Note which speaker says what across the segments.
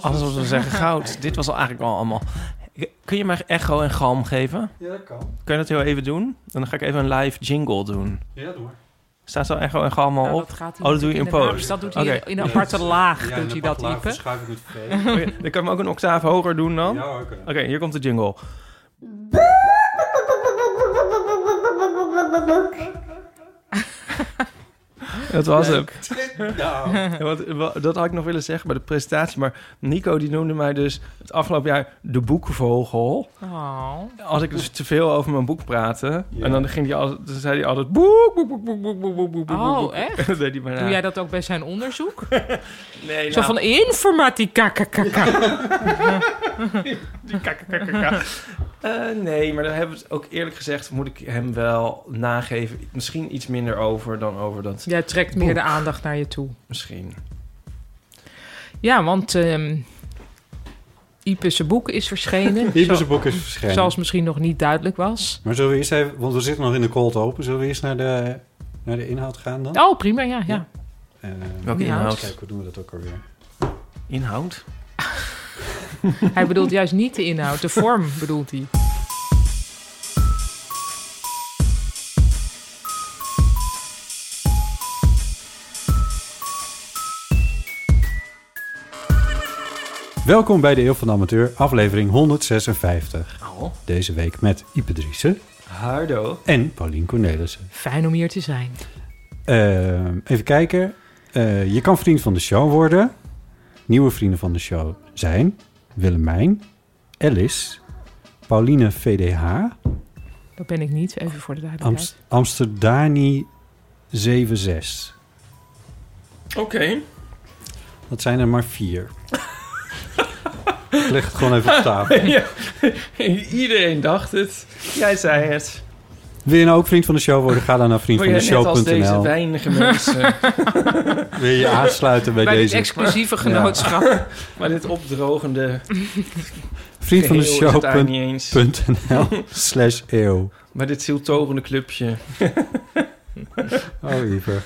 Speaker 1: Alles wat we zeggen, goud. Dit was al eigenlijk al allemaal. Kun je mij echo en galm geven?
Speaker 2: Ja, dat kan.
Speaker 1: Kun je dat heel even doen? Dan ga ik even een live jingle doen.
Speaker 2: Ja, doe maar.
Speaker 1: Staat zo echo en galm al
Speaker 3: Nou,
Speaker 1: op?
Speaker 3: dat gaat hij
Speaker 1: Oh, dat doe je in
Speaker 3: natuurlijk
Speaker 1: post.
Speaker 3: de- dus Dat doet hij
Speaker 1: Oké.
Speaker 3: in een aparte laag.
Speaker 2: Ja,
Speaker 3: doet hij dat, Ipe?
Speaker 2: schuif ik het vergeten.
Speaker 1: Oké, dan kan je hem ook een octaaf hoger doen dan.
Speaker 2: Ja, hoor,
Speaker 1: Oké, hier komt de jingle. Dat was hem.
Speaker 2: Nou,
Speaker 1: Ja, want, wa- dat had ik nog willen zeggen bij de presentatie. Maar Nico die noemde mij dus het afgelopen jaar de boekvogel.
Speaker 3: Oh.
Speaker 1: Als ik dus te veel over mijn boek praatte.
Speaker 2: Ja.
Speaker 1: En dan, ging die altijd, dan zei hij altijd boek, boek, boek, boek, boek, boek, boek, boek, boek. boek.
Speaker 3: Oh, echt?
Speaker 1: Dat deed hij bijna.
Speaker 3: Doe jij dat ook bij zijn onderzoek?
Speaker 1: Nee,
Speaker 3: Zo
Speaker 1: nou,
Speaker 3: van informatica. kakakaka.
Speaker 1: die kak, kak, kak, kak. Eh, nee, maar daar hebben we het ook eerlijk gezegd... moet ik hem wel nageven. Misschien iets minder over dan over dat...
Speaker 3: Jij trekt meer de aandacht naar je toe.
Speaker 1: Misschien.
Speaker 3: Ja, want ehm Ipe's boek is verschenen.
Speaker 2: Hier
Speaker 3: zo-
Speaker 2: is een boek is verschenen.
Speaker 3: Zoals misschien nog niet duidelijk was.
Speaker 2: Maar zullen we eerst even, want we zitten nog in de cold open, zullen we eerst naar de, naar de inhoud gaan dan?
Speaker 3: Oh, prima, ja. ja.
Speaker 2: Ja. Eh,
Speaker 1: Welke
Speaker 3: Ja.
Speaker 1: inhoud?
Speaker 2: kijk, hoe doen we dat ook alweer?
Speaker 1: Inhoud?
Speaker 3: Hij bedoelt juist niet de inhoud, de vorm bedoelt hij.
Speaker 2: Welkom bij de Eeuw van de Amateur, aflevering 156.
Speaker 1: Oh.
Speaker 2: Deze week met Ipe Driessen
Speaker 1: Hardo.
Speaker 2: en Paulien Cornelissen.
Speaker 3: Fijn om hier te zijn.
Speaker 2: Eh, even kijken. Eh, je kan vriend van de show worden. Nieuwe vrienden van de show zijn Willemijn, Alice, Pauline VDH,
Speaker 3: Dat ben ik niet, even voor de duidelijkheid.
Speaker 2: Amst Amsterdani 76.
Speaker 1: Oké.
Speaker 2: Dat zijn er maar vier. Ik leg het gewoon even op tafel.
Speaker 1: Ja. Iedereen dacht het. Jij zei het.
Speaker 2: Wil je nou ook vriend van de show worden? Ga dan naar
Speaker 1: Word jij net als deze
Speaker 2: vriendvandeshow.nl.
Speaker 1: weinige mensen.
Speaker 2: Wil je aansluiten bij,
Speaker 3: Bij dit
Speaker 2: deze?
Speaker 3: exclusieve genootschap.
Speaker 1: maar dit opdrogende
Speaker 2: Vriend van de
Speaker 1: geheel is het daar niet eens.
Speaker 2: show.nl slash eeuw.
Speaker 1: Maar dit zieltogende clubje.
Speaker 2: Oh, Ieper.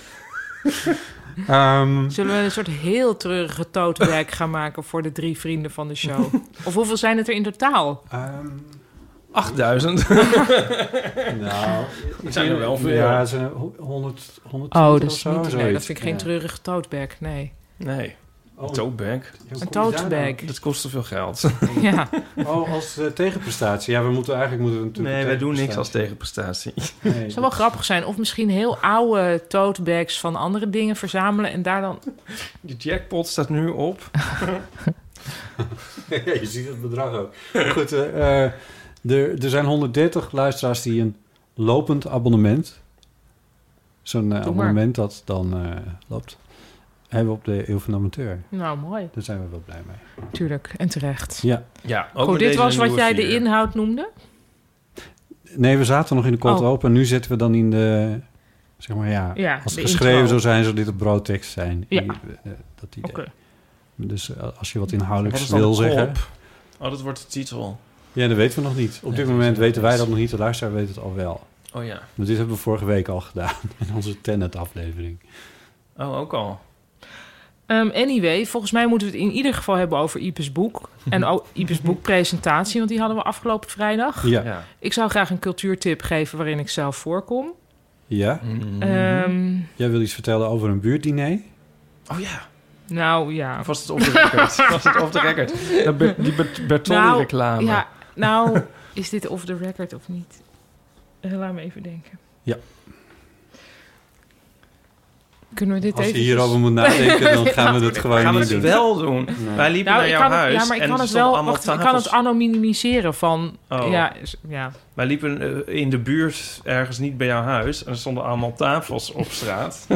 Speaker 2: Ehm,
Speaker 3: Zullen we een soort heel treurige tootwerk gaan maken voor de drie vrienden van de show? Of hoeveel zijn het er in totaal?
Speaker 2: ehm,
Speaker 1: 8000.
Speaker 2: nou,
Speaker 1: Het zijn er wel veel.
Speaker 2: Ja, het zijn er ho- 100, 100
Speaker 3: Oh,
Speaker 2: of
Speaker 3: dat is
Speaker 2: zo,
Speaker 3: niet... Nee, dat
Speaker 2: zoiets.
Speaker 3: vind ik geen treurige tootwerk, nee.
Speaker 1: Nee,
Speaker 2: Oh,
Speaker 1: een toteback.
Speaker 2: hoe kom je
Speaker 3: Een
Speaker 2: daar
Speaker 3: tootbag.
Speaker 1: Dat kost te veel geld.
Speaker 3: Ja.
Speaker 2: nou? Oh, als eh, tegenprestatie. Ja, we moeten eigenlijk moeten we natuurlijk.
Speaker 1: Nee,
Speaker 2: een
Speaker 1: wij doen niks als
Speaker 2: tegenprestatie.
Speaker 1: tegenprestatie.
Speaker 2: Nee,
Speaker 3: Het zou wel grappig zijn. Of misschien heel oude totebags van andere dingen verzamelen en daar dan...
Speaker 1: De jackpot staat nu op.
Speaker 2: Ja, je ziet het bedrag ook. Goed, eh, eh, er, er zijn 130 luisteraars die een lopend abonnement, zo'n eh,
Speaker 3: maar.
Speaker 2: abonnement dat dan eh, loopt, hebben op de Eeuw van de Amateur.
Speaker 3: Nou, mooi.
Speaker 2: Daar zijn we wel blij mee.
Speaker 3: Tuurlijk, en terecht.
Speaker 2: Ja.
Speaker 1: Ja, ook
Speaker 3: Goed,
Speaker 1: met
Speaker 3: dit
Speaker 1: deze
Speaker 3: was wat
Speaker 1: nieuwe
Speaker 3: jij de
Speaker 1: vier.
Speaker 3: inhoud noemde?
Speaker 2: Nee, we zaten nog in de cold
Speaker 3: Oh.
Speaker 2: open. Nu zitten we dan in de, zeg maar ja,
Speaker 3: Ja,
Speaker 2: als
Speaker 3: de
Speaker 2: het geschreven
Speaker 3: intro.
Speaker 2: zou zijn, zou dit op broodtekst zijn.
Speaker 3: Ja.
Speaker 2: I- eh, dat idee.
Speaker 3: Oké.
Speaker 2: Dus eh, als je wat
Speaker 1: Wat
Speaker 2: inhoudelijks
Speaker 1: is dan de
Speaker 2: wil zeggen.
Speaker 1: kop? Oh, dat wordt de titel.
Speaker 2: Ja, dat weten we nog niet. Op
Speaker 1: Nee,
Speaker 2: dit
Speaker 1: dat
Speaker 2: moment
Speaker 1: is wel
Speaker 2: weten wij
Speaker 1: niks.
Speaker 2: dat nog niet. De luisteraar weet het al wel.
Speaker 1: Oh ja.
Speaker 2: Maar Dus dit hebben we vorige week al gedaan in onze Tenet-aflevering.
Speaker 1: Oh, ook al.
Speaker 3: Ehm, anyway, volgens mij moeten we het in ieder geval hebben over Ipes boek. En ook Ipes boekpresentatie, want die hadden we afgelopen vrijdag.
Speaker 2: Ja.
Speaker 1: Ja.
Speaker 3: Ik zou graag een cultuurtip geven waarin ik zelf voorkom.
Speaker 2: ja.
Speaker 1: Mm.
Speaker 3: Ehm,
Speaker 2: Mhm.
Speaker 1: Eh,
Speaker 2: Jij wil iets vertellen over een buurtdiner?
Speaker 1: Oh ja.
Speaker 3: Nou ja.
Speaker 1: Of was het off the record? was het off the record? Dat Be- die Be- Bertolli-reclame.
Speaker 3: Ja, nou, is dit off the record of niet? Eh, Laat me even denken.
Speaker 2: Ja.
Speaker 3: Kunnen we dit
Speaker 2: Als je
Speaker 3: even...
Speaker 2: hierover moet nadenken, dan gaan we dat gewoon
Speaker 1: Gaan we
Speaker 2: niet
Speaker 1: het
Speaker 2: doen.
Speaker 1: wel doen? Wij liepen
Speaker 3: Nou,
Speaker 1: naar
Speaker 3: ik
Speaker 1: jouw
Speaker 3: kan, het-
Speaker 1: huis
Speaker 3: ja, maar ik
Speaker 1: en
Speaker 3: kan
Speaker 1: er
Speaker 3: het
Speaker 1: stonden
Speaker 3: wel...
Speaker 1: allemaal
Speaker 3: wacht, ik
Speaker 1: tafels.
Speaker 3: kan het anonimiseren van...
Speaker 1: Oh.
Speaker 3: Ja, is- ja.
Speaker 1: Wij liepen eh, in de buurt ergens niet bij jouw huis en er stonden allemaal tafels op straat.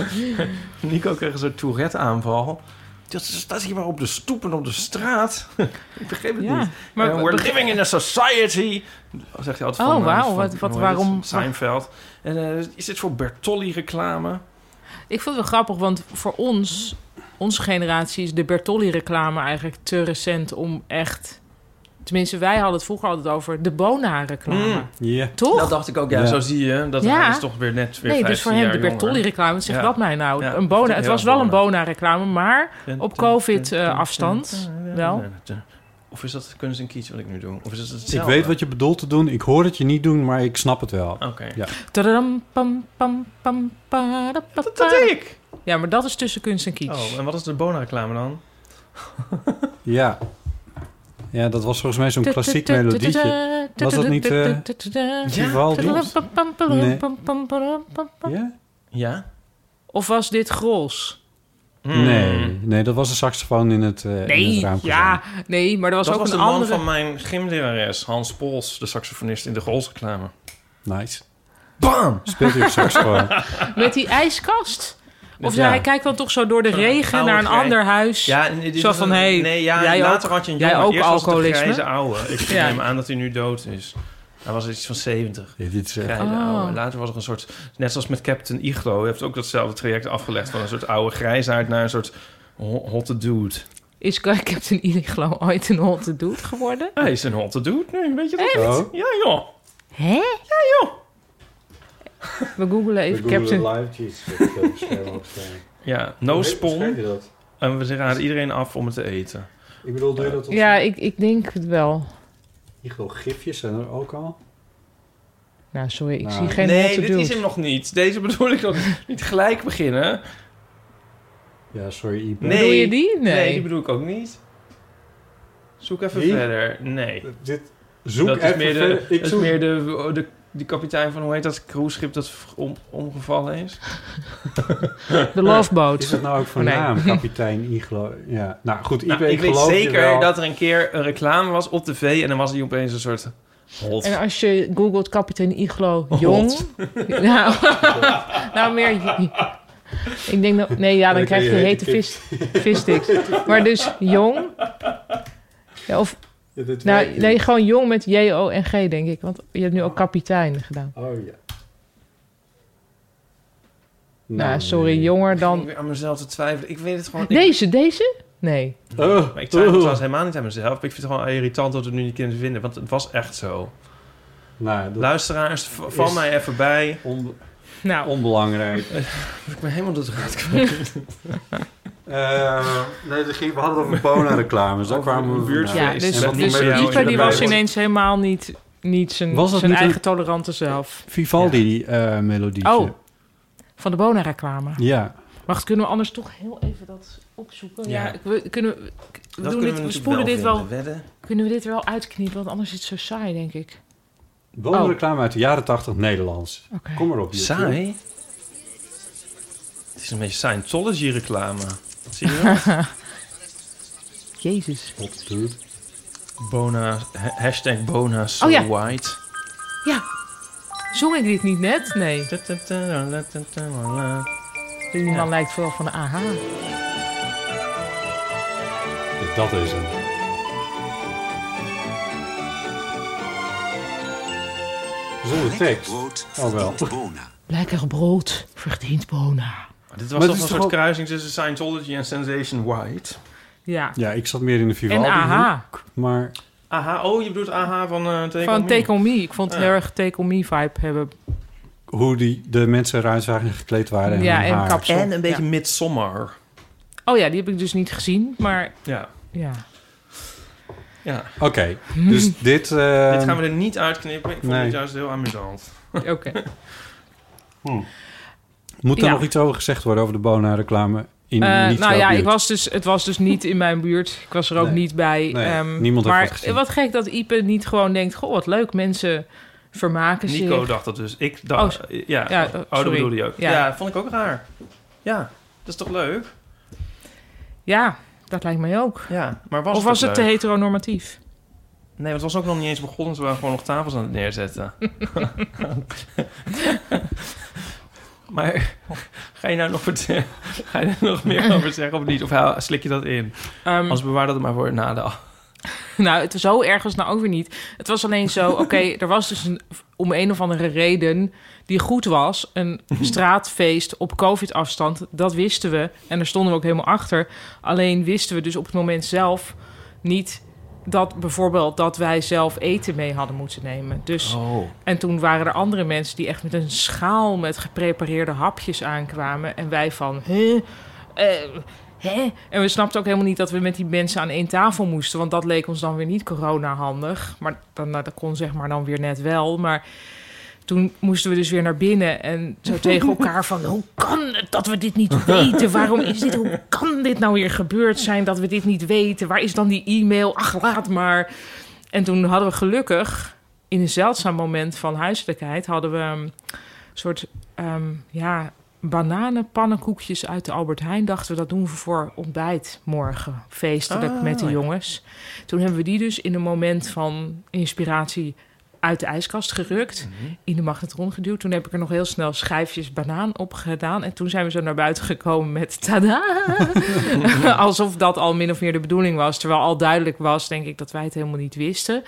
Speaker 1: Nico kreeg een soort Tourette-aanval. Dat staat hier maar op de stoep en op de straat. ik begreep het
Speaker 3: Ja,
Speaker 1: niet.
Speaker 3: maar
Speaker 1: Maar
Speaker 3: we-
Speaker 1: we're
Speaker 3: begre-
Speaker 1: living in a society. Dat zegt hij altijd
Speaker 3: Oh,
Speaker 1: van, eh,
Speaker 3: wauw,
Speaker 1: van-
Speaker 3: wat-
Speaker 1: hoe
Speaker 3: wat-
Speaker 1: heet het?
Speaker 3: waarom-
Speaker 1: Seinfeld. En eh, is dit voor Bertolli-reclame?
Speaker 3: Ik vond het wel grappig, want voor ons, onze generatie, is de Bertolli-reclame eigenlijk te recent om echt. Tenminste, wij hadden het vroeger altijd over de Bona-reclame.
Speaker 1: Mm.
Speaker 2: Ja.
Speaker 3: Toch?
Speaker 1: Dat dacht ik ook, ja,
Speaker 2: Ja.
Speaker 1: zo zie je. Dat
Speaker 3: Ja.
Speaker 1: hij is toch weer net weer
Speaker 3: nee, dus
Speaker 1: 15
Speaker 3: voor hem
Speaker 1: jaar
Speaker 3: de
Speaker 1: jonger.
Speaker 3: Bertolli-reclame. Wat zegt
Speaker 1: Ja.
Speaker 3: dat mij nou?
Speaker 1: Ja,
Speaker 3: een
Speaker 1: dat
Speaker 3: bona,
Speaker 1: is
Speaker 3: het
Speaker 1: heel
Speaker 3: was wel een
Speaker 1: Bona.
Speaker 3: Bona-reclame, maar op COVID-afstand wel.
Speaker 1: Of is dat kunst en kies wat ik nu doe? Of is dat
Speaker 2: Ik
Speaker 1: hetzelfde?
Speaker 2: weet wat je bedoelt te doen. Ik hoor het je niet doen, maar ik snap het wel.
Speaker 1: Oké.
Speaker 2: Ja.
Speaker 3: Tadadam, pam, pam, pam, padapapa.
Speaker 1: Dat, dat deed ik!
Speaker 3: Ja, maar dat is tussen kunst en kitsch.
Speaker 1: Oh, en wat is de Bona-reclame dan?
Speaker 2: Ja. Ja, dat was volgens mij zo'n klassiek melodietje. Was dat niet, eh, Vivaldi? Nee. Ja?
Speaker 1: Ja?
Speaker 3: Of was dit Grols?
Speaker 1: Hmm.
Speaker 2: Nee, nee, dat was een saxofoon in het, eh in het
Speaker 3: Nee,
Speaker 2: raampje.
Speaker 3: ja, nee, maar er was
Speaker 1: Dat
Speaker 3: ook
Speaker 1: was de
Speaker 3: een
Speaker 1: man
Speaker 3: andere.
Speaker 1: van mijn gymlerares, Hans Pols, de saxofonist in de Grols-reclame.
Speaker 2: Nice.
Speaker 1: Bam!
Speaker 2: Speelt hij op saxofoon?
Speaker 3: Met die ijskast. Of
Speaker 1: eh, Ja.
Speaker 3: hij kijkt dan toch zo door de
Speaker 1: Zo'n
Speaker 3: regen
Speaker 1: oude
Speaker 3: naar een
Speaker 1: grij-
Speaker 3: ander huis.
Speaker 1: Ja, en dit
Speaker 3: Zo
Speaker 1: was
Speaker 3: van,
Speaker 1: een-
Speaker 3: hey,
Speaker 1: nee, ja,
Speaker 3: jij
Speaker 1: later
Speaker 3: ook-
Speaker 1: had je een
Speaker 3: jij
Speaker 1: jongen,
Speaker 3: ook
Speaker 1: eerst was het een
Speaker 3: alcoholisme?
Speaker 1: grijze oude. Ik
Speaker 3: Ja.
Speaker 1: neem aan dat hij nu dood is. Hij was iets van 70.
Speaker 2: Ja, dit is echt...
Speaker 1: Grijze
Speaker 3: Oh.
Speaker 1: ouwe. Later was er een soort, net zoals met Captain Iglo, heeft ook datzelfde traject afgelegd van een soort oude grijsaard naar een soort ho- hotte dude.
Speaker 3: Is Captain Iglo ooit een hotte doet geworden?
Speaker 1: Hij is een hotte dude nu, weet je dat?
Speaker 2: Oh,
Speaker 1: Ja joh.
Speaker 3: Hè? Ja,
Speaker 1: joh.
Speaker 3: We googelen even Captain...
Speaker 2: eh,
Speaker 1: Ja, no spon. En we raden iedereen af om het te eten.
Speaker 2: Ik bedoel, doe je dat op
Speaker 3: Ja, ik, ik denk het wel.
Speaker 2: Iglo gifjes zijn er ook al?
Speaker 3: Nou, sorry, ik
Speaker 2: Nou.
Speaker 3: zie geen
Speaker 1: nee,
Speaker 3: hotte
Speaker 1: dit
Speaker 3: dude.
Speaker 1: is hem nog niet. Deze bedoel ik nog niet gelijk beginnen.
Speaker 2: Ja, sorry, Ipe.
Speaker 1: Nee.
Speaker 3: Bedoel je die? Nee.
Speaker 1: die bedoel ik ook niet. Zoek even
Speaker 2: Die?
Speaker 1: verder. Nee.
Speaker 2: Eh, Dit, zoek
Speaker 1: dat is
Speaker 2: even
Speaker 1: meer, de,
Speaker 2: verder.
Speaker 1: dat
Speaker 2: Ik
Speaker 1: is
Speaker 2: zoek...
Speaker 1: meer de, de, die kapitein van, hoe heet dat cruiseschip dat v- om, omgevallen is?
Speaker 3: De Love
Speaker 2: Is
Speaker 3: Boat.
Speaker 2: dat nou ook van
Speaker 3: Oh, nee.
Speaker 2: naam, kapitein Iglo? Ja, nou goed, Ipe,
Speaker 1: Nou, ik weet
Speaker 2: geloof je
Speaker 1: zeker
Speaker 2: wel.
Speaker 1: dat er een keer een reclame was op tv en dan was hij opeens een soort hot.
Speaker 3: En als je googelt kapitein Iglo jong... Nou, nou, meer... Ik denk dat... Nee, ja, dan
Speaker 2: Dan
Speaker 3: krijg je
Speaker 2: krijg je
Speaker 3: hete vis, vissticks. Maar dus jong... Ja, of,
Speaker 2: Ja, dit
Speaker 3: nou,
Speaker 2: weet ik.
Speaker 3: nee, gewoon jong met J-O-N-G, denk ik. Want je hebt nu ook kapitein gedaan.
Speaker 2: Oh ja.
Speaker 3: Nou, sorry,
Speaker 2: nee.
Speaker 3: jonger
Speaker 1: Dan
Speaker 3: dan...
Speaker 1: weer aan mezelf te twijfelen. Ik weet het gewoon. Ik,
Speaker 3: Deze, deze? Nee.
Speaker 2: Oh,
Speaker 1: maar ik twijfel
Speaker 2: oh.
Speaker 1: trouwens helemaal niet aan mezelf. Maar ik vind het gewoon irritant dat we het nu niet kunnen vinden. Want het was echt zo.
Speaker 2: Nou, dat
Speaker 1: Luisteraars, v- val
Speaker 2: Is-
Speaker 1: mij even bij.
Speaker 2: on-
Speaker 3: Nou,
Speaker 2: onbelangrijk.
Speaker 1: Ik ben helemaal door de raad
Speaker 2: Eh, nee, dus ging- we hadden het over Bona-reclames. Daar
Speaker 1: Over
Speaker 2: kwamen we
Speaker 1: een buurt-
Speaker 2: vandaan.
Speaker 3: ja,
Speaker 1: is-
Speaker 3: dus,
Speaker 2: en wat
Speaker 3: dus
Speaker 2: voor mensen
Speaker 3: Ieper die
Speaker 2: erbij
Speaker 3: was
Speaker 2: hoort.
Speaker 3: ineens helemaal niet, niet zijn,
Speaker 2: Was dat
Speaker 3: zijn
Speaker 2: niet
Speaker 3: eigen tolerante zelf.
Speaker 2: Vivaldi eh melodietje.
Speaker 3: Oh, van de Bona-reclame.
Speaker 2: Ja.
Speaker 3: Wacht, kunnen we anders toch heel even dat opzoeken? Ja,
Speaker 1: Ja.
Speaker 3: ik- we, kunnen, we- we, doen dit, we spoelen dit wel. Kunnen we dit er wel uitknippen? Want anders is het zo saai, denk ik.
Speaker 2: Bona-reclame uit de jaren 80 Nederlands.
Speaker 3: Oh. Oké.
Speaker 2: Kom maar op. YouTube.
Speaker 1: Saai? Het is een beetje Scientology-reclame. Zie je dat?
Speaker 3: Jezus.
Speaker 2: Hot dude.
Speaker 1: Bona, ha- hashtag Bona so
Speaker 3: Oh ja.
Speaker 1: white.
Speaker 3: Ja. Zong ik dit niet net? Nee. Die man lijkt vooral van de AH.
Speaker 2: Ja, Dus Dat is hem. Zonder tekst. Oh wel.
Speaker 3: Lekker brood verdient bona.
Speaker 1: Dit
Speaker 2: Maar
Speaker 1: was toch
Speaker 2: het is
Speaker 1: een
Speaker 2: toch
Speaker 1: soort
Speaker 2: ook-
Speaker 1: kruising tussen Scientology en Sensation White.
Speaker 3: Ja.
Speaker 2: Ja, ik zat meer in de Vivaldi.
Speaker 3: En AH.
Speaker 2: hoek, Maar
Speaker 1: Aha, oh, je bedoelt aha van eh Take On
Speaker 3: Van
Speaker 1: Me. Ah.
Speaker 3: Take On Me. Ik vond het
Speaker 1: Ja.
Speaker 3: heel erg Take On Me vibe hebben.
Speaker 2: hoe die, de mensen eruit zagen en gekleed waren. En
Speaker 3: ja,
Speaker 2: hun
Speaker 3: en
Speaker 2: haar.
Speaker 3: kapsel.
Speaker 1: En een beetje
Speaker 3: Ja.
Speaker 1: Midsommar.
Speaker 3: Oh ja, die heb ik dus niet gezien. Maar
Speaker 1: Ja,
Speaker 3: ja.
Speaker 1: ja.
Speaker 2: Oké,
Speaker 3: Hmm.
Speaker 2: dus dit... eh,
Speaker 1: Dit gaan we er niet uitknippen. Ik vond
Speaker 2: nee.
Speaker 1: het juist heel amusant.
Speaker 3: Oké.
Speaker 2: Moet er
Speaker 3: Ja.
Speaker 2: Hm. nog iets over gezegd worden over de Bona-reclame? In,
Speaker 3: Eh,
Speaker 2: niet
Speaker 3: nou
Speaker 2: jouw
Speaker 3: ja,
Speaker 2: buurt.
Speaker 3: ik was dus, het was dus niet in mijn buurt. Ik was er ook
Speaker 2: Nee.
Speaker 3: niet bij.
Speaker 2: Nee,
Speaker 3: ehm,
Speaker 2: niemand heeft
Speaker 3: maar
Speaker 2: het gezien.
Speaker 3: wat gek dat Ipe niet gewoon denkt... Goh, wat leuk, mensen vermaken zich.
Speaker 1: Nico dacht dat dus. Ik dacht...
Speaker 3: Oh,
Speaker 1: ja,
Speaker 3: ja,
Speaker 1: oh, dat
Speaker 3: sorry.
Speaker 1: bedoelde je ook. Ja.
Speaker 3: Ja.
Speaker 1: vond ik ook raar. Ja, dat is toch leuk?
Speaker 3: Ja, dat lijkt mij ook.
Speaker 1: Ja, maar was
Speaker 3: of was het te
Speaker 1: leuk?
Speaker 3: heteronormatief?
Speaker 1: Nee, want het was ook nog niet eens begonnen. Ze waren gewoon nog tafels aan het neerzetten. maar ga je nou nog, vertellen- ga je er nog meer over zeggen of niet? Of haal- slik je dat in?
Speaker 2: Mm.
Speaker 3: Ehm,
Speaker 1: Als bewaar dat het maar voor na de...
Speaker 3: Nou, het, zo erg was het nou ook weer niet. Het was alleen zo, oké, er was dus een, om een of andere reden die goed was... een straatfeest op covid-afstand, dat wisten we. En daar stonden we ook helemaal achter. Alleen wisten we dus op het moment zelf niet... dat bijvoorbeeld dat wij zelf eten mee hadden moeten nemen. Dus,
Speaker 1: Oh.
Speaker 3: En toen waren er andere mensen die echt met een schaal... met geprepareerde hapjes aankwamen. En wij van, hè? Eh, hè? En we snapten ook helemaal niet dat we met die mensen aan één tafel moesten. Want dat leek ons dan weer niet corona-handig. Maar dan, nou, dat kon zeg maar dan weer net wel. Maar toen moesten we dus weer naar binnen. En zo tegen elkaar van... Hoe kan het dat we dit niet weten? Waarom is dit... Hoe kan dit nou weer gebeurd zijn dat we dit niet weten? Waar is dan die e-mail? Ach, laat maar. En toen hadden we gelukkig... In een zeldzaam moment van huiselijkheid hadden we een soort ehm, ja, bananenpannenkoekjes uit de Albert Heijn. Dachten we dat doen we voor ontbijt morgen. Feestelijk
Speaker 1: Ah,
Speaker 3: met de
Speaker 1: ja.
Speaker 3: jongens. Toen hebben we die dus in een moment van inspiratie uit de ijskast gerukt. In de magnetron geduwd. Toen heb ik er nog heel snel schijfjes banaan op gedaan. En toen zijn we zo naar buiten gekomen met tada. Alsof dat al min of meer de bedoeling was. Terwijl al duidelijk was, denk ik, dat wij het helemaal niet wisten.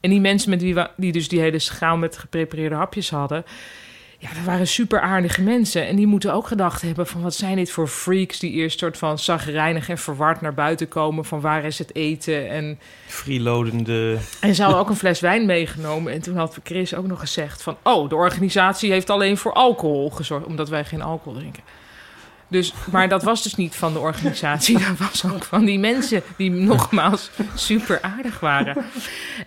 Speaker 3: En die mensen met wie we, die dus die hele schaal met geprepareerde hapjes hadden. Ja, dat waren super aardige mensen. En die moeten ook gedacht hebben van... wat zijn dit voor freaks die eerst soort van zagrijnig en verward naar buiten komen... van waar is het eten en...
Speaker 1: Freeloadende...
Speaker 3: En ze hadden ook een fles wijn meegenomen. En toen had Chris ook nog gezegd van... oh, de organisatie heeft alleen voor alcohol gezorgd... omdat wij geen alcohol drinken. Dus, maar dat was dus niet van de organisatie. Dat was ook van die mensen die nogmaals super aardig waren.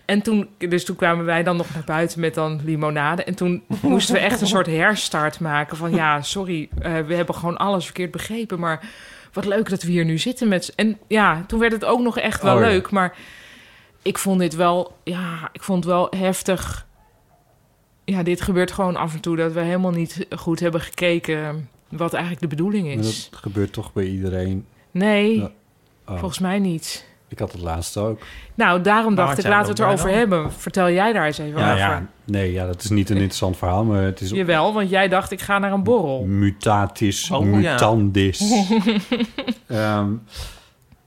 Speaker 3: En toen, dus toen kwamen wij dan nog naar buiten met dan limonade. En toen moesten we echt een soort herstart maken. Van ja, sorry, eh, we hebben gewoon alles verkeerd begrepen. Maar wat leuk dat we hier nu zitten met... z'n- En ja, toen werd het ook nog echt wel
Speaker 2: Oh ja.
Speaker 3: leuk. Maar ik vond dit wel, ja, ik vond het wel heftig. Ja, dit gebeurt gewoon af en toe dat we helemaal niet goed hebben gekeken wat eigenlijk de bedoeling
Speaker 2: Maar
Speaker 3: is.
Speaker 2: dat gebeurt toch bij iedereen.
Speaker 3: Nee,
Speaker 2: Ja. Oh,
Speaker 3: volgens mij niet.
Speaker 2: Ik had het laatste ook.
Speaker 3: Nou, daarom
Speaker 1: Maar
Speaker 3: dacht
Speaker 1: wat
Speaker 3: ik,
Speaker 1: jij
Speaker 3: laten we het
Speaker 1: dan
Speaker 3: erover
Speaker 1: bij
Speaker 3: hebben. Vertel jij daar eens even
Speaker 2: Ja,
Speaker 3: over.
Speaker 2: ja. Nee, ja, dat is niet een interessant verhaal, maar het is
Speaker 3: Jawel, want jij dacht ik ga naar een borrel.
Speaker 2: mutatis
Speaker 1: Oh, ja.
Speaker 2: mutandis. Ja.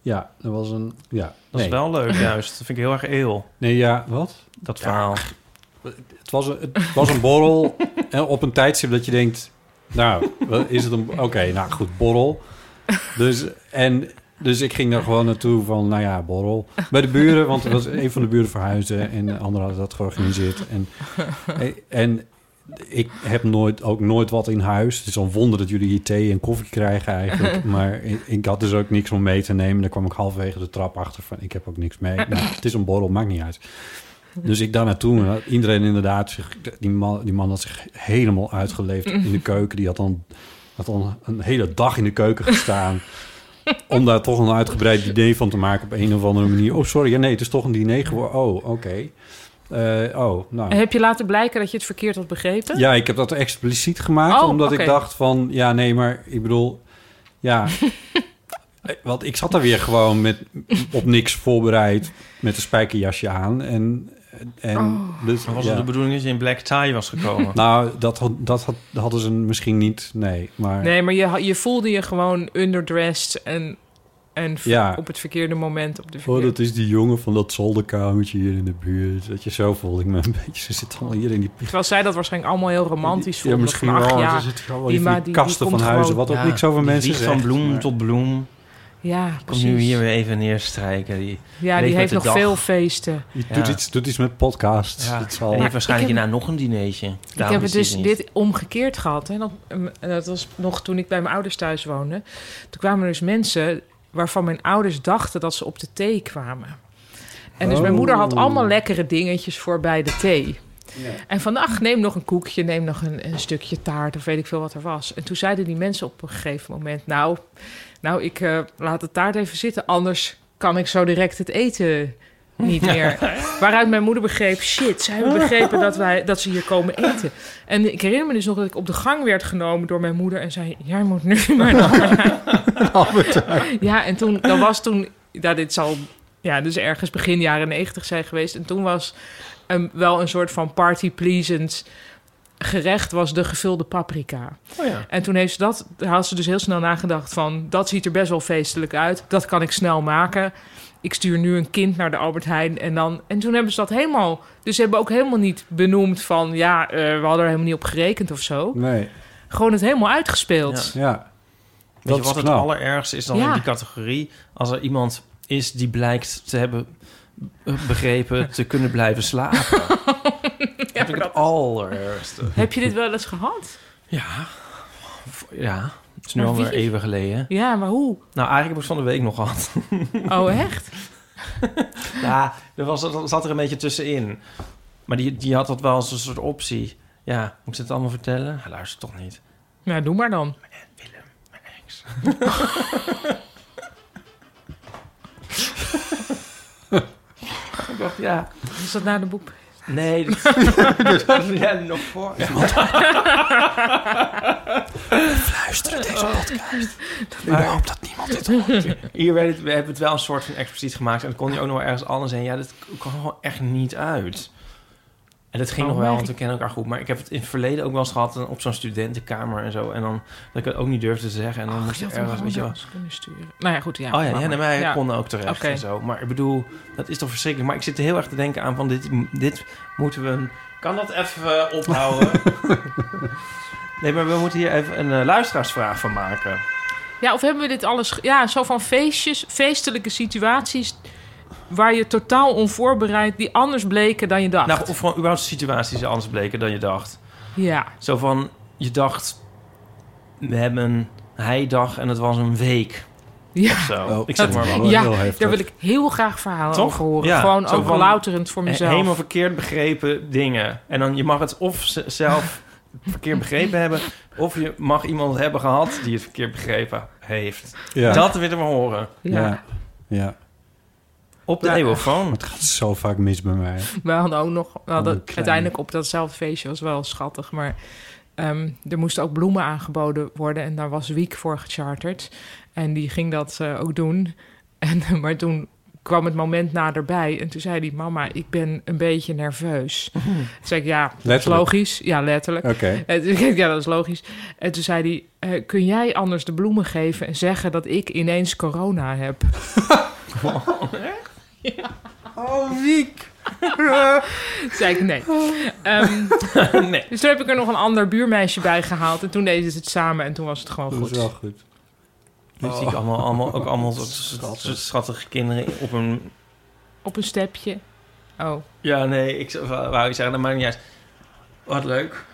Speaker 2: ja, dat was een... Ja,
Speaker 1: Dat
Speaker 2: nee.
Speaker 1: is wel leuk juist. Dat vind ik heel erg eeuw,
Speaker 2: Nee, ja, wat?
Speaker 1: dat verhaal.
Speaker 2: Het was een, het was een borrel en op een tijdstip dat je denkt... Nou, wat is het een... Oké, nou goed, borrel. Dus, en, dus ik ging daar gewoon naartoe van, nou ja, borrel. Bij de buren, want er was een van de buren verhuisde... en de anderen hadden dat georganiseerd. En, Eh, en ik heb nooit, ook nooit wat in huis. Het is een wonder dat jullie hier thee en koffie krijgen eigenlijk. Maar ik, ik had dus ook niks om mee te nemen. Daar kwam ik halverwege de trap achter van, ik heb ook niks mee. Nou, het is een borrel, maakt niet uit. Dus ik daar naartoe. en had Iedereen inderdaad, zich, die, man, die man had zich helemaal uitgeleefd in de keuken. Die had dan, had dan een hele dag in de keuken gestaan. om daar toch een uitgebreid idee van te maken op een of andere manier. Oh, sorry, ja, nee, het is toch een diner geworden. Oh, oké. Eh, oh, nou.
Speaker 3: En heb je laten blijken dat je het verkeerd had begrepen?
Speaker 2: Ja, ik heb dat expliciet gemaakt,
Speaker 3: Oh,
Speaker 2: omdat ik
Speaker 3: oké.
Speaker 2: dacht van... Ja, nee, maar ik bedoel... Ja, eh, want ik zat daar weer gewoon met, op niks voorbereid... met een spijkerjasje aan. En, en
Speaker 3: Oh.
Speaker 2: dus,
Speaker 1: Dan was
Speaker 2: ja.
Speaker 1: het de bedoeling dat je in black tie was gekomen.
Speaker 2: Nou, dat, had- dat had, hadden ze misschien niet, nee. Maar
Speaker 3: Nee, maar je, ha- je voelde je gewoon underdressed en, en v-
Speaker 2: Ja.
Speaker 3: op het verkeerde moment. Op de
Speaker 2: oh,
Speaker 3: verkeerde...
Speaker 2: dat is die jongen van dat zolderkamertje hier in de buurt. Dat je zo voelde ik me een beetje. Ze zitten allemaal hier in die...
Speaker 3: Terwijl zij dat waarschijnlijk allemaal heel romantisch
Speaker 2: Ja,
Speaker 3: vonden.
Speaker 2: misschien
Speaker 3: van, ach,
Speaker 2: wel.
Speaker 3: ja,
Speaker 2: Ze zitten gewoon
Speaker 3: die
Speaker 2: in van die
Speaker 3: ma- die- die
Speaker 2: kasten
Speaker 3: komt
Speaker 2: van huizen,
Speaker 3: gewoon-
Speaker 2: wat ook
Speaker 1: Ja,
Speaker 2: niks over
Speaker 1: die
Speaker 2: mensen
Speaker 1: wiegt
Speaker 2: zegt.
Speaker 1: van bloem
Speaker 2: maar-
Speaker 1: tot bloem.
Speaker 3: ja,
Speaker 1: Kom
Speaker 3: precies.
Speaker 1: nu hier weer even neerstrijken. Die.
Speaker 3: Ja,
Speaker 1: Leef
Speaker 3: die
Speaker 1: met
Speaker 3: heeft
Speaker 1: de
Speaker 3: nog
Speaker 1: dag.
Speaker 3: veel feesten.
Speaker 2: Je
Speaker 1: Ja.
Speaker 2: Doet, iets, doet iets met podcasts.
Speaker 1: Ja.
Speaker 2: Dat
Speaker 1: En
Speaker 2: zal...
Speaker 1: je
Speaker 3: Maar
Speaker 1: hebt
Speaker 3: ik
Speaker 1: waarschijnlijk
Speaker 3: heb-
Speaker 1: hierna nog een dinertje.
Speaker 3: Ik
Speaker 1: Daarom
Speaker 3: heb
Speaker 1: is
Speaker 3: het dus
Speaker 1: niet.
Speaker 3: dit omgekeerd gehad. En dat, ehm, en dat was nog toen ik bij mijn ouders thuis woonde. Toen kwamen er dus mensen waarvan mijn ouders dachten dat ze op de thee kwamen. En dus mijn moeder had allemaal lekkere dingetjes voor bij de thee. En van, ach, neem nog een koekje, neem nog een, een stukje taart of weet ik veel wat er was. En toen zeiden die mensen op een gegeven moment, nou, nou ik eh, laat de taart even zitten, anders kan ik zo direct het eten niet meer. Waaruit mijn moeder begreep, shit, zij hebben begrepen dat, wij, dat ze hier komen eten. En ik herinner me dus nog dat ik op de gang werd genomen door mijn moeder en zei, jij moet nu maar naar Ja, en toen, dat was toen, ja, dit zal, ja, dus ergens begin jaren negentig zijn geweest. En toen was een, wel een soort van party pleasant gerecht was de gevulde paprika.
Speaker 1: Oh ja.
Speaker 3: En toen heeft ze dat, daar had ze dus heel snel nagedacht van... dat ziet er best wel feestelijk uit, dat kan ik snel maken. Ik stuur nu een kind naar de Albert Heijn en dan... En toen hebben ze dat helemaal... Dus ze hebben ook helemaal niet benoemd van... ja, eh, we hadden er helemaal niet op gerekend of zo.
Speaker 2: Nee,
Speaker 3: Gewoon het helemaal uitgespeeld.
Speaker 2: ja.
Speaker 1: Weet
Speaker 2: Dat
Speaker 1: je
Speaker 2: is
Speaker 1: wat het
Speaker 2: knap.
Speaker 1: allerergste is dan
Speaker 3: Ja.
Speaker 1: in die categorie? Als er iemand is die blijkt te hebben eh, begrepen te kunnen blijven slapen. dat vind ik het allerergste.
Speaker 3: Heb je dit wel eens gehad?
Speaker 1: Ja. Ja. Het is nu
Speaker 3: Maar
Speaker 1: alweer
Speaker 3: wie?
Speaker 1: even geleden.
Speaker 3: Ja, maar hoe?
Speaker 1: Nou, eigenlijk heb ik het van de week nog gehad.
Speaker 3: Oh, echt?
Speaker 1: Ja, er was, dat zat er een beetje tussenin. Maar die, die had dat wel als een soort optie. Ja, moet ik het allemaal vertellen? Hij luistert toch niet.
Speaker 3: Nou, doe maar dan.
Speaker 1: Ik dacht, ja,
Speaker 3: Is dat na de boek?
Speaker 1: Nee, dat was jij nog voor. Fluisteren deze podcast. Oh. Maar hoop dat niemand dit hoort. Hier werd het, we hebben het wel een soort van expliciet gemaakt. En het kon hij ook nog wel ergens anders heen. Ja, dat kwam gewoon echt niet uit. En dat ging
Speaker 3: Oh,
Speaker 1: nog wel,
Speaker 3: nee.
Speaker 1: want we kennen elkaar goed. Maar ik heb het in het verleden ook wel eens gehad eh, op zo'n studentenkamer en zo. En dan dat ik het ook niet durfde te zeggen. En
Speaker 3: Oh,
Speaker 1: dan moest je ergens, weet je wel.
Speaker 3: kunnen sturen. Nou ja, goed, ja.
Speaker 1: oh ja,
Speaker 3: maar-
Speaker 1: ja, nee, maar hij
Speaker 3: ja.
Speaker 1: kon ook terecht
Speaker 3: Oké.
Speaker 1: en zo. Maar ik bedoel, dat is toch verschrikkelijk. Maar ik zit er heel erg te denken aan van dit, dit moeten we... Kan dat even eh, ophouden? nee, maar we moeten hier even een eh, luisteraarsvraag van maken.
Speaker 3: Ja, of hebben we dit alles... ge- Ja, zo van feestjes, feestelijke situaties... waar je totaal onvoorbereid... die anders bleken dan je dacht.
Speaker 1: Nou, of gewoon überhaupt situaties die anders bleken dan je dacht.
Speaker 3: ja,
Speaker 1: Zo van, je dacht, we hebben een heidag en het was een week
Speaker 3: ja.
Speaker 1: of zo.
Speaker 2: Oh,
Speaker 1: ik zeg
Speaker 2: dat-
Speaker 1: maar wat.
Speaker 2: wel
Speaker 3: ja
Speaker 2: heel heftig.
Speaker 3: daar wil ik heel graag verhalen
Speaker 1: Toch?
Speaker 3: over horen.
Speaker 1: Ja,
Speaker 3: Gewoon
Speaker 1: zo
Speaker 3: ook
Speaker 1: van-
Speaker 3: louterend voor
Speaker 1: He-
Speaker 3: mezelf.
Speaker 1: Eh, Helemaal verkeerd begrepen dingen. En dan je mag het of z- zelf verkeerd begrepen hebben, of je mag iemand hebben gehad die het verkeerd begrepen heeft.
Speaker 2: Ja.
Speaker 1: Dat willen we horen.
Speaker 3: ja.
Speaker 2: Ja. ja.
Speaker 1: Op de eeuwofoon.
Speaker 2: Het gaat zo vaak mis bij mij.
Speaker 3: We hadden ook nog... We
Speaker 2: Oh,
Speaker 3: hadden
Speaker 2: klein.
Speaker 3: uiteindelijk op datzelfde feestje... was wel schattig, maar... ehm, er moesten ook bloemen aangeboden worden. En daar was Wiek voor gecharterd. En die ging dat eh, ook doen. En, maar toen kwam het moment naderbij. En toen zei die mama, ik ben een beetje nerveus. Toen zei ik, ja, dat is
Speaker 2: Mhm. Letterlijk.
Speaker 3: logisch. Ja, letterlijk.
Speaker 2: Oké.
Speaker 3: En toen zei ik, Ja, dat is logisch. En toen zei hij, eh, kun jij anders de bloemen geven... en zeggen dat ik ineens corona heb?
Speaker 1: Oh, wiek.
Speaker 3: Toen zei ik, nee. Ehm,
Speaker 1: nee.
Speaker 3: dus toen heb ik er nog een ander buurmeisje bij gehaald. En toen deden ze het samen en toen was het gewoon
Speaker 2: Dat is wel
Speaker 3: goed.
Speaker 2: goed.
Speaker 1: Nu zie ik allemaal, allemaal, ook allemaal soort- soort soort schattige kinderen op een...
Speaker 3: Op een stepje. Oh.
Speaker 1: Ja, nee, ik zou- wou wou je zeggen, dat maakt niet uit. Wat leuk.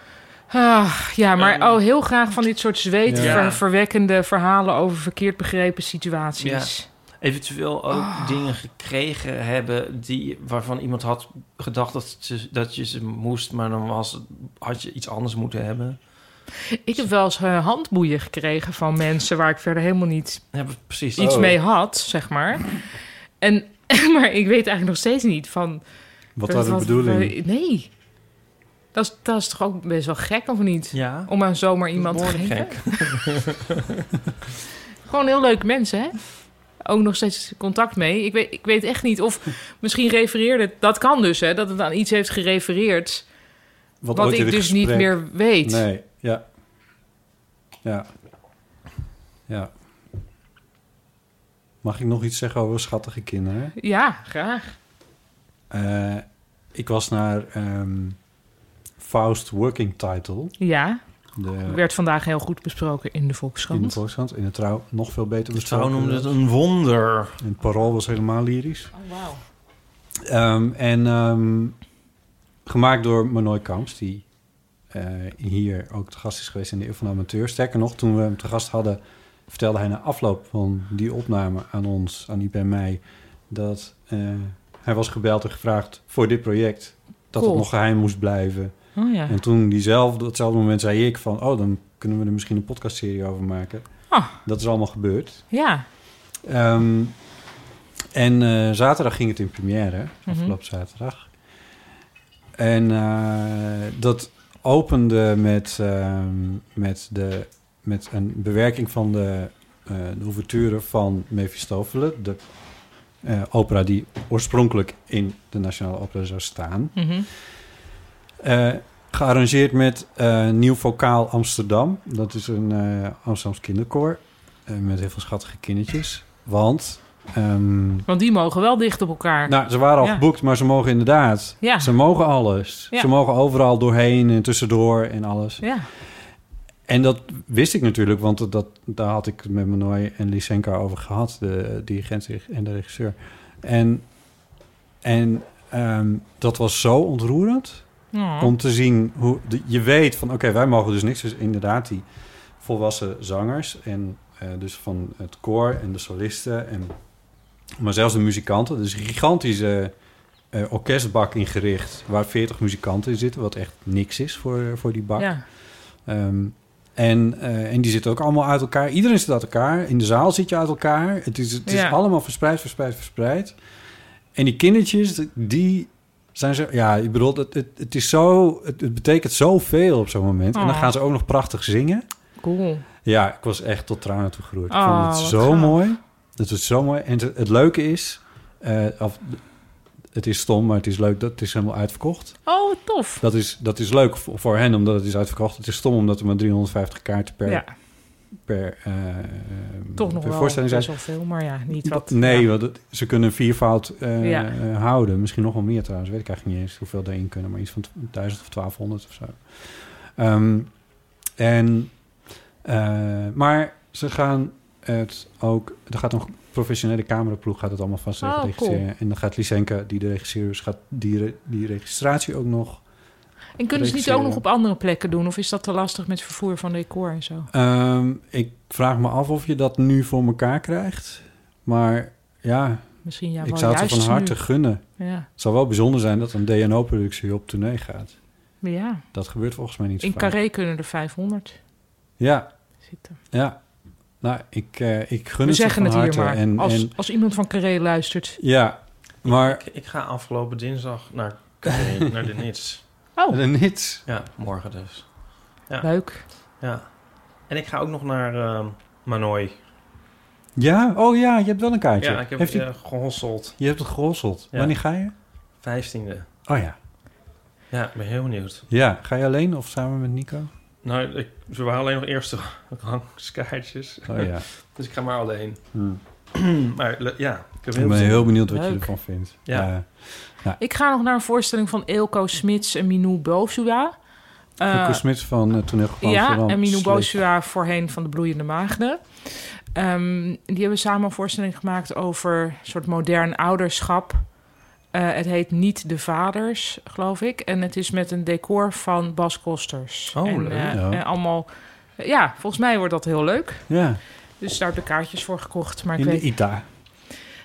Speaker 3: Ah, ja, maar
Speaker 1: Ehm.
Speaker 3: oh, heel graag van dit soort
Speaker 1: Ja.
Speaker 3: zweetverwekkende verhalen over verkeerd begrepen situaties.
Speaker 1: Eventueel ook
Speaker 3: Ah.
Speaker 1: dingen gekregen hebben die, waarvan iemand had gedacht dat, ze, dat je ze moest, maar dan was, had je iets anders moeten hebben.
Speaker 3: Ik heb wel eens eh, handboeien gekregen van mensen waar ik verder helemaal niet
Speaker 1: Ja, precies.
Speaker 3: iets
Speaker 2: Oh.
Speaker 3: mee had, zeg maar. En, maar ik weet eigenlijk nog steeds niet van.
Speaker 2: Wat was de bedoeling?
Speaker 3: nee. Dat is, dat is toch ook best wel gek, of niet?
Speaker 1: Ja.
Speaker 3: Om aan zomaar iemand te
Speaker 1: Behoorlijk
Speaker 3: geven. Gewoon heel leuke mensen, hè? Ook nog steeds contact mee. Ik weet, ik weet echt niet of misschien refereerde... Dat kan dus, hè? Dat het aan iets heeft gerefereerd... wat,
Speaker 2: ooit in
Speaker 3: ik
Speaker 2: het
Speaker 3: dus niet
Speaker 2: gesprek-
Speaker 3: meer weet.
Speaker 2: Nee, ja. Ja. Ja. Mag ik nog iets zeggen over schattige kinderen?
Speaker 3: Ja, graag.
Speaker 2: Eh, ik was naar ehm, Faust Working Title.
Speaker 3: Ja,
Speaker 2: De,
Speaker 3: werd vandaag heel goed besproken in de Volkskrant.
Speaker 2: in de Volkskrant. In de Trouw nog veel beter
Speaker 1: De vrouw
Speaker 2: besproken.
Speaker 1: noemde het een wonder.
Speaker 2: En het parool was helemaal lyrisch.
Speaker 3: Oh, wauw.
Speaker 2: Ehm, en ehm, gemaakt door Manoy Kamps, die eh, hier ook te gast is geweest in de Eeuw van de Amateur. Sterker nog, toen we hem te gast hadden, vertelde hij na afloop van die opname aan ons, aan Iep en mij, dat eh, hij was gebeld en gevraagd voor dit project. dat
Speaker 3: Cool.
Speaker 2: het nog geheim moest blijven.
Speaker 3: Oh ja.
Speaker 2: En toen diezelfde, op hetzelfde moment zei ik van... oh, dan kunnen we er misschien een podcastserie over maken.
Speaker 3: Ah.
Speaker 2: Dat is allemaal gebeurd.
Speaker 3: Ja.
Speaker 2: Ehm, en eh, zaterdag ging het in première, afgelopen zaterdag. En eh, dat opende met, ehm, met, de, met een bewerking van de, eh de ouverture van Mephistopheles... de eh, opera die oorspronkelijk in de Nationale Opera zou staan...
Speaker 3: Mhm.
Speaker 2: Eh, gearrangeerd met eh, Nieuw Vokaal Amsterdam. Dat is een eh Amsterdams kinderkoor. eh, met heel veel schattige kindertjes. Want ehm,
Speaker 3: Want die mogen wel dicht op elkaar.
Speaker 2: nou, ze waren al
Speaker 3: Ja.
Speaker 2: geboekt, maar ze mogen inderdaad.
Speaker 3: Ja.
Speaker 2: Ze mogen alles.
Speaker 3: Ja.
Speaker 2: Ze mogen overal doorheen en tussendoor en alles.
Speaker 3: Ja.
Speaker 2: En dat wist ik natuurlijk, want dat, dat- daar had ik het met Manoy en Lysenka over gehad, de eh, dirigent en de regisseur. En, en ehm, dat was zo ontroerend
Speaker 3: Oh.
Speaker 2: om te zien hoe de- je weet van oké, wij mogen dus niks. Dus inderdaad, die volwassen zangers en eh, dus van het koor en de solisten en maar zelfs de muzikanten. Dus een gigantische eh, orkestbak ingericht waar 40 muzikanten in zitten, wat echt niks is voor, voor die bak.
Speaker 3: Ja.
Speaker 2: Ehm, en, eh, en die zitten ook allemaal uit elkaar. Iedereen zit uit elkaar. In de zaal zit je uit elkaar. Het is, het
Speaker 3: Ja.
Speaker 2: is allemaal verspreid, verspreid, verspreid. En die kindertjes, die zijn zo... Ja, ik bedoel, het, het, het is zo... Het, het betekent zoveel op zo'n moment. En dan
Speaker 3: Oh.
Speaker 2: gaan ze ook nog prachtig zingen.
Speaker 3: Cool.
Speaker 2: Ja, ik was echt tot tranen toe geroerd. Ik
Speaker 3: Oh,
Speaker 2: vond het
Speaker 3: wat
Speaker 2: zo
Speaker 3: gaaf.
Speaker 2: mooi. Het was zo mooi. En het, het leuke is... eh, of, het is stom, maar het is leuk. Dat het is helemaal uitverkocht.
Speaker 3: Oh, wat tof.
Speaker 2: Dat is, dat is leuk voor, voor hen, omdat het is uitverkocht. Het is stom, omdat er maar 350 kaarten per,
Speaker 3: ja,
Speaker 2: per, eh,
Speaker 3: toch nog
Speaker 2: per
Speaker 3: wel
Speaker 2: voorstelling zijn.
Speaker 3: best wel veel, maar ja, niet wat.
Speaker 2: nee,
Speaker 3: ja.
Speaker 2: want het- ze kunnen viervoud eh,
Speaker 3: Ja.
Speaker 2: eh, houden. Misschien nog wel meer trouwens. Weet ik eigenlijk niet eens hoeveel daarin kunnen. Maar iets van 1000 of 1200 of zo. Ehm, en, eh, maar ze gaan het ook... Er gaat een professionele cameraploeg gaat het allemaal vast
Speaker 3: Oh,
Speaker 2: regisseren. En dan gaat Lysenka, die de regisseur is, gaat die, re- die registratie ook nog...
Speaker 3: En kunnen ze niet
Speaker 2: regisseren.
Speaker 3: ook nog op andere plekken doen? Of is dat te lastig met vervoer van decor en zo?
Speaker 2: Ehm, ik vraag me af of je dat nu voor elkaar krijgt. Maar ja,
Speaker 3: Misschien ja, wel
Speaker 2: ik zou het
Speaker 3: juist
Speaker 2: ze van harte
Speaker 3: nu.
Speaker 2: gunnen.
Speaker 3: Ja,
Speaker 2: Het zou wel bijzonder zijn dat een DNO-productie op tournee gaat.
Speaker 3: maar ja.
Speaker 2: Dat gebeurt volgens mij niet zo
Speaker 3: In
Speaker 2: vaak.
Speaker 3: Carré kunnen er 500
Speaker 2: Ja,
Speaker 3: zitten.
Speaker 2: ja. Nou, ik, eh, ik gun
Speaker 3: We
Speaker 2: het ze
Speaker 3: zeggen
Speaker 2: van
Speaker 3: het hier
Speaker 2: harte.
Speaker 3: maar.
Speaker 2: En,
Speaker 3: als,
Speaker 2: en,
Speaker 3: als iemand van Carré luistert.
Speaker 2: ja, maar
Speaker 1: Ik, ik ga afgelopen dinsdag naar, Carré, naar de Nits.
Speaker 3: Oh,
Speaker 2: niets.
Speaker 1: Ja, morgen dus.
Speaker 3: leuk.
Speaker 1: Ja. En ik ga ook nog naar ehm Manoy.
Speaker 2: Ja? Oh ja, je hebt wel een kaartje.
Speaker 1: Ja, ik heb
Speaker 2: Heeft die-
Speaker 1: eh, gehosseld.
Speaker 2: Je hebt het gerosseld.
Speaker 1: Ja.
Speaker 2: Wanneer ga je?
Speaker 1: 15e.
Speaker 2: Oh ja.
Speaker 1: Ja, ik ben heel benieuwd.
Speaker 2: Ja, ga je alleen of samen met Nico?
Speaker 1: Nou, ik, ze waren alleen nog eerste rangskaartjes.
Speaker 2: Oh ja.
Speaker 1: Dus ik ga maar alleen.
Speaker 2: Hm.
Speaker 1: maar le- ja, ik heb
Speaker 2: Ik
Speaker 1: heel
Speaker 2: ben
Speaker 1: veel-
Speaker 2: heel benieuwd wat je
Speaker 3: Leuk.
Speaker 2: ervan vindt.
Speaker 1: Ja.
Speaker 3: Ik ga nog naar een voorstelling van Eelco Smits en Minou Bosua. Eh,
Speaker 2: Coco Smits van eh, Toneelgebouw
Speaker 3: ja,
Speaker 2: Amsterdam.
Speaker 3: en Minou
Speaker 2: Sleep.
Speaker 3: Bosua voorheen van de Bloeiende Maagden. Ehm, die hebben samen een voorstelling gemaakt over een soort modern ouderschap. Eh, het heet Niet de Vaders, geloof ik. En het is met een decor van Bas Kosters.
Speaker 1: Oh,
Speaker 3: en,
Speaker 1: leuk.
Speaker 3: eh,
Speaker 2: Ja.
Speaker 3: en allemaal... eh, Ja, volgens mij wordt dat heel leuk.
Speaker 2: Ja,
Speaker 3: Dus daar heb ik kaartjes voor gekocht. Maar ik
Speaker 2: in
Speaker 3: weet
Speaker 2: de ITA.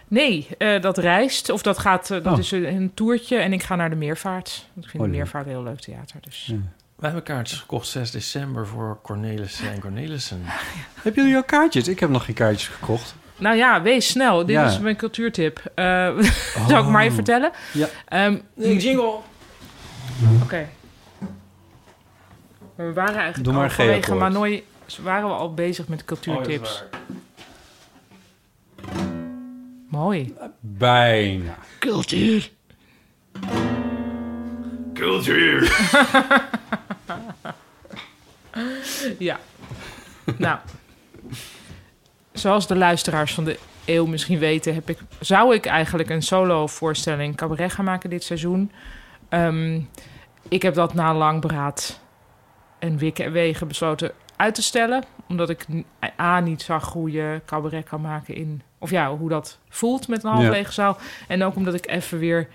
Speaker 3: Nee, eh, dat reist. Of dat gaat, eh, dat
Speaker 2: Oh.
Speaker 3: is een, een toertje. En ik ga naar de Meervaart. Want ik vind
Speaker 2: Oh,
Speaker 3: de
Speaker 2: leuk.
Speaker 3: Meervaart een heel leuk theater. Dus.
Speaker 2: Ja.
Speaker 1: Wij hebben kaartjes gekocht 6 december voor Cornelissen en Cornelissen.
Speaker 2: Hebben jullie al kaartjes? Ik heb nog geen kaartjes gekocht.
Speaker 3: Nou ja, wees snel. Dit
Speaker 2: Ja. Oh.
Speaker 3: is mijn cultuurtip. Eh Zal ik maar even vertellen?
Speaker 2: Ja.
Speaker 3: Ehm,
Speaker 1: Jingle!
Speaker 3: Oké. Maar We waren eigenlijk
Speaker 2: Doe maar
Speaker 3: al
Speaker 2: een
Speaker 3: vanwege
Speaker 2: G-akkoord.
Speaker 3: Manoy... waren we al bezig met
Speaker 1: Oh,
Speaker 3: cultuurtips. Mooi.
Speaker 2: Bijna.
Speaker 3: Cultuur.
Speaker 4: Cultuur.
Speaker 3: Ja. nou, zoals de luisteraars van de eeuw misschien weten, heb ik, zou ik eigenlijk een solo-voorstelling cabaret gaan maken dit seizoen. Ehm, ik heb dat na lang beraad en wikken en wegen besloten uit te stellen, omdat ik n- A niet zag hoe je cabaret kan maken in, of ja, hoe dat voelt met een half
Speaker 2: Ja.
Speaker 3: lege zaal. En ook omdat ik even weer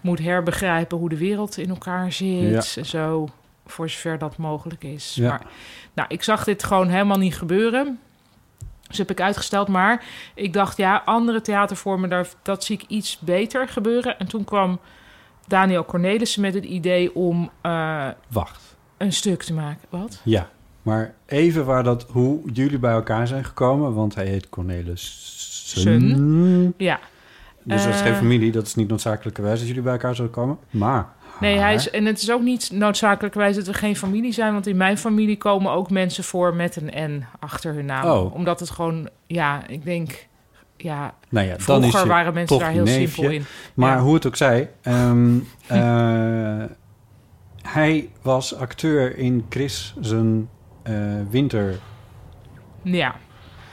Speaker 3: moet herbegrijpen hoe de wereld in elkaar zit en zo, voor zover dat mogelijk is.
Speaker 2: Ja.
Speaker 3: Maar nou, ik zag dit gewoon helemaal niet gebeuren. Dus heb ik uitgesteld. Maar ik dacht, ja, andere theatervormen, daar, dat zie ik iets beter gebeuren. En toen kwam Daniel Cornelissen met het idee om eh,
Speaker 2: Wacht.
Speaker 3: een stuk te maken. Wat?
Speaker 2: Ja. Maar even waar dat, hoe jullie bij elkaar zijn gekomen. Want hij heet Cornelis.
Speaker 3: Ja.
Speaker 2: Dus dat is geen
Speaker 3: Eh.
Speaker 2: familie. Dat is niet noodzakelijkerwijs dat jullie bij elkaar zouden komen. Maar.
Speaker 3: Nee, hij
Speaker 2: haar-
Speaker 3: is, en het is ook niet noodzakelijkerwijs dat we geen familie zijn. Want in mijn familie komen ook mensen voor met een N achter hun naam.
Speaker 2: Oh.
Speaker 3: Omdat het gewoon, ja, ik denk, ja,
Speaker 2: Nou ja, dan is
Speaker 3: vroeger
Speaker 2: je
Speaker 3: waren mensen
Speaker 2: toch
Speaker 3: daar heel
Speaker 2: neefje.
Speaker 3: simpel in.
Speaker 2: Maar
Speaker 3: Ja.
Speaker 2: hoe het ook zij, ehm, eh, hij was acteur in Chris zijn eh winter
Speaker 3: Ja.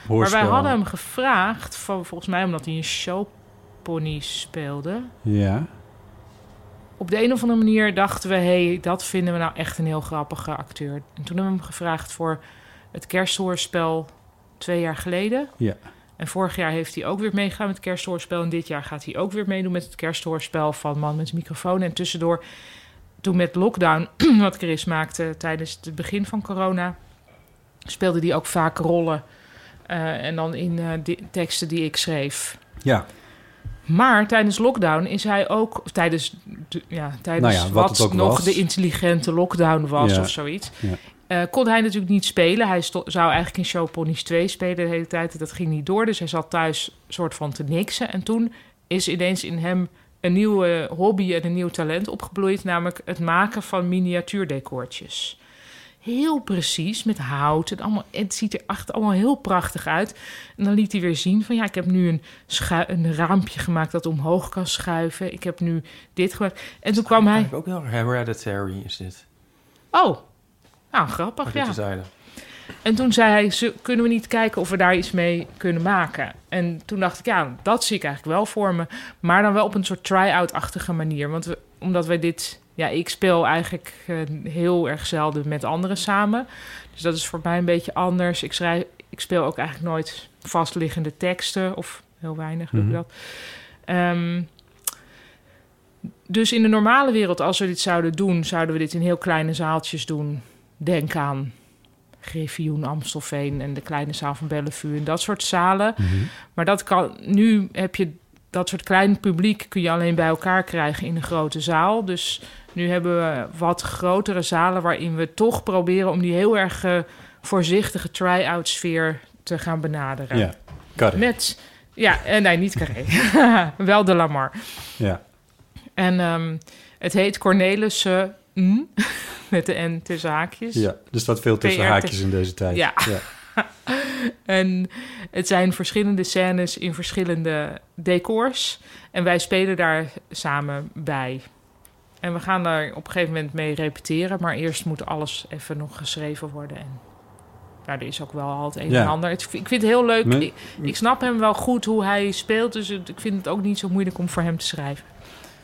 Speaker 3: Maar wij hadden hem gevraagd, van, volgens mij omdat hij een showpony speelde.
Speaker 2: Ja,
Speaker 3: Op de een of andere manier dachten we, hé, hey, dat vinden we nou echt een heel grappige acteur. En toen hebben we hem gevraagd voor het kersthoorspel twee jaar geleden.
Speaker 2: ja.
Speaker 3: En vorig jaar heeft hij ook weer meegegaan met het kersthoorspel. En dit jaar gaat hij ook weer meedoen met het kersthoorspel van Man met de microfoon. En tussendoor, toen met lockdown, wat Chris maakte tijdens het begin van corona, speelde hij ook vaak rollen. eh, en dan in eh, di- teksten die ik schreef.
Speaker 2: ja.
Speaker 3: Maar tijdens lockdown is hij ook, of tijdens, de- ja, tijdens
Speaker 2: Nou ja, wat
Speaker 3: wat,
Speaker 2: het ook
Speaker 3: nog
Speaker 2: was.
Speaker 3: de intelligente lockdown was
Speaker 2: Ja.
Speaker 3: of zoiets,
Speaker 2: Ja.
Speaker 3: eh, kon hij natuurlijk niet spelen. Hij sto- zou eigenlijk in Showponies 2 spelen de hele tijd. Dat ging niet door, dus hij zat thuis soort van te niksen. En toen is ineens in hem een nieuwe hobby en een nieuw talent opgebloeid, namelijk het maken van miniatuurdecoortjes. Heel precies, met hout en allemaal. en Het ziet er echt allemaal heel prachtig uit. En dan liet hij weer zien van ja, ik heb nu een, schui- een raampje gemaakt dat omhoog kan schuiven. Ik heb nu dit gemaakt. En toen kwam hij.
Speaker 1: Ook heel hereditary is dit.
Speaker 3: Oh, nou grappig,
Speaker 1: Maar
Speaker 3: ja.
Speaker 1: Oh, dit is eigenlijk.
Speaker 3: En toen zei hij, "Zo- kunnen we niet kijken of we daar iets mee kunnen maken? En toen dacht ik, ja, dat zie ik eigenlijk wel voor me. Maar dan wel op een soort try-out-achtige manier. Want we- omdat wij dit... Ja, ik speel eigenlijk eh, heel erg zelden met anderen samen. Dus dat is voor mij een beetje anders. Ik, schrijf, ik speel ook eigenlijk nooit vastliggende teksten. Of heel weinig doe ik
Speaker 2: Mhm.
Speaker 3: dat. Ehm, dus in de normale wereld, als we dit zouden doen... zouden we dit in heel kleine zaaltjes doen. Denk aan Griffioen, Amstelveen en de kleine zaal van Bellevue en dat soort zalen. Maar dat kan nu heb je dat soort klein publiek kun je alleen bij elkaar krijgen in een grote zaal. Dus nu hebben we wat grotere zalen waarin we toch proberen om die heel erg eh, voorzichtige try-out sfeer te gaan benaderen.
Speaker 2: ja. Got it.
Speaker 3: Met ja, en nee, niet Carré. Wel de Lamar.
Speaker 2: Ja.
Speaker 3: En ehm, het heet Cornelissen N, met de N tussen haakjes.
Speaker 2: ja, er staat veel tussen
Speaker 3: PR
Speaker 2: haakjes in deze tijd.
Speaker 3: Ja.
Speaker 2: ja.
Speaker 3: En het zijn verschillende scènes in verschillende decors. En wij spelen daar samen bij. En we gaan daar op een gegeven moment mee repeteren. Maar eerst moet alles even nog geschreven worden. En nou, er is ook wel al het een
Speaker 2: Ja.
Speaker 3: en ander. Het- ik vind het heel leuk.
Speaker 2: Nee.
Speaker 3: Ik, ik snap hem wel goed hoe hij speelt. Dus het- ik vind het ook niet zo moeilijk om voor hem te schrijven.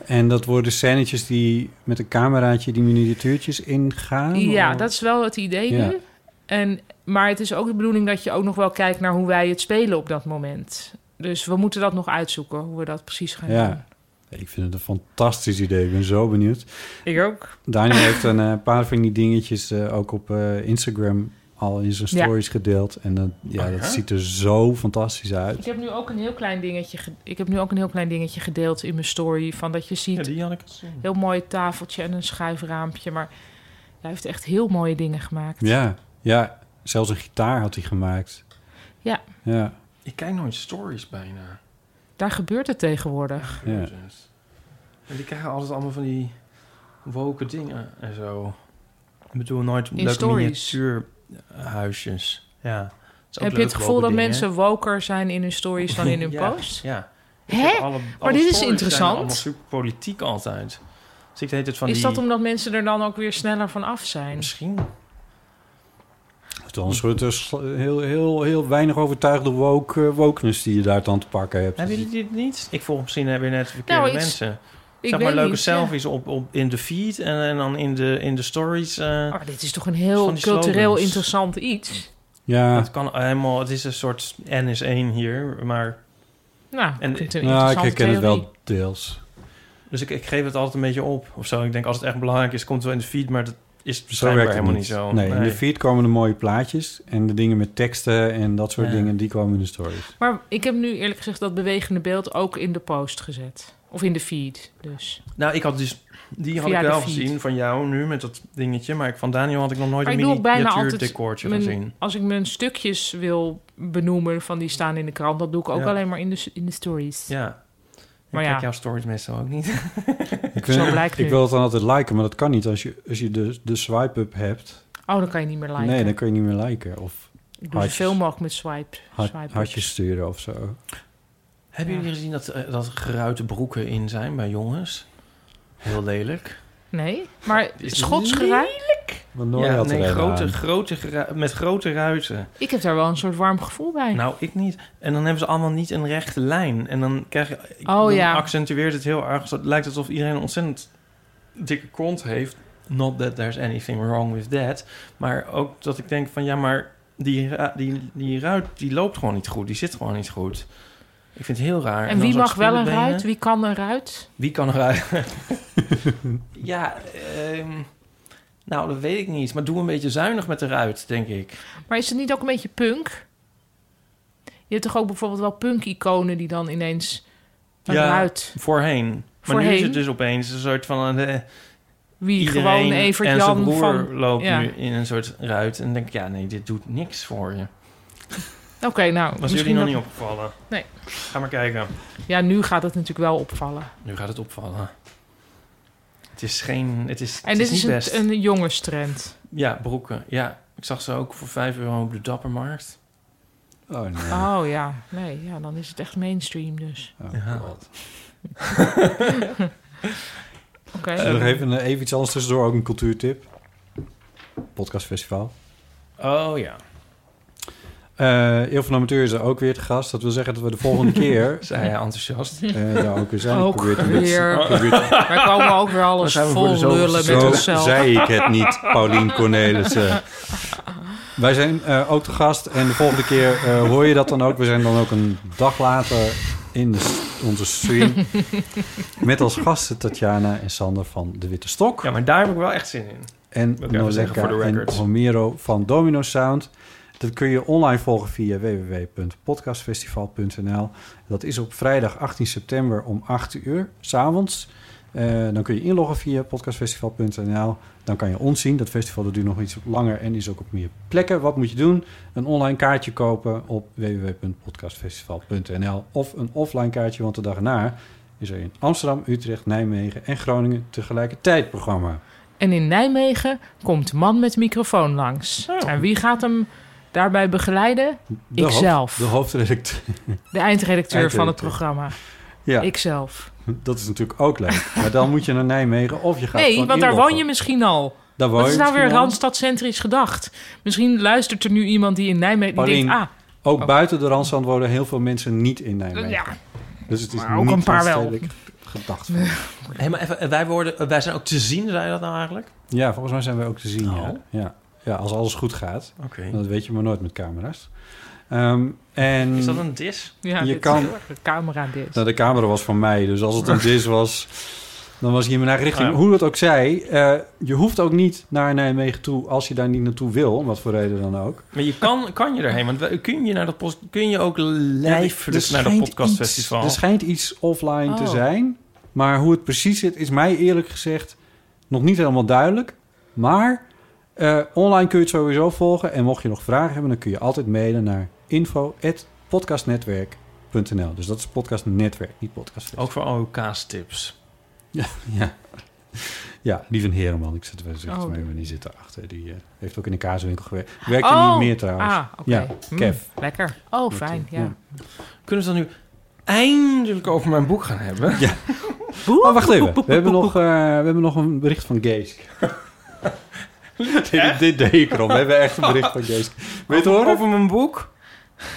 Speaker 2: En dat worden scènetjes die met een cameraatje die miniatuurtjes ingaan?
Speaker 3: Ja,
Speaker 2: of-
Speaker 3: dat is wel het idee
Speaker 2: Oh, Ja.
Speaker 3: nu. En, maar het is ook de bedoeling dat je ook nog wel kijkt naar hoe wij het spelen op dat moment. Dus we moeten dat nog uitzoeken, hoe we dat precies gaan doen.
Speaker 2: Ja. Ik vind het een fantastisch idee. Ik ben zo benieuwd.
Speaker 3: Ik ook.
Speaker 2: Daniel heeft een eh, paar van die dingetjes eh, ook op eh, Instagram al in zijn
Speaker 3: Ja.
Speaker 2: stories gedeeld. En dat, ja, dat ziet er zo fantastisch uit.
Speaker 3: Ik heb nu ook een heel klein dingetje, ge- ik heb nu ook een heel klein dingetje gedeeld in mijn story. Van dat je
Speaker 1: Ja,
Speaker 3: ziet,
Speaker 1: die had ik gezien.
Speaker 3: heel mooi tafeltje en een schuifraampje. Maar hij heeft echt heel mooie dingen gemaakt.
Speaker 2: Ja, ja, zelfs een gitaar had hij gemaakt.
Speaker 3: Ja.
Speaker 2: Ja,
Speaker 1: Ik kijk nooit stories bijna.
Speaker 3: Daar gebeurt het tegenwoordig.
Speaker 2: ja.
Speaker 1: Jezus. En die krijgen altijd allemaal van die woke dingen en zo. Ik bedoel, nooit leuke
Speaker 3: stories.
Speaker 1: miniatuurhuisjes. Ja. Het is ook
Speaker 3: heb je
Speaker 1: leuk,
Speaker 3: het gevoel
Speaker 1: woke
Speaker 3: dat
Speaker 1: dingen.
Speaker 3: mensen woker zijn in hun stories dan in hun
Speaker 1: Ja,
Speaker 3: posts?
Speaker 1: Ja.
Speaker 3: Hè?
Speaker 1: Alle, alle
Speaker 3: Maar dit is
Speaker 1: stories zijn
Speaker 3: interessant.
Speaker 1: allemaal super politiek altijd. Dus ik heet het van
Speaker 3: Is
Speaker 1: die...
Speaker 3: dat omdat mensen er dan ook weer sneller van af zijn?
Speaker 1: Misschien.
Speaker 2: Dan soort eh, sl- heel, heel, heel weinig overtuigde woke, eh, wokeness die je daar dan te pakken hebt.
Speaker 1: Hebben jullie dit niet? Ik volg misschien eh, weer net de verkeerde
Speaker 3: Nou, ik-
Speaker 1: mensen.
Speaker 3: Ik
Speaker 1: zeg maar
Speaker 3: weet
Speaker 1: leuke
Speaker 3: niet, ja.
Speaker 1: selfies op, op, in de feed en, en dan in de, in de stories. eh,
Speaker 3: Maar Oh, dit is toch een
Speaker 1: Van
Speaker 3: heel
Speaker 1: die
Speaker 3: cultureel
Speaker 1: slogans.
Speaker 3: interessant iets.
Speaker 2: Ja,
Speaker 1: Het kan helemaal, het is een soort N is 1 hier, maar...
Speaker 3: Nou,
Speaker 1: En-
Speaker 3: ik vind het een
Speaker 2: nou, ik
Speaker 3: interessante
Speaker 2: herken het
Speaker 3: theorie.
Speaker 2: wel deels.
Speaker 1: Dus ik, ik geef het altijd een beetje op of zo. Ik denk, als het echt belangrijk is, komt het wel in de feed, maar dat is
Speaker 2: Zo
Speaker 1: waarschijnlijk
Speaker 2: werkt het
Speaker 1: helemaal
Speaker 2: niet.
Speaker 1: niet zo.
Speaker 2: nee, in de feed komen de mooie plaatjes en de dingen met teksten en dat soort
Speaker 1: Ja.
Speaker 2: dingen, die komen in de stories.
Speaker 3: Maar ik heb nu eerlijk gezegd dat bewegende beeld ook in de post gezet. Of in de feed, dus.
Speaker 1: Nou, ik had dus... Die had
Speaker 3: Via
Speaker 1: ik
Speaker 3: de
Speaker 1: wel
Speaker 3: feed.
Speaker 1: gezien van jou nu met dat dingetje. Maar ik, van Daniel had ik nog nooit
Speaker 3: Maar ik
Speaker 1: een
Speaker 3: doe ook bijna altijd...
Speaker 1: miniatuurdecoortje
Speaker 3: mijn-
Speaker 1: gezien.
Speaker 3: Als ik mijn stukjes wil benoemen van die staan in de krant... dat doe ik ook
Speaker 1: Ja.
Speaker 3: alleen maar in de, in de stories.
Speaker 1: Ja.
Speaker 3: Maar
Speaker 1: ik
Speaker 3: ja.
Speaker 1: kijk jouw stories meestal ook niet.
Speaker 2: Ik,
Speaker 3: Zo
Speaker 2: vind-
Speaker 3: blijkt
Speaker 2: ik
Speaker 3: nu.
Speaker 2: wil het dan altijd liken, maar dat kan niet. Als je, als je de, de swipe-up hebt,
Speaker 3: Oh, dan kan je niet meer liken.
Speaker 2: nee, dan kun je niet meer liken. Of
Speaker 3: ik doe
Speaker 2: hartjes.
Speaker 3: zoveel mogelijk met swipe.
Speaker 2: hart-
Speaker 3: swipe
Speaker 2: hartjes sturen of zo.
Speaker 1: Hebben
Speaker 3: Ja.
Speaker 1: jullie gezien dat, eh, dat geruite broeken in zijn bij jongens? Heel lelijk.
Speaker 3: Nee, maar
Speaker 1: Is
Speaker 3: Schots geruit?
Speaker 2: Want Noor had er
Speaker 1: nee,
Speaker 2: een
Speaker 1: grote,
Speaker 2: aan.
Speaker 1: grote, gera- met grote ruiten.
Speaker 3: Ik heb daar wel een soort warm gevoel bij.
Speaker 1: Nou, ik niet. En dan hebben ze allemaal niet een rechte lijn. En dan krijg je... ik-
Speaker 3: Oh,
Speaker 1: dan
Speaker 3: ja.
Speaker 1: accentueert het heel erg. Het lijkt alsof iedereen een ontzettend dikke kont heeft. Not that there's anything wrong with that. Maar ook dat ik denk van... Ja, maar die, ra- die, die ruit die loopt gewoon niet goed. Die zit gewoon niet goed. Ik vind het heel raar.
Speaker 3: en
Speaker 1: dan
Speaker 3: wie
Speaker 1: zo'n
Speaker 3: mag wel een
Speaker 1: spielenbenen.
Speaker 3: ruit? Wie kan een ruit?
Speaker 1: Wie kan eruit? ja, ehm, nou, dat weet ik niet. Maar doe een beetje zuinig met de ruit, denk ik.
Speaker 3: Maar is het niet ook een beetje punk? Je hebt toch ook bijvoorbeeld wel punk-iconen die dan ineens een
Speaker 1: Ja.
Speaker 3: ruit...
Speaker 1: Voorheen. Maar nu is
Speaker 3: Voorheen?
Speaker 1: het dus opeens een soort van... eh,
Speaker 3: Wie
Speaker 1: iedereen
Speaker 3: gewoon Evert
Speaker 1: en zijn
Speaker 3: Jan
Speaker 1: broer
Speaker 3: van...
Speaker 1: loopt
Speaker 3: ja.
Speaker 1: nu in een soort ruit. En denk ik, ja, nee, dit doet niks voor je.
Speaker 3: Oké, nou...
Speaker 1: Was
Speaker 3: misschien
Speaker 1: jullie nog
Speaker 3: dat-
Speaker 1: niet opgevallen?
Speaker 3: Nee.
Speaker 1: Ga maar kijken.
Speaker 3: Ja, nu gaat het natuurlijk wel opvallen.
Speaker 1: Nu gaat het opvallen. Het is geen... Het is,
Speaker 3: En
Speaker 1: het
Speaker 3: dit
Speaker 1: is
Speaker 3: is,
Speaker 1: niet best.
Speaker 3: een, een jongenstrend.
Speaker 1: Ja, broeken. Ja, ik zag ze ook voor 5 euro op de Dappermarkt.
Speaker 2: Oh, nee.
Speaker 3: Oh ja, nee, ja, dan is het echt mainstream dus.
Speaker 2: Oh,
Speaker 1: Ja.
Speaker 2: God.
Speaker 3: Oké.
Speaker 2: Eh, nog even, eh, even iets anders tussendoor, ook een cultuurtip. Podcastfestival.
Speaker 1: Oh ja.
Speaker 2: Eh Eel van Amateur is er ook weer te gast. Dat wil zeggen dat we de volgende keer...
Speaker 1: Zei hij enthousiast.
Speaker 2: eh ja, ook weer zijn. Ik
Speaker 3: ook
Speaker 2: probeer het een beetje-
Speaker 3: weer.
Speaker 2: probeer-
Speaker 3: Daar komen we ook weer alles
Speaker 1: Dan zijn we voor de
Speaker 3: vol
Speaker 1: zoveelste
Speaker 3: lullen met
Speaker 2: Zo
Speaker 3: onszelf.
Speaker 2: zei ik het niet, Paulien Cornelissen. Wij zijn eh, ook te gast en de volgende keer eh, hoor je dat dan ook. We zijn dan ook een dag later in de s- onze stream. Met als gasten Tatjana en Sander van de Witte Stok.
Speaker 1: Ja, maar daar heb ik wel echt zin in.
Speaker 2: En
Speaker 1: Wil ik even zeggen
Speaker 2: Nozeka
Speaker 1: voor de
Speaker 2: en
Speaker 1: record.
Speaker 2: Romero van Domino Sound. Dat kun je online volgen via www.podcastfestival.nl. Dat is op vrijdag 18 september om 8 uur s'avonds. Eh dan kun je inloggen via podcastfestival.nl. Dan kan je ons zien. Dat festival dat duurt nog iets langer en is ook op meer plekken. Wat moet je doen? Een online kaartje kopen op www.podcastfestival.nl of een offline kaartje, want de dag erna is er in Amsterdam, Utrecht, Nijmegen en Groningen tegelijkertijd programma.
Speaker 3: En in Nijmegen komt man met microfoon langs.
Speaker 1: Oh.
Speaker 3: En wie gaat hem daarbij begeleiden?
Speaker 2: De hoofd-
Speaker 3: Ikzelf.
Speaker 2: de hoofdredacteur.
Speaker 3: De eindredacteur van
Speaker 2: Eindredacteur.
Speaker 3: het programma.
Speaker 2: Ja,
Speaker 3: Ikzelf.
Speaker 2: dat is natuurlijk ook leuk. Maar dan moet je naar Nijmegen of je gaat
Speaker 3: Nee,
Speaker 2: gewoon
Speaker 3: want daar
Speaker 2: inloggen.
Speaker 3: woon je misschien al.
Speaker 2: Daar woon
Speaker 3: Wat is
Speaker 2: je
Speaker 3: nou weer
Speaker 2: misschien al.
Speaker 3: randstadcentrisch gedacht? Misschien luistert er nu iemand die in Nijmegen die
Speaker 2: Paulien,
Speaker 3: denkt... Ah,
Speaker 2: Ook
Speaker 3: Oh.
Speaker 2: buiten de Randstand wonen heel veel mensen niet in Nijmegen.
Speaker 3: ja,
Speaker 2: Dus het is
Speaker 3: maar ook
Speaker 2: niet
Speaker 3: een paar wel.
Speaker 2: stedelijk gedacht. van.
Speaker 1: Hé, maar even, eh, wij, worden, wij zijn ook te zien, zei je dat nou eigenlijk?
Speaker 2: Ja, volgens mij zijn wij ook te zien. Ja.
Speaker 1: Oh.
Speaker 2: Ja. ja, als alles goed gaat.
Speaker 1: Oké.
Speaker 2: Dat weet je maar nooit met camera's. Ehm, en
Speaker 1: Is dat een dis?
Speaker 3: ja,
Speaker 2: Je
Speaker 3: dit is
Speaker 2: kan-
Speaker 3: heel erg de camera dit.
Speaker 2: nou, de camera was van mij, dus als het een dis was, dan was je in mijn eigen richting.
Speaker 3: Oh
Speaker 1: Ah, ja.
Speaker 2: Hoe dat ook zij, eh, je hoeft ook niet naar Nijmegen toe als je daar niet naartoe wil, om wat voor reden dan ook.
Speaker 1: Maar je kan, kan je erheen, want we- kun je, naar dat post, kun je ook lijfelijk
Speaker 2: Er
Speaker 1: naar dat
Speaker 2: schijnt
Speaker 1: podcastfestival?
Speaker 2: iets- Er schijnt iets offline te
Speaker 3: Oh.
Speaker 2: zijn. Maar hoe het precies zit, is mij eerlijk gezegd nog niet helemaal duidelijk. Maar eh, online kun je het sowieso volgen. En mocht je nog vragen hebben, dan kun je altijd mailen naar info.podcastnetwerk.nl. Dus dat is podcastnetwerk, niet podcast.
Speaker 1: Ook voor AOK's-tips.
Speaker 2: Ja. Ja, Oh. lieve Herenman, ik zit wel eens
Speaker 3: Oh.
Speaker 2: maar even, die zit erachter. Die eh, heeft ook in een kaaswinkel gewerkt. Werkt er
Speaker 3: Oh.
Speaker 2: niet meer trouwens.
Speaker 3: Ah, oké.
Speaker 2: Ja,
Speaker 3: Hm,
Speaker 2: Kev.
Speaker 3: lekker. Oh, fijn, ja.
Speaker 2: Ja.
Speaker 1: Kunnen we het dan nu eindelijk over mijn boek gaan hebben?
Speaker 2: Oh, wacht even. We hebben nog, eh, we hebben nog een bericht van Geesk. dit, dit deed ik erom. We hebben echt een bericht van Geesk. Weet je het horen?
Speaker 1: Over mijn boek?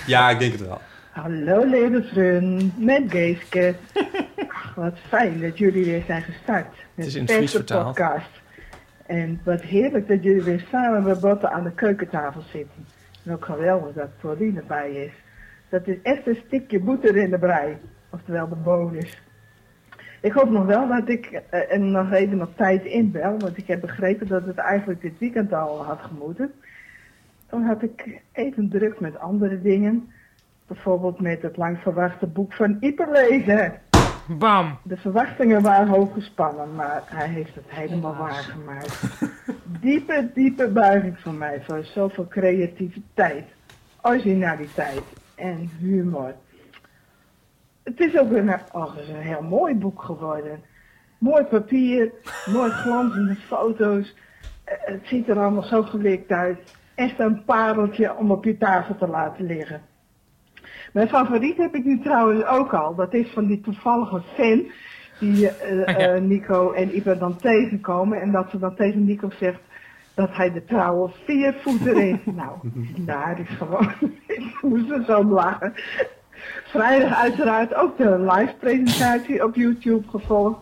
Speaker 2: Ja, ik denk het wel.
Speaker 5: Hallo levensrun, met Geeske. Ach, wat fijn dat jullie weer zijn gestart met
Speaker 1: Het is
Speaker 5: de
Speaker 1: in het Fries
Speaker 5: beste
Speaker 1: vertaald.
Speaker 5: podcast. En wat heerlijk dat jullie weer samen met botten aan de keukentafel zitten. En ook geweldig dat Pauline erbij is. Dat is echt een stukje boeter in de brei, oftewel de bonus. Ik hoop nog wel dat ik eh, en nog even op tijd inbel, want ik heb begrepen dat het eigenlijk dit weekend al had gemoeten. Dan had ik even druk met andere dingen. Bijvoorbeeld met het lang verwachte boek van Ieper lezen.
Speaker 3: Bam.
Speaker 5: De verwachtingen waren hoog gespannen, maar hij heeft het helemaal waargemaakt. Diepe, diepe buiging van mij voor zoveel creativiteit, originaliteit en humor. Het is ook een, oh, het is een heel mooi boek geworden. Mooi papier, mooi glanzende foto's. Eh, Het ziet er allemaal zo gelikt uit. Echt een pareltje om op je tafel te laten liggen. Mijn favoriet heb ik nu trouwens ook al. Dat is van die toevallige fan die eh,
Speaker 3: Ah, ja.
Speaker 5: eh, Nico en Iba dan tegenkomen. En dat ze dan tegen Nico zegt dat hij de trouwe viervoeter is. nou, daar is gewoon. ik moest er zo om lachen. Vrijdag uiteraard ook de live presentatie op YouTube gevolgd.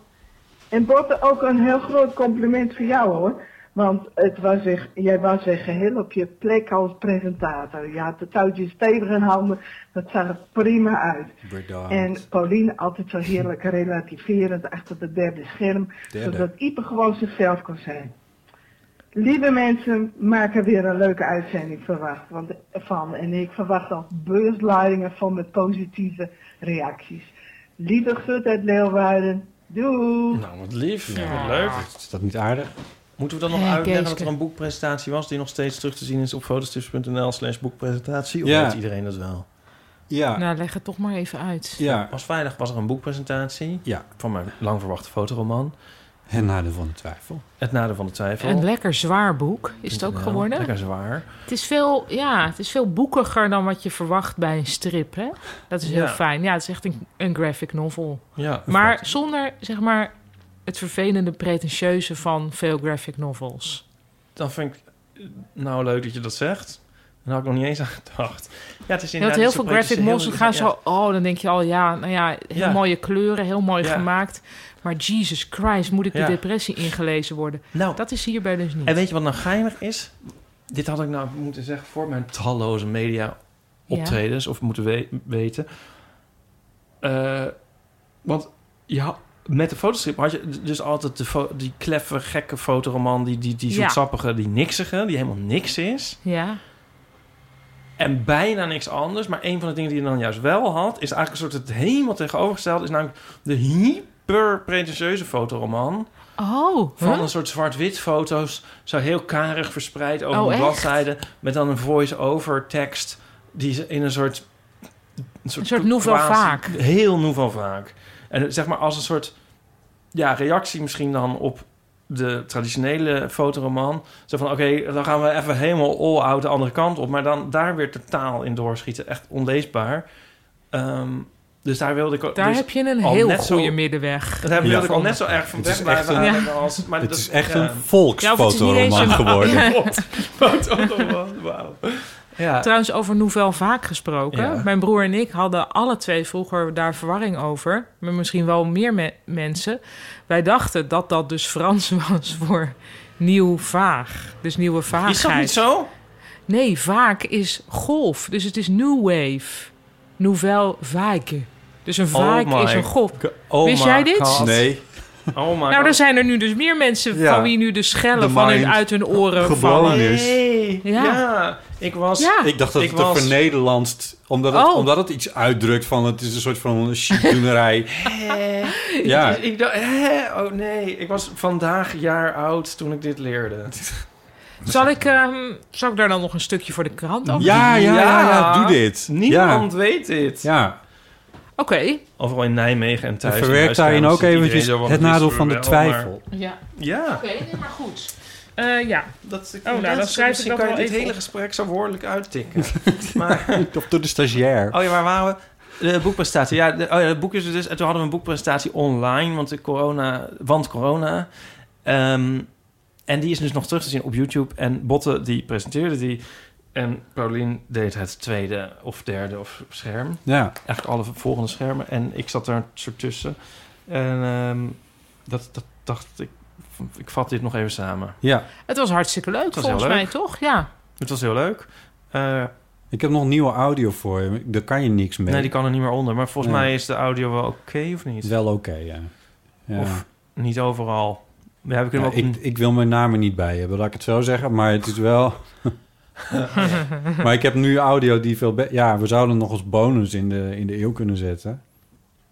Speaker 5: En Botte, ook een heel groot compliment voor jou hoor. Want het was echt, jij was echt geheel op je plek als presentator. Je had de touwtjes stevig in handen. Dat zag er prima uit.
Speaker 2: Bedankt.
Speaker 5: En Pauline altijd zo heerlijk relativerend achter de derde scherm.
Speaker 2: Derde.
Speaker 5: Zodat Ipe gewoon zichzelf kon zijn. Lieve mensen, maak er weer een leuke uitzending verwacht, want, van. En ik verwacht al beursladingen van met positieve reacties. Lieve Gut uit Leeuwarden. Doei!
Speaker 1: Nou, wat lief.
Speaker 3: Ja.
Speaker 1: Wat leuk.
Speaker 2: Is dat niet aardig?
Speaker 1: Moeten we dan nog
Speaker 3: Hey,
Speaker 1: uitleggen dat
Speaker 3: Keeske.
Speaker 1: er een boekpresentatie was... die nog steeds terug te zien is op fotostips.nl slash boekpresentatie? Of
Speaker 2: Ja.
Speaker 1: weet iedereen dat wel?
Speaker 2: Ja,
Speaker 3: Nou, leg het toch maar even uit.
Speaker 2: ja,
Speaker 1: Pas vrijdag was er een boekpresentatie...
Speaker 2: ja.
Speaker 1: van mijn lang verwachte fotoroman.
Speaker 2: En nadeel van de twijfel.
Speaker 1: Het nadeel van de twijfel.
Speaker 3: Een lekker zwaar boek is het ook
Speaker 1: Nou,
Speaker 3: geworden.
Speaker 1: Lekker zwaar.
Speaker 3: Het is, veel, ja, het is veel boekiger dan wat je verwacht bij een strip. Hè? Dat is heel
Speaker 1: Ja.
Speaker 3: fijn. Ja, het is echt een, een graphic novel.
Speaker 1: Ja.
Speaker 3: Maar zonder zeg maar, het vervelende pretentieuze van veel graphic novels.
Speaker 1: Dan vind ik eh, nou leuk dat je dat zegt. Daar had ik nog niet eens aan gedacht. Ja, het is
Speaker 3: Je had
Speaker 1: inderdaad
Speaker 3: heel
Speaker 1: niet zo
Speaker 3: veel
Speaker 1: breed,
Speaker 3: graphic
Speaker 1: het is
Speaker 3: novels
Speaker 1: dus heel-
Speaker 3: die
Speaker 1: ja.
Speaker 3: gaan zo... Oh, dan denk je al, ja, nou ja, heel
Speaker 1: Ja.
Speaker 3: mooie kleuren, heel mooi
Speaker 1: Ja.
Speaker 3: gemaakt. Maar Jesus Christ, moet ik
Speaker 1: Ja.
Speaker 3: die depressie ingelezen worden?
Speaker 1: Nou,
Speaker 3: Dat is hierbij dus niet.
Speaker 1: en weet je wat nou geinig is? Dit had ik nou moeten zeggen voor mijn talloze media optredens. Of moeten we- weten. Eh, want ja, met de fotostrip had je d- dus altijd de fo- die kleffe, gekke fotoroman. Die, die, die
Speaker 3: Ja.
Speaker 1: zoetsappige, die niksige. Die helemaal niks is.
Speaker 3: Ja,
Speaker 1: En bijna niks anders. Maar een van de dingen die je dan juist wel had... is eigenlijk een soort het helemaal tegenovergesteld... is namelijk de hyper pretentieuze fotoroman...
Speaker 3: Oh,
Speaker 1: van
Speaker 3: huh?
Speaker 1: een soort zwart-wit foto's... zo heel karig verspreid over
Speaker 3: Oh,
Speaker 1: een
Speaker 3: echt?
Speaker 1: bladzijde... met dan een voice-over tekst... die ze in een soort...
Speaker 3: Een soort nouveau
Speaker 1: quasi-
Speaker 3: vaak.
Speaker 1: Heel nouveau vaak. En het- zeg maar als een soort ja, reactie misschien dan op de traditionele fotoroman. Zo van, oké, dan gaan we even helemaal all-out de andere kant op. Maar dan daar weer totaal in doorschieten. Echt onleesbaar. Ehm, dus daar wilde ik... ook-
Speaker 3: daar
Speaker 1: dus,
Speaker 3: heb je een
Speaker 1: al
Speaker 3: heel
Speaker 1: net zo-
Speaker 3: goede middenweg.
Speaker 1: daar wilde
Speaker 2: Ja.
Speaker 1: ik al net zo erg van
Speaker 2: Het is
Speaker 1: weg blijven
Speaker 3: echt een-
Speaker 1: hangen als... Maar
Speaker 2: het
Speaker 1: dat-
Speaker 2: is echt
Speaker 1: ja.
Speaker 2: een volksfotoroman
Speaker 3: Ja, of het is niet eens een-
Speaker 2: geworden.
Speaker 1: fotoroman. Wauw. Ja.
Speaker 3: Trouwens, over Nouvelle vaak gesproken.
Speaker 1: Ja.
Speaker 3: Mijn broer en ik hadden alle twee vroeger daar verwarring over. Maar misschien wel meer me- mensen. Wij dachten dat dat dus Frans was voor nieuw vaag. Dus nieuwe vaagheid.
Speaker 1: Is dat niet zo?
Speaker 3: Nee, vaak is golf. Dus het is new wave. Nouvelle vague. Dus een vaak
Speaker 1: Oh my
Speaker 3: is een golf.
Speaker 1: Oh
Speaker 3: Wist
Speaker 1: my
Speaker 3: jij dit?
Speaker 1: God.
Speaker 2: Nee,
Speaker 1: Oh my
Speaker 3: Nou,
Speaker 1: God.
Speaker 3: er zijn er nu dus meer mensen
Speaker 2: Ja.
Speaker 3: van wie nu de schellen
Speaker 2: De
Speaker 3: van hun,
Speaker 2: mind
Speaker 3: uit hun oren
Speaker 2: gebroken
Speaker 3: vallen.
Speaker 2: is.
Speaker 1: Hey,
Speaker 3: Ja.
Speaker 1: ja. ik was.
Speaker 3: Ja.
Speaker 2: ik dacht dat
Speaker 1: Ik
Speaker 2: het er
Speaker 1: was-
Speaker 2: vernederlandst... Omdat het,
Speaker 3: Oh.
Speaker 2: omdat het iets uitdrukt van... Het is een soort van chicdoenerij. ja,
Speaker 1: eh, Ik dacht, hè? Oh nee, ik was vandaag jaar oud toen ik dit leerde.
Speaker 3: Zal ik, ehm, zal ik daar dan nog een stukje voor de krant over?
Speaker 2: Ja, ja, ja, ja,
Speaker 1: Ja.
Speaker 2: doe dit.
Speaker 1: Niemand weet dit.
Speaker 2: Ja, ja.
Speaker 3: Oké.
Speaker 1: Overal in Nijmegen en thuis.
Speaker 2: En
Speaker 1: in
Speaker 2: verwerk daarin
Speaker 1: huiskamer
Speaker 2: ook
Speaker 1: zit iedereen
Speaker 2: eventjes
Speaker 1: zo van,
Speaker 2: het
Speaker 1: dit
Speaker 2: nadeel
Speaker 1: doen we
Speaker 2: van de
Speaker 1: wel, Oh, maar-
Speaker 2: twijfel.
Speaker 3: Ja,
Speaker 1: Ja.
Speaker 3: oké, nee, maar goed. Eh, ja,
Speaker 1: Dat,
Speaker 3: dan
Speaker 1: dat-
Speaker 3: schrijf
Speaker 1: misschien
Speaker 3: ik dat
Speaker 1: kan je
Speaker 3: wel
Speaker 1: dit
Speaker 3: even
Speaker 1: hele
Speaker 3: op.
Speaker 1: gesprek zo woordelijk uittikken. maar,
Speaker 2: Of door de stagiair.
Speaker 1: oh ja, waar waren we? De boekpresentatie. Ja, de, oh ja, het boek is er dus. En toen hadden we een boekpresentatie online, want de corona, want corona. Ehm, en die is dus nog terug te zien op YouTube. En Botte die presenteerde die. En Paulien deed het tweede of derde of scherm.
Speaker 2: Ja,
Speaker 1: eigenlijk alle volgende schermen. En ik zat daar een soort tussen. En ehm, dat, dat dacht ik, ik vat dit nog even samen.
Speaker 2: ja.
Speaker 3: het was hartstikke leuk
Speaker 1: was
Speaker 3: volgens
Speaker 1: heel
Speaker 3: mij,
Speaker 1: leuk.
Speaker 3: toch? Ja.
Speaker 1: Het was heel leuk. Eh,
Speaker 2: Ik heb nog nieuwe audio voor je. Daar kan je niks mee.
Speaker 1: nee, die kan er niet meer onder. Maar volgens
Speaker 2: Nee.
Speaker 1: mij is de audio wel oké of niet?
Speaker 2: is wel oké, ja. ja.
Speaker 1: Of niet overal. Ja, we kunnen
Speaker 2: Ja,
Speaker 1: ook
Speaker 2: ik, ik wil mijn naam er niet bij hebben, laat ik het zo zeggen. Maar het is wel... maar ik heb nu audio die veel... be- Ja, we zouden nog als bonus in de, in de eeuw kunnen zetten.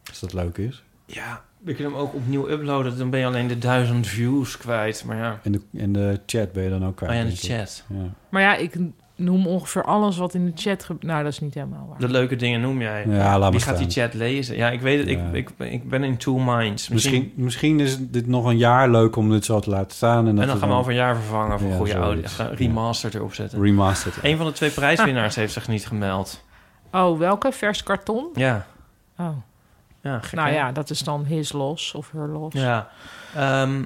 Speaker 2: Als dat leuk is.
Speaker 1: Ja, we kunnen hem ook opnieuw uploaden. Dan ben je alleen de duizend views kwijt. Maar ja,
Speaker 2: En de, en de chat ben je dan ook kwijt.
Speaker 1: oh ja, de
Speaker 2: denk ik.
Speaker 1: chat.
Speaker 2: Ja.
Speaker 3: Maar ja, ik noem ongeveer alles wat in de chat... Ge- nou, dat is niet helemaal waar.
Speaker 1: De leuke dingen noem jij.
Speaker 2: Ja, laat maar
Speaker 1: Wie gaat die
Speaker 2: staan.
Speaker 1: chat lezen? Ja, ik weet het.
Speaker 2: Ja.
Speaker 1: Ik, ik, ik ben in two minds.
Speaker 2: Misschien, misschien is dit nog een jaar leuk om dit zo te laten staan. En, dat
Speaker 1: En dan
Speaker 2: we
Speaker 1: gaan we over een jaar vervangen voor
Speaker 2: Ja,
Speaker 1: goede
Speaker 2: zoiets.
Speaker 1: audio. Gaan we Remastered erop zetten.
Speaker 2: remastered.
Speaker 1: Een van de twee prijswinnaars heeft zich niet gemeld.
Speaker 3: Oh, welke? Vers karton?
Speaker 1: Ja,
Speaker 3: Oh,
Speaker 1: ja gek,
Speaker 3: nou
Speaker 1: hè?
Speaker 3: ja, dat is dan his los of her los.
Speaker 1: Ja. Ehm,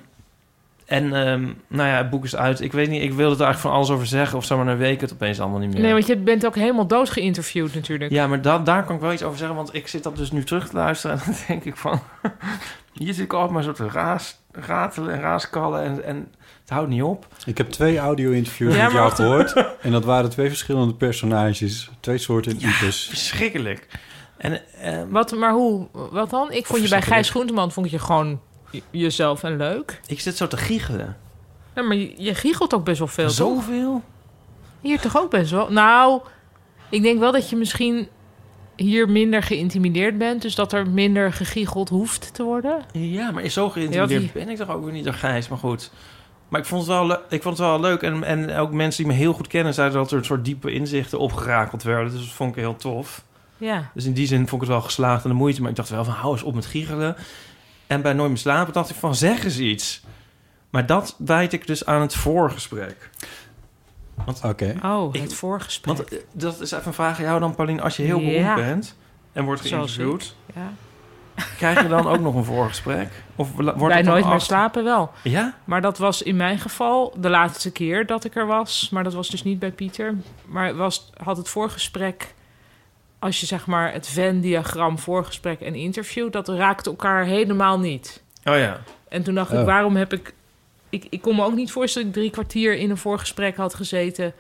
Speaker 1: en ehm, nou ja, het boek is uit. Ik weet niet, ik wilde er eigenlijk van alles over zeggen. Of zou maar een week het opeens allemaal niet meer.
Speaker 3: Nee, want je bent ook helemaal dood geïnterviewd natuurlijk.
Speaker 1: Ja, maar da- daar kan ik wel iets over zeggen. Want ik zit dat dus nu terug te luisteren. En dan denk ik van... Hier zit ik altijd maar zo te raas, ratelen en raaskallen. En, en het houdt niet op.
Speaker 2: Ik heb twee audio-interviews
Speaker 3: Ja,
Speaker 2: met
Speaker 3: maar
Speaker 2: jou
Speaker 3: wacht.
Speaker 2: gehoord. En dat waren twee verschillende personages. Twee soorten types.
Speaker 1: Verschrikkelijk. En, ehm,
Speaker 3: Wat, maar hoe? Wat dan? Ik vond je bij Gijs Groenteman vond ik je gewoon je- jezelf en leuk.
Speaker 1: ik zit zo te giechelen.
Speaker 3: Nee, maar je, je giechelt ook best wel veel. toch?
Speaker 1: Zoveel?
Speaker 3: Hier toch ook best wel? Nou, ik denk wel dat je misschien hier minder geïntimideerd bent. Dus dat er minder gegiegeld hoeft te worden.
Speaker 1: Ja, maar zo
Speaker 3: Ja,
Speaker 1: geïntimideerd
Speaker 3: die-
Speaker 1: ben ik toch ook weer niet door Gijs. Maar goed. Maar ik vond het wel, le- ik vond het wel leuk. En, en ook mensen die me heel goed kennen... zeiden dat er een soort diepe inzichten opgerakeld werden. Dus dat vond ik heel tof.
Speaker 3: Ja.
Speaker 1: Dus in die zin vond ik het wel geslaagd en de moeite. Maar ik dacht wel van, hou eens op met giechelen. En bij Nooit meer slapen dacht ik van, zeg eens iets. Maar dat wijd ik dus aan het voorgesprek.
Speaker 2: Oké.
Speaker 3: Oh,
Speaker 1: Ik-
Speaker 3: het voorgesprek.
Speaker 1: Want eh, dat is even een vraag aan jou dan, Pauline. Als je heel
Speaker 3: Ja.
Speaker 1: beroemd bent en wordt
Speaker 3: Zoals
Speaker 1: geïnterviewd...
Speaker 3: ja.
Speaker 1: krijg je dan ook nog een voorgesprek? Of la- wordt
Speaker 3: Bij
Speaker 1: het dan
Speaker 3: Nooit meer
Speaker 1: achter-
Speaker 3: slapen wel.
Speaker 1: Ja?
Speaker 3: Maar dat was in mijn geval de laatste keer dat ik er was. Maar dat was dus niet bij Pieter. Maar het was, had het voorgesprek, als je zeg maar het Venn-diagram voorgesprek en interview, dat raakte elkaar helemaal niet.
Speaker 1: Oh ja.
Speaker 3: En toen dacht
Speaker 2: Oh.
Speaker 3: ik, waarom heb ik, ik... Ik kon me ook niet voorstellen dat ik drie kwartier in een voorgesprek had gezeten...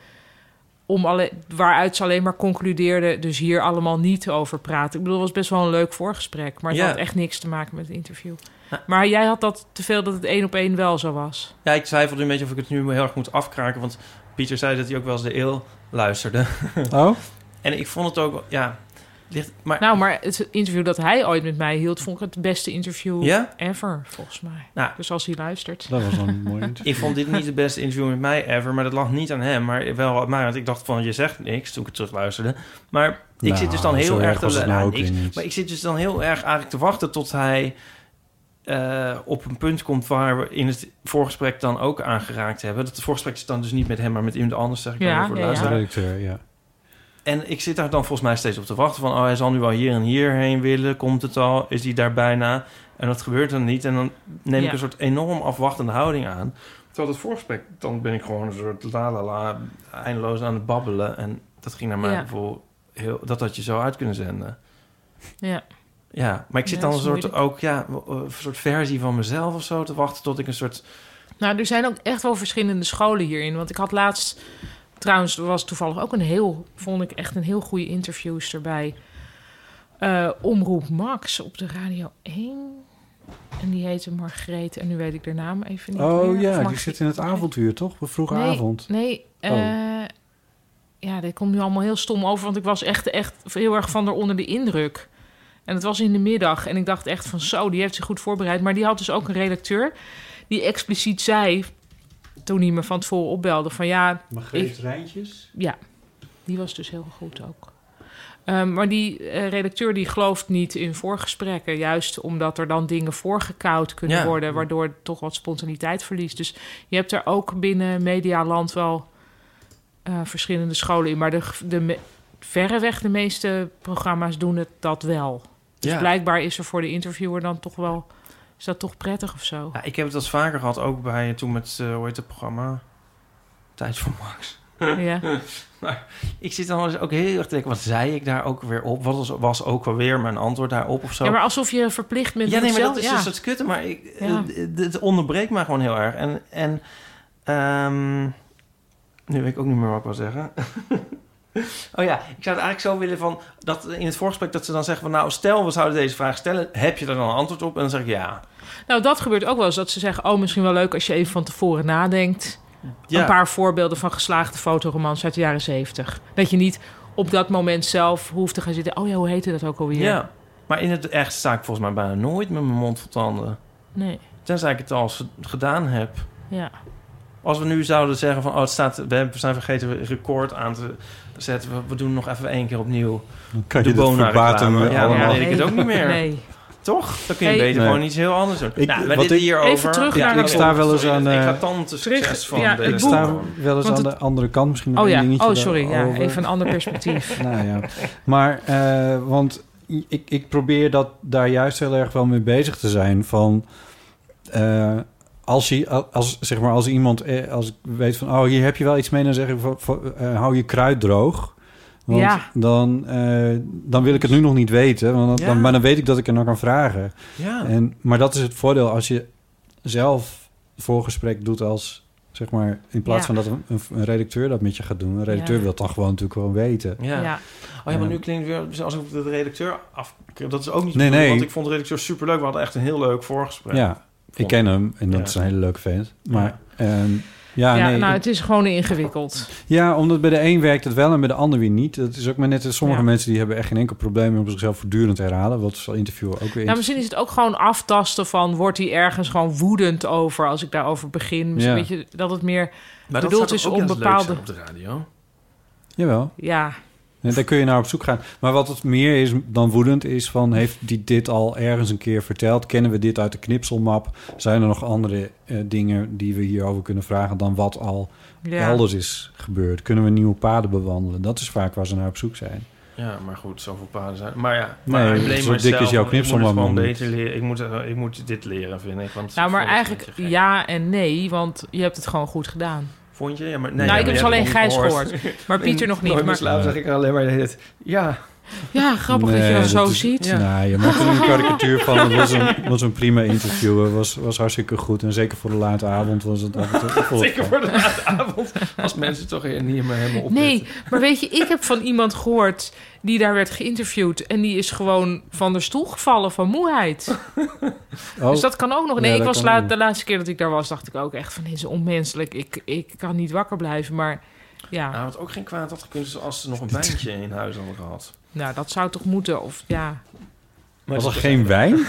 Speaker 3: Om alle, waaruit ze alleen maar concludeerden, dus hier allemaal niet over praten. Ik bedoel, het was best wel een leuk voorgesprek, maar het
Speaker 1: Ja.
Speaker 3: had echt niks te maken met het interview.
Speaker 1: Ja.
Speaker 3: Maar jij had dat te veel dat het één op één wel zo was.
Speaker 1: Ja, ik twijfelde een beetje of ik het nu heel erg moet afkraken. Want Pieter zei dat hij ook wel eens de eeuw luisterde.
Speaker 2: Oh?
Speaker 1: En ik vond het ook... wel- Ja, ligt, maar...
Speaker 3: Nou, maar het interview dat hij ooit met mij hield, vond ik het beste interview
Speaker 1: ja?
Speaker 3: ever, volgens mij.
Speaker 1: Nou.
Speaker 3: Dus als hij luistert.
Speaker 2: Dat was een mooi interview.
Speaker 1: Ik vond dit niet het beste interview met mij ever, maar dat lag niet aan hem, maar wel aan mij. Want ik dacht van, je zegt niks toen ik het terugluisterde. Maar ik
Speaker 2: Nou,
Speaker 1: zit dus dan
Speaker 2: zo
Speaker 1: heel erg...
Speaker 2: erg was
Speaker 1: te-
Speaker 2: het nou
Speaker 1: ah,
Speaker 2: ook
Speaker 1: niks.
Speaker 2: weer niet.
Speaker 1: Maar ik zit dus dan heel erg eigenlijk te wachten tot hij eh, op een punt komt... waar we in het voorgesprek dan ook aangeraakt hebben. Dat het voorgesprek is dan dus niet met hem, maar met iemand anders, zeg ik
Speaker 3: Ja,
Speaker 1: dan weer voor de
Speaker 3: ja, ja.
Speaker 1: luisteraar.
Speaker 2: Redacteur, ja.
Speaker 1: En ik zit daar dan volgens mij steeds op te wachten van... oh, hij zal nu wel hier en hierheen willen, komt het al, is hij daar bijna? En dat gebeurt dan niet. En dan neem
Speaker 3: Ja.
Speaker 1: ik een soort enorm afwachtende houding aan. Terwijl het voorgesprek, dan ben ik gewoon een soort la la la... eindeloos aan het babbelen. En dat ging naar mijn
Speaker 3: Ja.
Speaker 1: gevoel heel... dat had je zo uit kunnen zenden.
Speaker 3: Ja.
Speaker 1: Ja, maar ik zit
Speaker 3: Ja,
Speaker 1: dan
Speaker 3: dat
Speaker 1: een
Speaker 3: is
Speaker 1: soort,
Speaker 3: moeilijk.
Speaker 1: ook, ja, een soort versie van mezelf of zo te wachten... tot ik een soort...
Speaker 3: Nou, er zijn ook echt wel verschillende scholen hierin. Want ik had laatst, trouwens, er was toevallig ook een heel, vond ik echt een heel goede interviewster bij eh, Omroep Max op de Radio 1. En die heette Margreet, en nu weet ik haar naam even niet meer.
Speaker 2: Oh
Speaker 3: Of
Speaker 2: ja, die
Speaker 3: Margriet-
Speaker 2: zit in het avonduur, toch? We vroege
Speaker 3: nee,
Speaker 2: avond. Oh.
Speaker 3: Nee, eh, ja, dit komt nu allemaal heel stom over, want ik was echt, echt heel erg van onder de indruk. En het was in de middag en ik dacht echt van zo, die heeft zich goed voorbereid. Maar die had dus ook een redacteur die expliciet zei, toen hij me van tevoren opbelde, van ja, Margreet
Speaker 2: Rijntjes?
Speaker 3: ja, die was dus heel goed ook. Ehm, maar die eh, redacteur die gelooft niet in voorgesprekken. Juist omdat er dan dingen voorgekoud kunnen
Speaker 1: Ja.
Speaker 3: worden... waardoor het toch wat spontaniteit verliest. Dus je hebt er ook binnen medialand wel eh, verschillende scholen in. Maar de, de me- verreweg de meeste programma's doen het dat wel. Dus
Speaker 1: Ja.
Speaker 3: blijkbaar is er voor de interviewer dan toch wel... is dat toch prettig of zo?
Speaker 1: Ja, ik heb het als vaker gehad, ook bij toen met, eh, hoe heet het programma? Tijd voor Max.
Speaker 3: ja.
Speaker 1: Ik zit dan wel eens ook heel erg te denken, wat zei ik daar ook weer op? Wat was, was ook wel weer mijn antwoord daarop of zo?
Speaker 3: ja, maar alsof je verplicht bent...
Speaker 1: Ja,
Speaker 3: om
Speaker 1: nee,
Speaker 3: het
Speaker 1: maar dat
Speaker 3: zelf-
Speaker 1: is dus
Speaker 3: ja.
Speaker 1: een soort kutte, maar ik,
Speaker 3: Ja.
Speaker 1: eh, d- het onderbreekt mij gewoon heel erg. En, en ehm, nu weet ik ook niet meer wat ik wil zeggen. oh ja, ik zou het eigenlijk zo willen van, dat in het voorgesprek dat ze dan zeggen van, nou, stel we zouden deze vraag stellen, heb je daar dan een antwoord op? En dan zeg ik ja.
Speaker 3: Nou, dat gebeurt ook wel eens. Dat ze zeggen, oh, misschien wel leuk als je even van tevoren nadenkt.
Speaker 1: ja.
Speaker 3: Een paar voorbeelden van geslaagde fotoromans uit de jaren zeventig. Dat je niet op dat moment zelf hoeft te gaan zitten... oh ja, hoe heette dat ook alweer?
Speaker 1: Ja, Maar in het echt sta ik volgens mij bijna nooit met mijn mond vol tanden.
Speaker 3: Nee,
Speaker 1: Tenzij ik het al eens gedaan heb.
Speaker 3: ja.
Speaker 1: Als we nu zouden zeggen van... Oh, het staat, we hebben- we zijn vergeten record aan te zetten. We, we doen nog even één keer opnieuw.
Speaker 2: Dan kan
Speaker 1: De
Speaker 2: je dit
Speaker 1: Bona
Speaker 2: verbaten
Speaker 1: reclame. Ja,
Speaker 2: allemaal.
Speaker 1: maar-
Speaker 3: nee,
Speaker 1: weet ik het ook niet meer.
Speaker 3: Nee.
Speaker 1: Toch? Dan kun je
Speaker 3: Hey.
Speaker 1: beter
Speaker 2: Nee.
Speaker 1: gewoon iets heel anders doen.
Speaker 2: Ik-
Speaker 1: nou, maar
Speaker 2: wat
Speaker 1: dit
Speaker 2: ik-
Speaker 1: hierover...
Speaker 3: Even terug
Speaker 1: Ja,
Speaker 3: naar
Speaker 1: ik
Speaker 3: het
Speaker 1: sta
Speaker 2: boek.
Speaker 1: wel eens aan...
Speaker 2: eh,
Speaker 1: Ik ga tanden te succes
Speaker 3: terug-
Speaker 1: van
Speaker 3: ja,
Speaker 1: deze
Speaker 2: Ik
Speaker 3: het boek.
Speaker 2: sta
Speaker 1: reclame.
Speaker 2: wel eens
Speaker 3: Want
Speaker 2: aan
Speaker 3: het-
Speaker 2: de andere kant misschien nog
Speaker 3: Oh
Speaker 2: één
Speaker 3: ja,
Speaker 2: dingetje
Speaker 3: oh sorry, ja,
Speaker 2: daarover.
Speaker 3: even een ander perspectief.
Speaker 2: Nou ja, maar eh, want ik, ik probeer dat daar juist heel erg wel mee bezig te zijn. Van eh, als, je, als, zeg maar, als iemand, eh, als ik weet van, oh hier heb je wel iets mee, dan zeg ik van, van, eh, hou je kruid droog. Want
Speaker 3: Ja.
Speaker 2: dan, eh, dan wil ik het nu nog niet weten, want dan,
Speaker 1: Ja.
Speaker 2: maar dan weet ik dat ik er nog kan vragen.
Speaker 1: Ja.
Speaker 2: En, maar dat is het voordeel als je zelf voorgesprek doet als, zeg maar, in plaats
Speaker 3: Ja.
Speaker 2: van dat een, een, een redacteur dat met je gaat doen. Een redacteur
Speaker 3: Ja.
Speaker 2: wil dat gewoon natuurlijk gewoon weten.
Speaker 1: Ja.
Speaker 3: ja.
Speaker 1: Oh ja, maar nu klinkt het weer alsof ik de redacteur af... Dat is ook niet zo
Speaker 2: Nee,
Speaker 1: bedoeld,
Speaker 2: nee.
Speaker 1: want ik vond de redacteur superleuk. We hadden echt een heel leuk voorgesprek.
Speaker 2: Ja, ik
Speaker 1: Vond-
Speaker 2: ken hem en dat
Speaker 1: Ja.
Speaker 2: is een hele leuke vent. Maar ehm, ja,
Speaker 3: ja,
Speaker 2: nee,
Speaker 3: nou,
Speaker 2: ik-
Speaker 3: het is gewoon ingewikkeld.
Speaker 2: ja, omdat bij de een werkt het wel en bij de ander weer niet. Dat is ook maar net, eh, sommige
Speaker 3: Ja.
Speaker 2: mensen die hebben echt geen enkel probleem om zichzelf voortdurend te herhalen. Wat zal interviewen ook weer
Speaker 3: Nou, misschien is het ook gewoon aftasten van... wordt hij ergens gewoon woedend over als ik daarover begin? Misschien
Speaker 2: Ja.
Speaker 3: weet je dat het meer...
Speaker 1: Maar
Speaker 3: Bedoeld
Speaker 1: dat zou
Speaker 3: is
Speaker 1: toch ook juist leuk
Speaker 3: onbepaalde-
Speaker 1: zijn op de radio.
Speaker 2: Jawel,
Speaker 3: Ja,
Speaker 2: en daar kun je naar op zoek gaan. Maar wat het meer is dan woedend is van... heeft die dit al ergens een keer verteld? Kennen we dit uit de knipselmap? Zijn er nog andere eh, dingen die we hierover kunnen vragen... dan wat al
Speaker 3: ja.
Speaker 2: elders is gebeurd? Kunnen we nieuwe paden bewandelen? Dat is vaak waar ze naar op zoek zijn.
Speaker 1: Ja, maar goed, zoveel paden zijn. Maar ja, maar
Speaker 2: Nee,
Speaker 1: I blame
Speaker 2: zo dik
Speaker 1: myself,
Speaker 2: is jouw
Speaker 1: want ik
Speaker 2: knipsel
Speaker 1: moet het
Speaker 2: maar
Speaker 1: gewoon
Speaker 2: nog
Speaker 1: beter leren. Ik moet, eh, ik moet dit leren, vind ik. Want
Speaker 3: Nou, maar
Speaker 1: ik vond het
Speaker 3: eigenlijk
Speaker 1: een beetje
Speaker 3: ja en nee, want je hebt het gewoon goed gedaan.
Speaker 1: gek. Vond je? Ja, maar, nee,
Speaker 3: nou,
Speaker 1: ja,
Speaker 3: ik
Speaker 1: maar
Speaker 3: heb ze
Speaker 1: jij
Speaker 3: alleen
Speaker 1: hebt het
Speaker 3: Gijs gehoord. Maar Pieter nog
Speaker 1: Nooit
Speaker 3: niet.
Speaker 1: meer
Speaker 3: Maar,
Speaker 1: slaap zeg ik alleen maar dit. Ja,
Speaker 3: ja, grappig dat je
Speaker 2: Nee,
Speaker 3: dat zo
Speaker 2: is-
Speaker 3: ziet.
Speaker 1: Ja.
Speaker 2: Nou, je maakt er een karikatuur van. Het was een, was een prima interview. Het was, was hartstikke goed. En zeker voor de late avond was het altijd
Speaker 1: zeker
Speaker 2: vol.
Speaker 1: voor de late avond. Als mensen toch hier niet meer helemaal op.
Speaker 3: Nee, maar weet je, ik heb van iemand gehoord die daar werd geïnterviewd... en die is gewoon van de stoel gevallen van moeheid.
Speaker 2: Oh,
Speaker 3: Dus dat kan ook nog. Nee,
Speaker 2: Ja,
Speaker 3: ik
Speaker 2: dat
Speaker 3: was
Speaker 2: kan
Speaker 3: laat-
Speaker 2: ook.
Speaker 3: de laatste keer dat ik daar was, dacht ik ook echt van... dit is onmenselijk, ik, ik kan niet wakker blijven. Maar ja,
Speaker 1: Nou, wat ook geen kwaad had gekund als ze nog een wijntje in huis hadden gehad.
Speaker 3: nou, dat zou toch moeten? Of ja...
Speaker 1: Maar
Speaker 2: was er
Speaker 1: dat
Speaker 2: geen wijn?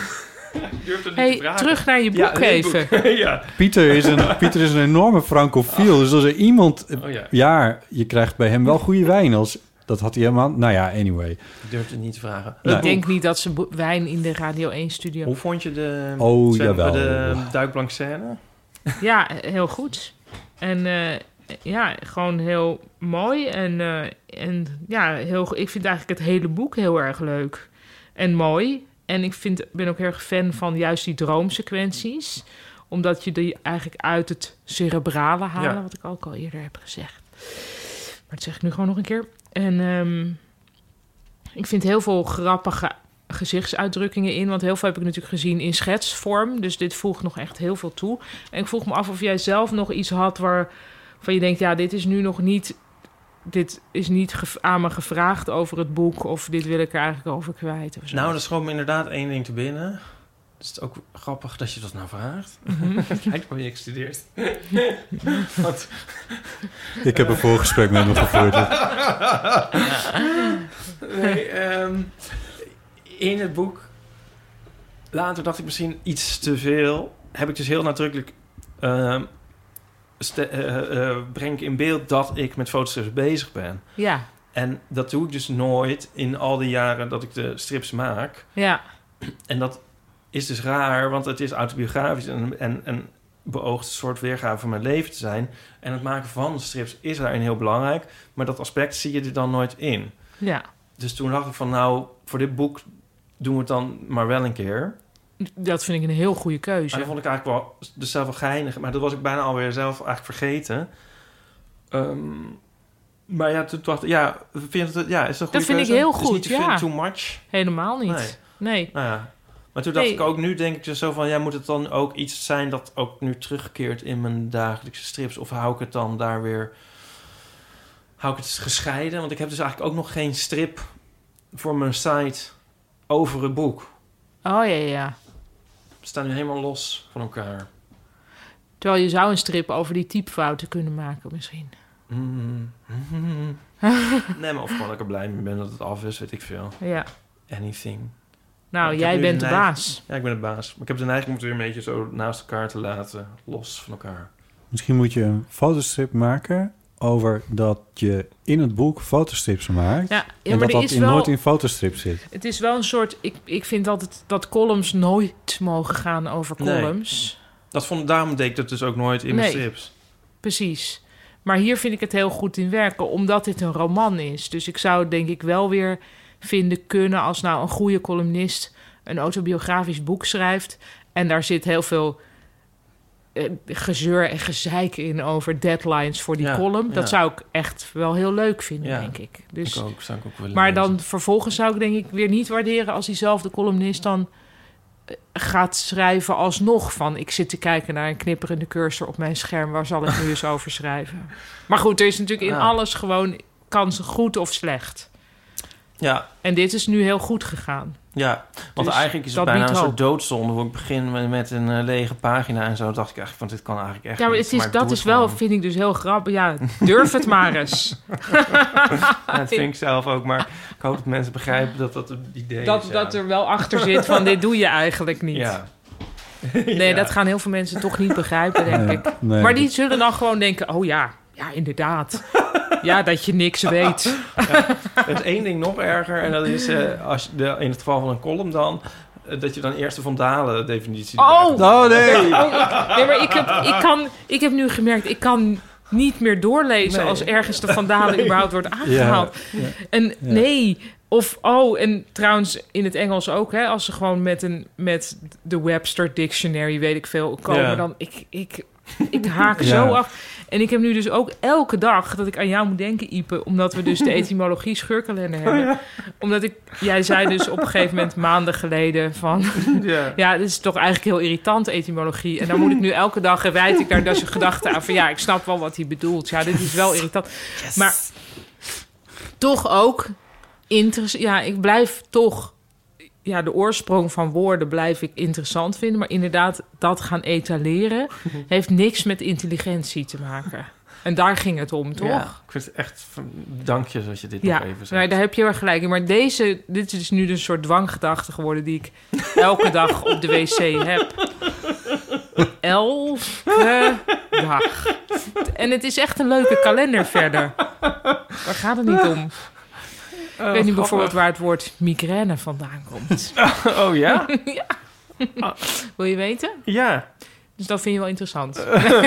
Speaker 1: durfde niet te
Speaker 3: Hey,
Speaker 1: vragen.
Speaker 3: terug naar je boek
Speaker 1: Ja, nee, boek.
Speaker 3: even.
Speaker 1: ja.
Speaker 2: Pieter is een, Pieter is een enorme francofiel. Dus als er iemand...
Speaker 1: Oh ja,
Speaker 2: Ja, je krijgt bij hem wel goede wijn. Als, dat had hij helemaal... Nou ja, anyway.
Speaker 1: ik durfde het niet te vragen.
Speaker 2: Nee.
Speaker 3: Ik denk niet dat ze bo- wijn in de Radio 1 studio.
Speaker 1: Hoe vond je de,
Speaker 2: Oh,
Speaker 1: zwem-
Speaker 2: jawel.
Speaker 1: de duikblank scène?
Speaker 3: Ja, heel goed. En eh, ja, gewoon heel mooi. En, eh, en ja, heel, go- ik vind eigenlijk het hele boek heel erg leuk en mooi. En ik vind, ben ook heel erg fan van juist die droomsequenties. Omdat je die eigenlijk uit het cerebrale halen,
Speaker 1: Ja.
Speaker 3: wat ik ook al eerder heb gezegd. Maar dat zeg ik nu gewoon nog een keer. En ehm, ik vind heel veel grappige gezichtsuitdrukkingen in. Want heel veel heb ik natuurlijk gezien in schetsvorm. Dus dit voegt nog echt heel veel toe. En ik vroeg me af of jij zelf nog iets had waarvan je denkt... ja, dit is nu nog niet... dit is niet ge- aan me gevraagd over het boek... of dit wil ik er eigenlijk over kwijt of zo.
Speaker 1: Nou, er schoot me inderdaad één ding te binnen. Het is ook grappig dat je dat nou vraagt. Kijk waar je gestudeerd. Want,
Speaker 2: Ik heb een voorgesprek met hem gevoerd.
Speaker 1: nee, ehm, in het boek... Later dacht ik misschien iets te veel. Heb ik dus heel nadrukkelijk... ehm, ste- eh, eh, breng ik in beeld dat ik met fotostrips bezig ben.
Speaker 3: Ja,
Speaker 1: En dat doe ik dus nooit in al die jaren dat ik de strips maak.
Speaker 3: ja,
Speaker 1: En dat is dus raar, want het is autobiografisch en, en, en beoogt een soort weergave van mijn leven te zijn. En het maken van strips is daarin heel belangrijk, maar dat aspect zie je er dan nooit in.
Speaker 3: ja.
Speaker 1: Dus toen dacht ik van, nou, voor dit boek doen we het dan maar wel een keer.
Speaker 3: Dat vind ik een heel goede
Speaker 1: En dat
Speaker 3: keuze.
Speaker 1: vond ik eigenlijk wel dus zelf wel geinig, maar dat was ik bijna alweer zelf eigenlijk vergeten. Ehm, maar ja, toen dacht ik, ja, vind je het, ja, is dat een goede
Speaker 3: Dat vind ik
Speaker 1: keuze?
Speaker 3: heel
Speaker 1: Het is
Speaker 3: goed,
Speaker 1: niet te veel,
Speaker 3: ja.
Speaker 1: too much.
Speaker 3: Helemaal niet. Nee.
Speaker 1: Nou ja. Maar toen dacht
Speaker 3: Nee.
Speaker 1: ik ook, nu denk ik dus zo van... ja, moet het dan ook iets zijn dat ook nu terugkeert in mijn dagelijkse strips? Of hou ik het dan daar weer... Hou ik het gescheiden? Want ik heb dus eigenlijk ook nog geen strip voor mijn site over het boek.
Speaker 3: Oh ja, ja, ja.
Speaker 1: We staan nu helemaal los van elkaar.
Speaker 3: Terwijl je zou een strip over die typfouten kunnen maken misschien.
Speaker 1: Mm. nee, maar of gewoon dat ik er blij mee ben dat het af is, weet ik veel.
Speaker 3: Ja,
Speaker 1: Anything.
Speaker 3: Nou,
Speaker 1: Ik heb
Speaker 3: jij
Speaker 1: nu
Speaker 3: bent de
Speaker 1: een neiging-
Speaker 3: baas.
Speaker 1: Ja, ik ben de baas. Maar ik heb de neiging om het weer een beetje zo naast elkaar te laten. Los van elkaar.
Speaker 2: Misschien moet je een fotostrip maken over dat je in het boek fotostrips maakt.
Speaker 3: Ja, ja,
Speaker 2: en
Speaker 3: maar
Speaker 2: dat
Speaker 3: er
Speaker 2: dat
Speaker 3: is
Speaker 2: in
Speaker 3: wel-
Speaker 2: nooit in fotostrip zit.
Speaker 3: Het is wel een soort... Ik, ik vind altijd dat columns nooit mogen gaan over
Speaker 1: Nee.
Speaker 3: columns.
Speaker 1: Dat vond, daarom deed ik dat dus ook nooit in mijn
Speaker 3: Nee.
Speaker 1: strips.
Speaker 3: Precies. Maar hier vind ik het heel goed in werken, omdat dit een roman is. Dus ik zou het denk ik wel weer vinden kunnen als nou een goede columnist een autobiografisch boek schrijft. En daar zit heel veel eh, gezeur en gezeik in over deadlines voor die
Speaker 1: Ja,
Speaker 3: column. Dat
Speaker 1: ja.
Speaker 3: zou ik echt wel heel leuk vinden,
Speaker 1: Ja,
Speaker 3: denk ik. Dus,
Speaker 1: ik ook, zou ik ook willen
Speaker 3: maar
Speaker 1: lezen.
Speaker 3: dan vervolgens zou ik denk ik weer niet waarderen als diezelfde columnist dan eh, gaat schrijven alsnog van ik zit te kijken naar een knipperende cursor op mijn scherm waar zal ik nu eens over schrijven. Maar goed, er is natuurlijk in
Speaker 1: Ja.
Speaker 3: alles gewoon kansen goed of slecht.
Speaker 1: Ja,
Speaker 3: En dit is nu heel goed gegaan.
Speaker 1: ja. want
Speaker 3: Dus
Speaker 1: eigenlijk is het
Speaker 3: dat
Speaker 1: bijna een
Speaker 3: biedt
Speaker 1: soort
Speaker 3: hoop.
Speaker 1: doodzonde. Hoe ik begin met, met een eh, lege pagina en zo. dacht ik eigenlijk van dit kan eigenlijk echt
Speaker 3: ja, maar,
Speaker 1: niet,
Speaker 3: het is,
Speaker 1: ik
Speaker 3: dat
Speaker 1: doe
Speaker 3: is
Speaker 1: het
Speaker 3: wel,
Speaker 1: gewoon.
Speaker 3: vind ik dus heel grappig. Ja, durf het maar eens.
Speaker 1: Ja, dat vind ik zelf ook. Maar ik hoop dat mensen begrijpen dat dat het idee is.
Speaker 3: Dat,
Speaker 1: ja.
Speaker 3: dat er wel achter zit van dit doe je eigenlijk niet.
Speaker 1: Ja.
Speaker 3: Nee,
Speaker 1: Ja.
Speaker 3: dat gaan heel veel mensen toch niet begrijpen, denk ik.
Speaker 2: Nee,
Speaker 3: maar die zullen dan gewoon denken: oh ja, ja, inderdaad. ja, dat je niks weet.
Speaker 1: Er is één ding nog erger. En dat is eh, als je de, in het geval van een column dan... eh, dat je dan eerst de vandalen definitie...
Speaker 3: Oh!
Speaker 1: erbij-
Speaker 2: Oh nee!
Speaker 3: Oh, ik- nee, maar ik heb, ik, kan, ik heb nu gemerkt, ik kan niet meer doorlezen
Speaker 1: Nee.
Speaker 3: als ergens de vandalen überhaupt wordt aangehaald. En nee, of oh, en trouwens in het Engels ook, hè, als ze gewoon met, een, met de Webster Dictionary, weet ik veel, komen,
Speaker 1: Ja.
Speaker 3: dan ik, ik, ik haak
Speaker 2: Ja.
Speaker 3: zo af. En ik heb nu dus ook elke dag dat ik aan jou moet denken, Ipe, omdat we dus de etymologie scheurkalender hebben.
Speaker 1: Oh
Speaker 3: Omdat ik, jij zei dus op een gegeven moment maanden geleden van...
Speaker 1: Ja.
Speaker 3: Ja, dit is toch eigenlijk heel irritant, etymologie. En dan moet ik nu elke dag, en wijd ik daar dus een gedachte aan van... ja, ik snap wel wat hij bedoelt. Ja, dit is wel irritant. Maar toch ook interessant. Ja, ik blijf toch... Ja, de oorsprong van woorden blijf ik interessant vinden. Maar inderdaad, dat gaan etaleren... heeft niks met intelligentie te maken. En daar ging het om, toch?
Speaker 1: Ja, ik vind het echt... van- Dank je dat je dit
Speaker 3: Ja,
Speaker 1: nog even zegt.
Speaker 3: nee, daar heb je wel gelijk in. Maar deze, dit is nu dus een soort dwanggedachte geworden die ik elke dag op de wc heb. Elke dag. En het is echt een leuke kalender verder. Daar gaat het niet om. Ik weet niet bijvoorbeeld waar het woord migraine vandaan komt.
Speaker 1: Oh ja?
Speaker 3: Wil je weten?
Speaker 1: Ja.
Speaker 3: Dus dat vind je wel interessant.
Speaker 1: Eh.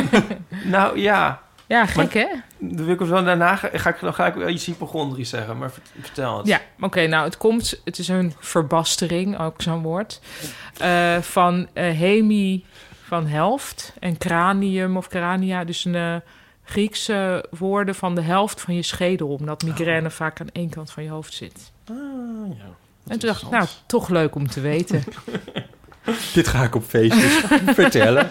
Speaker 1: Nou ja.
Speaker 3: Ja, gek hè?
Speaker 1: Dan wil ik wel daarna ga, ga ik, dan ga ik wel iets hypochondrisch zeggen, maar vert- vertel het.
Speaker 3: Ja, oké. nou, het komt... Het is een verbastering, ook zo'n woord. eh, van eh, hemi van helft en cranium of crania. Dus een eh, Griekse woorden van de helft van je schedel. Omdat
Speaker 1: Oh.
Speaker 3: migraine vaak aan één kant van je hoofd zit.
Speaker 1: Ah, ja.
Speaker 3: En toen dacht ik,
Speaker 1: Interessant.
Speaker 3: nou, toch leuk om te weten.
Speaker 2: Dit ga ik op feestjes vertellen.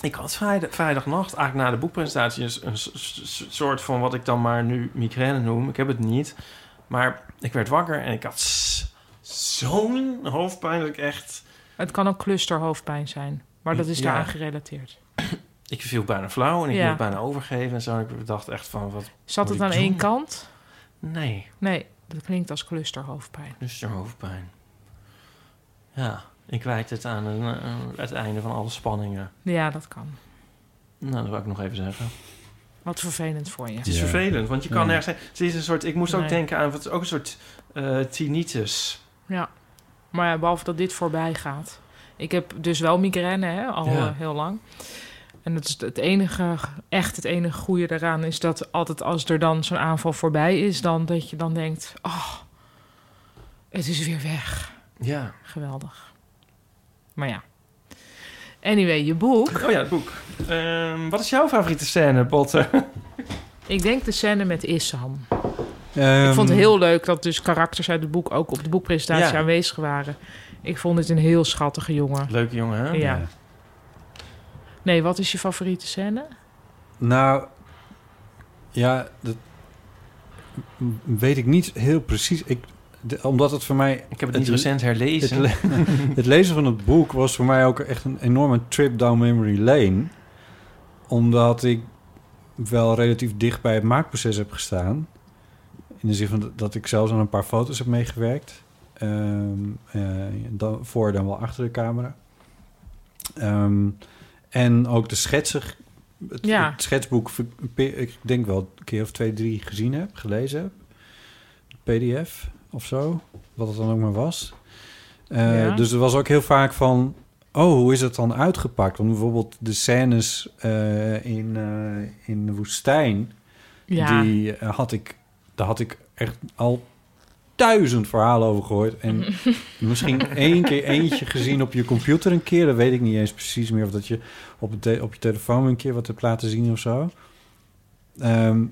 Speaker 1: Ik had vrijdag, vrijdagnacht, eigenlijk na de boekpresentatie, een, een s- s- soort van wat ik dan maar nu migraine noem. Ik heb het niet. Maar ik werd wakker en ik had s- zo'n hoofdpijn dat ik echt...
Speaker 3: het kan ook clusterhoofdpijn zijn. Maar dat is
Speaker 1: Ja.
Speaker 3: daaraan gerelateerd.
Speaker 1: Ik viel bijna flauw en ik
Speaker 3: Ja.
Speaker 1: moest bijna overgeven en zo. En ik dacht echt van, wat...
Speaker 3: Zat
Speaker 1: Moet
Speaker 3: het
Speaker 1: ik
Speaker 3: aan
Speaker 1: doen?
Speaker 3: één kant?
Speaker 1: Nee,
Speaker 3: Nee, dat klinkt als clusterhoofdpijn.
Speaker 1: dus je hoofdpijn. Ja, ik wijd het aan een, eh, het einde van alle spanningen.
Speaker 3: Ja, dat kan.
Speaker 1: Nou, dat wil ik nog even zeggen.
Speaker 3: Wat vervelend voor je.
Speaker 1: Het is
Speaker 2: Ja.
Speaker 1: vervelend, want je kan
Speaker 2: Ja.
Speaker 1: nergens... Het is een soort... Ik moest ook
Speaker 3: Nee.
Speaker 1: denken aan... Het is ook een soort eh, tinnitus.
Speaker 3: Ja, maar ja, behalve dat dit voorbij gaat. Ik heb dus wel migraine hè, al
Speaker 1: Ja.
Speaker 3: eh, heel lang. En dat is het enige, echt het enige goede daaraan is dat altijd als er dan zo'n aanval voorbij is, dan dat je dan denkt, oh, het is weer weg.
Speaker 1: Ja.
Speaker 3: Geweldig. Maar ja. Anyway, je boek.
Speaker 1: Oh ja, het boek. Ehm, wat is jouw favoriete scène, Botter?
Speaker 3: Ik denk de scène met Issam.
Speaker 2: Ehm,
Speaker 3: ik vond het heel leuk dat dus karakters uit het boek ook op de boekpresentatie
Speaker 1: Ja.
Speaker 3: aanwezig waren. Ik vond het een heel schattige jongen.
Speaker 1: Leuke jongen, hè?
Speaker 3: Ja. Nee, wat is je favoriete scène?
Speaker 2: Nou, ja, dat weet ik niet heel precies. Ik, de- omdat het voor mij
Speaker 1: Ik heb het
Speaker 2: Het
Speaker 1: niet
Speaker 2: le-
Speaker 1: recent herlezen.
Speaker 2: Het, le- het lezen van het boek was voor mij ook echt een enorme trip down memory lane. Omdat ik wel relatief dicht bij het maakproces heb gestaan. In de zin van dat ik zelfs aan een paar foto's heb meegewerkt. Eh, Ehm, eh, dan, voor dan wel achter de camera. Ehm, en ook de schetser, het,
Speaker 3: Ja.
Speaker 2: het schetsboek, ver- ik denk wel een keer of twee, drie gezien heb, gelezen heb. PDF of zo, wat het dan ook maar was. Eh,
Speaker 3: Ja.
Speaker 2: Dus er was ook heel vaak van, oh, hoe is het dan uitgepakt? Want bijvoorbeeld de scènes eh, in, eh, in de woestijn,
Speaker 3: Ja.
Speaker 2: die eh, had ik, daar had ik echt al duizend verhalen over gehoord. En misschien één keer eentje gezien op je computer een keer. Dat weet ik niet eens precies meer. Of dat je op, het te- op je telefoon een keer wat hebt laten zien of zo. Ehm,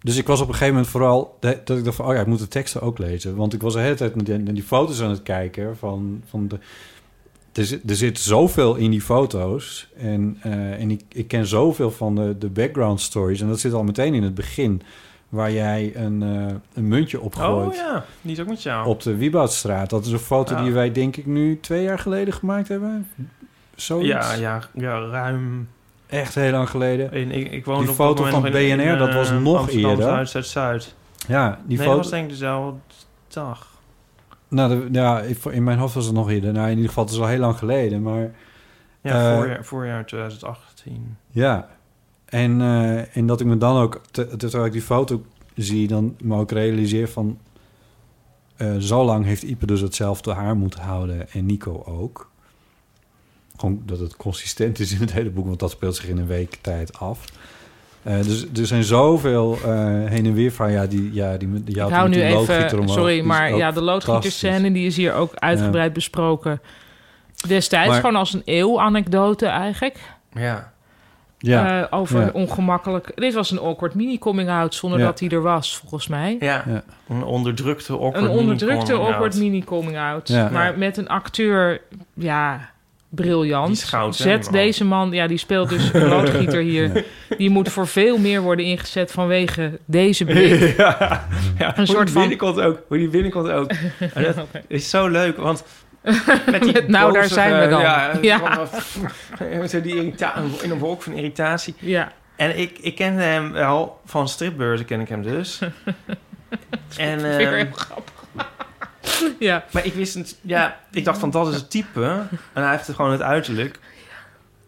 Speaker 2: dus ik was op een gegeven moment vooral... de- dat ik dacht van, oh ja, ik moet de teksten ook lezen. Want ik was de hele tijd naar die, naar die foto's aan het kijken. Van, van de, er, zit, er zit zoveel in die foto's. En, eh, en ik, ik ken zoveel van de, de background stories. En dat zit al meteen in het begin. Waar jij een, eh, een muntje opgooit
Speaker 1: Oh ja, die is ook met jou.
Speaker 2: op de Wieboudstraat. Dat is een foto
Speaker 1: Ja.
Speaker 2: die wij denk ik nu twee jaar geleden gemaakt hebben. Zoiets.
Speaker 1: ja, ja, ja, ruim.
Speaker 2: Echt heel lang geleden.
Speaker 1: En ik, ik woonde
Speaker 2: Die
Speaker 1: op
Speaker 2: foto
Speaker 1: dat moment
Speaker 2: van
Speaker 1: nog in,
Speaker 2: BNR,
Speaker 1: in,
Speaker 2: dat was
Speaker 1: eh,
Speaker 2: nog
Speaker 1: Amsterdam,
Speaker 2: eerder.
Speaker 1: Zuid, Zuid, Zuid.
Speaker 2: Ja, die
Speaker 1: nee, dat
Speaker 2: foto.
Speaker 1: was denk ik dezelfde dag.
Speaker 2: Nou, de- ja, ik- in mijn hoofd was het nog eerder. Nou, in ieder geval, het is al heel lang geleden. Maar
Speaker 1: Ja,
Speaker 2: Eh,
Speaker 1: voorjaar, voorjaar 2018.
Speaker 2: ja. En, eh, en dat ik me dan ook, te- terwijl ik die foto zie, dan me ook realiseer van... eh, zo lang heeft Ipe dus hetzelfde haar moeten houden en Nico ook. Gewoon dat het consistent is in het hele boek, want dat speelt zich in een week tijd af. Eh, dus er zijn zoveel eh, heen en weer van ja, die, ja, die, die, die
Speaker 3: Ik
Speaker 2: auto
Speaker 3: hou
Speaker 2: met
Speaker 3: nu
Speaker 2: die loodgieter
Speaker 3: even,
Speaker 2: omhoog, die
Speaker 3: sorry,
Speaker 2: is
Speaker 3: maar
Speaker 2: ook
Speaker 3: ja, de loodgieterscène die is hier ook uitgebreid besproken. Destijds
Speaker 2: Maar-
Speaker 3: gewoon als een eeuw-anekdote eigenlijk.
Speaker 1: Ja.
Speaker 2: Ja,
Speaker 3: Eh, over
Speaker 2: Ja.
Speaker 3: een ongemakkelijk... Dit was een awkward mini-coming-out zonder
Speaker 2: Ja.
Speaker 3: dat hij er was, volgens mij.
Speaker 1: Ja.
Speaker 2: Ja.
Speaker 1: Een onderdrukte awkward
Speaker 3: Een onderdrukte
Speaker 1: mini-coming-out.
Speaker 3: awkward mini-coming-out.
Speaker 2: Ja.
Speaker 3: Maar
Speaker 1: Ja.
Speaker 3: met een acteur, ja,
Speaker 1: Die
Speaker 3: briljant.
Speaker 1: is goud, hè,
Speaker 3: Zet
Speaker 1: die man.
Speaker 3: deze man, ja, die speelt dus een loodgieter hier. Die moet voor veel meer worden ingezet vanwege deze blik.
Speaker 1: ja, ja
Speaker 3: Een
Speaker 1: een
Speaker 3: soort
Speaker 1: soort
Speaker 3: van-
Speaker 1: binnenkant ook. Hoe die binnenkant ook. En dat is zo leuk, want met die
Speaker 3: Met nou, daar zijn we dan.
Speaker 1: Ja,
Speaker 3: Ja.
Speaker 1: van- zo die irrita- in een wolk van irritatie.
Speaker 3: Ja,
Speaker 1: En ik, ik kende hem wel van stripbeurzen, ken ik hem dus. en,
Speaker 3: weer
Speaker 1: ehm,
Speaker 3: heel grappig. ja,
Speaker 1: maar ik wist het, ja, ik dacht van dat is het type. En hij heeft gewoon het uiterlijk.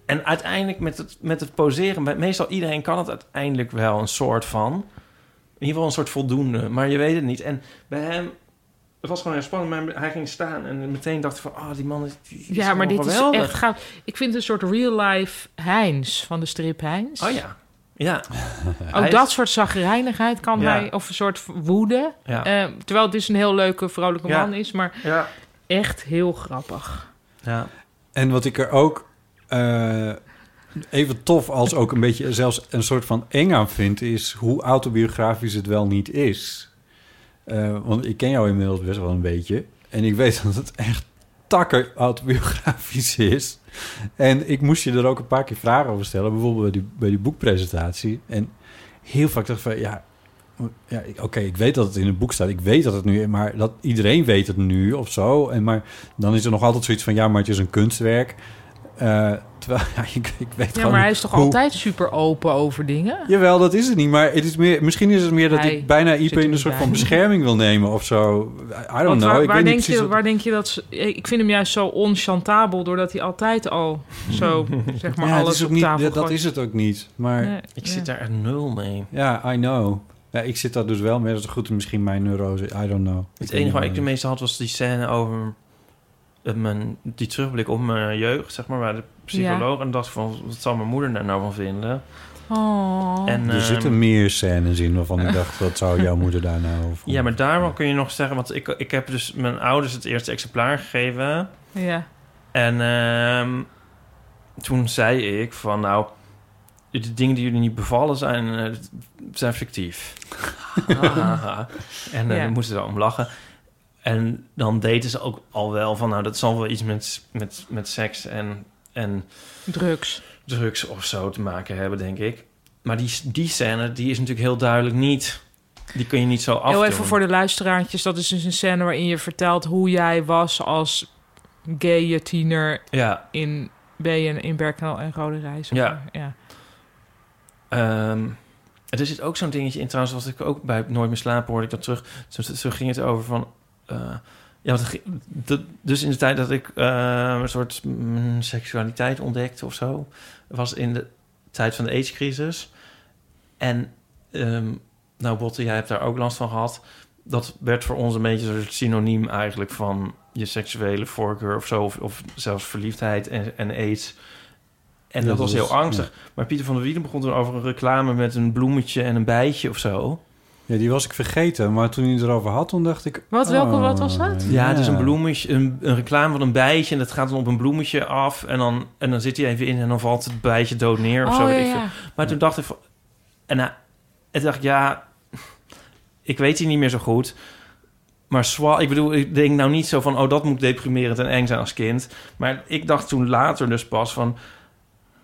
Speaker 1: En uiteindelijk met het, met het poseren, bij- meestal iedereen kan het uiteindelijk wel een soort van. In ieder geval een soort voldoende, maar je weet het niet. En bij hem, het was gewoon heel spannend, maar hij ging staan en meteen dacht ik van, ah, die man is, die is
Speaker 3: ja maar
Speaker 1: gewoon
Speaker 3: dit
Speaker 1: geweldig.
Speaker 3: is echt goud. Ik vind het een soort real-life Heinz van de strip Heinz.
Speaker 1: Oh ja, ja,
Speaker 3: Ook
Speaker 1: Hij
Speaker 3: dat
Speaker 1: is-
Speaker 3: soort zagrijnigheid kan
Speaker 1: Ja.
Speaker 3: hij, of een soort woede.
Speaker 1: ja,
Speaker 3: Eh, terwijl het dus een heel leuke, vrolijke
Speaker 1: Ja.
Speaker 3: man is, maar
Speaker 1: ja.
Speaker 3: echt heel grappig.
Speaker 1: ja.
Speaker 2: En wat ik er ook eh, even tof als ook een beetje zelfs een soort van eng aan vind, is hoe autobiografisch het wel niet is. Eh, want ik ken jou inmiddels best wel een beetje. En ik weet dat het echt takker autobiografisch is. En ik moest je er ook een paar keer vragen over stellen. Bijvoorbeeld bij die, bij die boekpresentatie. En heel vaak dacht ik van, ja, ja ik- oké, ik weet dat het in het boek staat. Ik weet dat het nu, maar dat iedereen weet het nu of zo. En maar dan is er nog altijd zoiets van, ja, maar het is een kunstwerk. Eh, terwijl, ja, ik, ik weet
Speaker 3: Ja,
Speaker 2: gewoon
Speaker 3: maar hij is toch
Speaker 2: hoe-
Speaker 3: altijd super open over dingen?
Speaker 2: Jawel, dat is het niet. Maar het is meer, misschien is het meer dat
Speaker 3: Hij
Speaker 2: ik bijna
Speaker 3: zit
Speaker 2: IP
Speaker 3: er
Speaker 2: in een
Speaker 3: niet
Speaker 2: soort
Speaker 3: bij.
Speaker 2: van bescherming wil nemen of zo. I don't
Speaker 3: Want
Speaker 2: know.
Speaker 3: waar,
Speaker 2: ik
Speaker 3: waar
Speaker 2: weet
Speaker 3: denk
Speaker 2: niet precies
Speaker 3: je,
Speaker 2: wat-
Speaker 3: waar denk je dat ze... Ik vind hem juist zo onchantabel, doordat hij altijd al zo, zeg maar,
Speaker 2: Ja, het
Speaker 3: alles
Speaker 2: is ook
Speaker 3: op
Speaker 2: niet,
Speaker 3: tafel
Speaker 2: dat- dat
Speaker 3: gooit.
Speaker 2: is het ook niet. Maar
Speaker 3: Nee,
Speaker 1: Ik
Speaker 3: ja.
Speaker 1: zit daar echt nul mee.
Speaker 2: ja, I know. Ja, ik zit daar dus wel mee. Dat is goed, misschien mijn neurose. I don't know.
Speaker 1: Het
Speaker 2: weet
Speaker 1: enige waar
Speaker 2: niet
Speaker 1: ik de meeste had was die scène over eh, mijn, die terugblik op mijn jeugd, zeg maar, bij de psycholoog. En dacht ik van, wat zal mijn moeder daar nou van vinden?
Speaker 3: Oh.
Speaker 1: En,
Speaker 2: Er
Speaker 1: ehm,
Speaker 2: zitten meer scènes in waarvan ik dacht, dat zou jouw moeder daar nou over.
Speaker 1: Ja, maar daarvan kun je nog zeggen, want ik, ik heb dus mijn ouders het eerste exemplaar gegeven.
Speaker 3: ja.
Speaker 1: En ehm, toen zei ik van, nou, de dingen die jullie niet bevallen zijn, eh, zijn fictief. Hahaha. en eh,
Speaker 3: Ja.
Speaker 1: daar moesten ze om lachen. En dan deden ze ook al wel van, nou, dat zal wel iets met, met, met seks en, en
Speaker 3: Drugs.
Speaker 1: drugs of zo te maken hebben, denk ik. Maar die, die scène, die is natuurlijk heel duidelijk niet... Die kun je niet zo afdoen.
Speaker 3: Heel even voor de luisteraartjes. Dat is dus een scène waarin je vertelt hoe jij was als gay tiener
Speaker 1: Ja,
Speaker 3: in BN, in Berkel en Rode Reis. of
Speaker 1: Ja.
Speaker 3: waar. ja.
Speaker 1: Ehm, er zit ook zo'n dingetje in trouwens, wat ik ook bij Nooit meer slapen hoorde ik dat terug. Toen, toen ging het over van... eh, Ja, want het ge- dat, dus in de tijd dat ik eh, een soort mm, seksualiteit ontdekte of zo, was in de tijd van de AIDS-crisis. En ehm, nou, Botte, jij hebt daar ook last van gehad. Dat werd voor ons een beetje een soort synoniem eigenlijk van je seksuele voorkeur of zo, of, of zelfs verliefdheid en, en AIDS. En
Speaker 2: Ja,
Speaker 1: dat
Speaker 2: dat
Speaker 1: was heel
Speaker 2: is-
Speaker 1: angstig. Maar Pieter van der Wielen begon toen over een reclame met een bloemetje en een bijtje of zo.
Speaker 2: Ja, die was ik vergeten. Maar toen hij het erover had, toen dacht ik...
Speaker 3: Wat, welke- wat was dat?
Speaker 2: oh,
Speaker 1: Ja, het is een bloemetje, een, een reclame van een bijtje en dat gaat dan op een bloemetje af en dan, en dan zit hij even in en dan valt het bijtje dood neer of
Speaker 3: Oh,
Speaker 1: zo. weet ik veel. Maar toen dacht ik van, en, hij- en toen dacht ik, ja, ik weet hier niet meer zo goed. Maar zwa, ik bedoel, ik denk nou niet zo van, oh, dat moet deprimerend en eng zijn als kind. Maar ik dacht toen later dus pas van,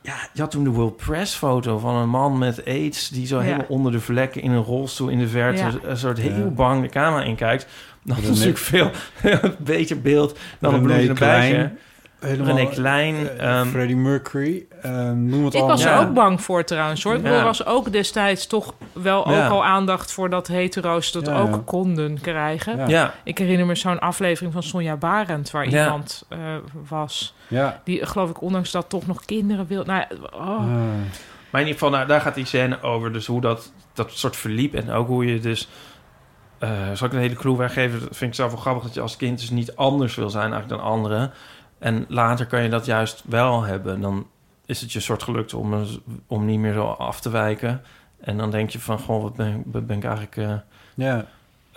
Speaker 1: ja, je had toen de World Press foto van een man met aids... die zo
Speaker 3: Ja.
Speaker 1: helemaal onder de vlekken in een rolstoel in de verte...
Speaker 3: Ja.
Speaker 1: een soort
Speaker 2: Ja.
Speaker 1: heel bang de camera inkijkt. Dan
Speaker 2: René-
Speaker 1: is natuurlijk veel een beter beeld dan een
Speaker 2: René
Speaker 1: bloedje erbij.
Speaker 2: Klein. Helemaal,
Speaker 1: René Klein,
Speaker 2: eh,
Speaker 1: ehm,
Speaker 2: Freddie Mercury. eh, noem het
Speaker 3: Ik
Speaker 2: allemaal.
Speaker 3: was
Speaker 1: Ja.
Speaker 3: er ook bang voor trouwens hoor. Ik bedoel,
Speaker 1: Ja.
Speaker 3: Er was ook destijds toch wel
Speaker 1: Ja.
Speaker 3: ook al aandacht voor dat hetero's dat
Speaker 2: Ja,
Speaker 3: ook
Speaker 2: ja.
Speaker 3: konden krijgen.
Speaker 2: Ja.
Speaker 1: ja,
Speaker 3: Ik herinner me zo'n aflevering van Sonja Barend waar
Speaker 1: Ja.
Speaker 3: iemand eh, was.
Speaker 2: Ja.
Speaker 3: Die geloof ik ondanks dat toch nog kinderen wil. Nou, ja, oh.
Speaker 2: Ah.
Speaker 1: Maar in ieder geval, nou, daar gaat die scène over. Dus hoe dat, dat soort verliep. En ook hoe je dus... eh, zal ik een hele clue weggeven? Dat vind ik zelf wel grappig. Dat je als kind dus niet anders wil zijn eigenlijk dan anderen. En later kan je dat juist wel hebben. Dan is het je soort gelukt om, een- om niet meer zo af te wijken. En dan denk je van... Goh, wat ben, ik- wat ben ik eigenlijk... eh
Speaker 2: ja.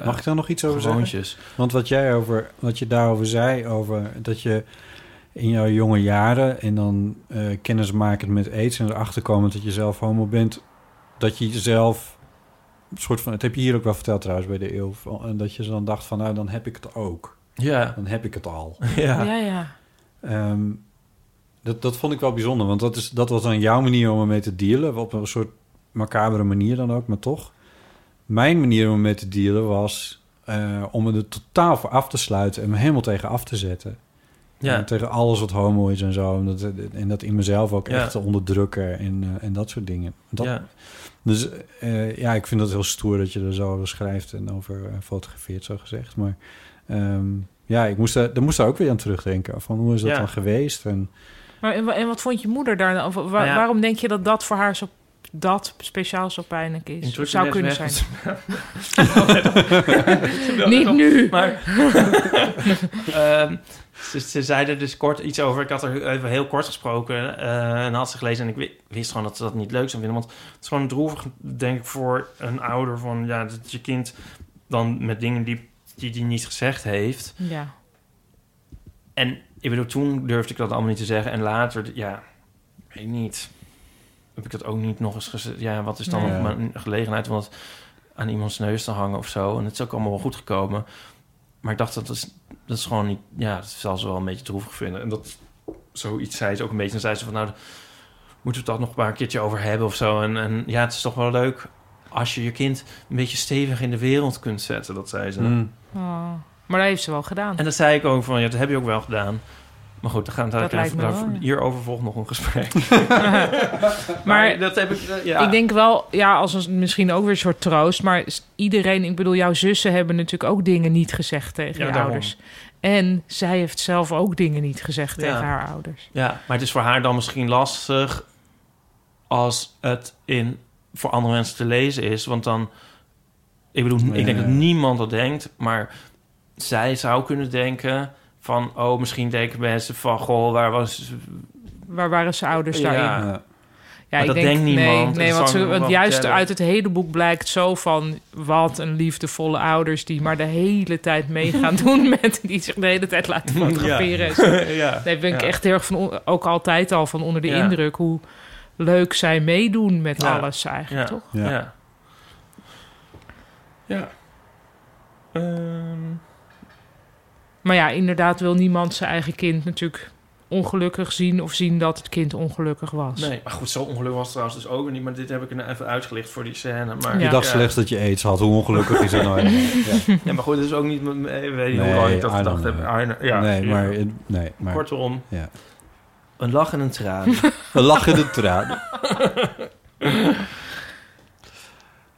Speaker 2: Mag ik daar nog iets over zeggen?
Speaker 1: gewoontjes.
Speaker 2: Eh, Want wat jij over, wat je daarover zei, over dat je in jouw jonge jaren en dan eh kennis maken met aids en erachter komen dat je zelf homo bent, dat je jezelf een soort van, het heb je hier ook wel verteld trouwens bij de eeuw, van- en dat je dan dacht van nou dan heb ik het ook,
Speaker 1: Ja,
Speaker 2: dan heb ik het al.
Speaker 1: ja.
Speaker 3: ja, ja.
Speaker 2: Ehm, dat, dat vond ik wel bijzonder, want dat, is, dat was dan jouw manier om ermee te dealen. Op een soort macabere manier dan ook, maar toch. Mijn manier om ermee te dealen was eh, om me er totaal voor af te sluiten en me helemaal tegen af te zetten. En
Speaker 1: ja.
Speaker 2: tegen alles wat homo is en zo. En dat, en dat in mezelf ook
Speaker 1: Ja.
Speaker 2: echt te onderdrukken en, eh, en dat soort dingen. Dat,
Speaker 1: ja.
Speaker 2: Dus eh, ja, ik vind dat heel stoer dat je er zo over schrijft en over eh, fotografeert, zo gezegd. Maar ehm, ja, ik moest daar, daar moest daar ook weer aan terugdenken. Van hoe is dat
Speaker 1: Ja.
Speaker 2: dan geweest? En,
Speaker 3: Maar en, wa- en wat vond je moeder daar dan? Wa-
Speaker 1: Nou ja.
Speaker 3: Waarom denk je dat dat voor haar zo dat speciaal zo pijnlijk
Speaker 1: In
Speaker 3: is?
Speaker 1: Turkije
Speaker 3: Zou
Speaker 1: is
Speaker 3: kunnen zijn.
Speaker 1: weg-
Speaker 3: Niet nu.
Speaker 1: Maar ehm, ze, ze zeiden dus kort iets over. Ik had er even heel kort gesproken eh, en had ze gelezen. En ik wi- wist gewoon dat ze dat niet leuk zou vinden. Want het is gewoon droevig, denk ik, voor een ouder van ja, dat je kind dan met dingen die die, die niet gezegd heeft.
Speaker 3: Ja.
Speaker 1: En ik bedoel, toen durfde ik dat allemaal niet te zeggen. En later, ja, weet ik niet. Heb ik dat ook niet nog eens gezegd? Ja, wat is dan
Speaker 3: Nee.
Speaker 1: nog maar een gelegenheid om dat aan iemands neus te hangen of zo? En het is ook allemaal wel goed gekomen. Maar ik dacht, dat is, dat is gewoon niet... Ja, dat zal ze wel een beetje droevig vinden. En dat zoiets zei ze ook een beetje. En zei ze van, nou, moeten we het dat nog maar een keertje over hebben of zo? En, en ja, het is toch wel leuk als je je kind een beetje stevig in de wereld kunt zetten, dat zei ze.
Speaker 2: mm,
Speaker 3: Oh. Maar dat heeft ze wel gedaan.
Speaker 1: En dat zei ik ook van, ja, dat heb je ook wel gedaan. Maar goed, dan gaan we daar,
Speaker 3: Dat lijkt me
Speaker 1: daar-
Speaker 3: wel, ja.
Speaker 1: hierover volgt nog een gesprek.
Speaker 3: maar
Speaker 1: dat heb ik, eh, ja.
Speaker 3: Ik denk wel, ja, als een, misschien ook weer een soort troost. Maar s- iedereen, ik bedoel, jouw zussen hebben natuurlijk ook dingen niet gezegd tegen
Speaker 1: Ja,
Speaker 3: je
Speaker 1: daarom.
Speaker 3: ouders. En zij heeft zelf ook dingen niet gezegd
Speaker 1: Ja.
Speaker 3: tegen haar ouders.
Speaker 1: Ja, maar het is voor haar dan misschien lastig als het in, voor andere mensen te lezen is. Want dan, ik bedoel, ik denk dat niemand dat denkt, maar zij zou kunnen denken van, oh, misschien denken mensen van, goh, waar was...
Speaker 3: Waar waren ze ouders
Speaker 1: Ja.
Speaker 3: daarin?
Speaker 2: eh,
Speaker 1: Ja.
Speaker 3: Ja,
Speaker 1: dat denkt
Speaker 3: nee,
Speaker 1: niemand.
Speaker 3: Nee,
Speaker 1: Dat zal ik
Speaker 3: want, ze,
Speaker 1: me wel
Speaker 3: want juist
Speaker 1: vertellen.
Speaker 3: uit het hele boek blijkt zo van... wat een liefdevolle ouders die maar de hele tijd mee gaan doen... met die zich de hele tijd laten fotograferen. en zo.
Speaker 1: ja.
Speaker 3: Nee, ben ik
Speaker 1: Ja.
Speaker 3: echt heel erg van... on- ook altijd al van onder de
Speaker 1: Ja.
Speaker 3: indruk... hoe leuk zij meedoen met
Speaker 1: Ja.
Speaker 3: alles eigenlijk,
Speaker 1: Ja.
Speaker 3: toch?
Speaker 1: Ja.
Speaker 2: Ja.
Speaker 1: Ja. Ehm,
Speaker 3: Maar ja, inderdaad wil niemand zijn eigen kind natuurlijk ongelukkig zien of zien dat het kind ongelukkig was.
Speaker 1: nee, maar goed, zo ongeluk was het trouwens dus ook weer niet. Maar dit heb ik nou even uitgelicht voor die scène. Maar,
Speaker 3: Ja.
Speaker 2: Je dacht
Speaker 1: ja.
Speaker 2: slechts dat je aids had. Hoe ongelukkig is dat nou? eigenlijk? ja.
Speaker 1: Ja, maar goed, het is ook niet... m- eh, Weet je
Speaker 2: Nee,
Speaker 1: hoe lang ik dat
Speaker 2: I don't
Speaker 1: gedacht heb?
Speaker 2: know.
Speaker 1: I know- Ja,
Speaker 2: nee,
Speaker 1: ja.
Speaker 2: maar, eh, nee, maar
Speaker 1: Kortom,
Speaker 2: Ja.
Speaker 1: een lach en een traan.
Speaker 2: een lachende traan.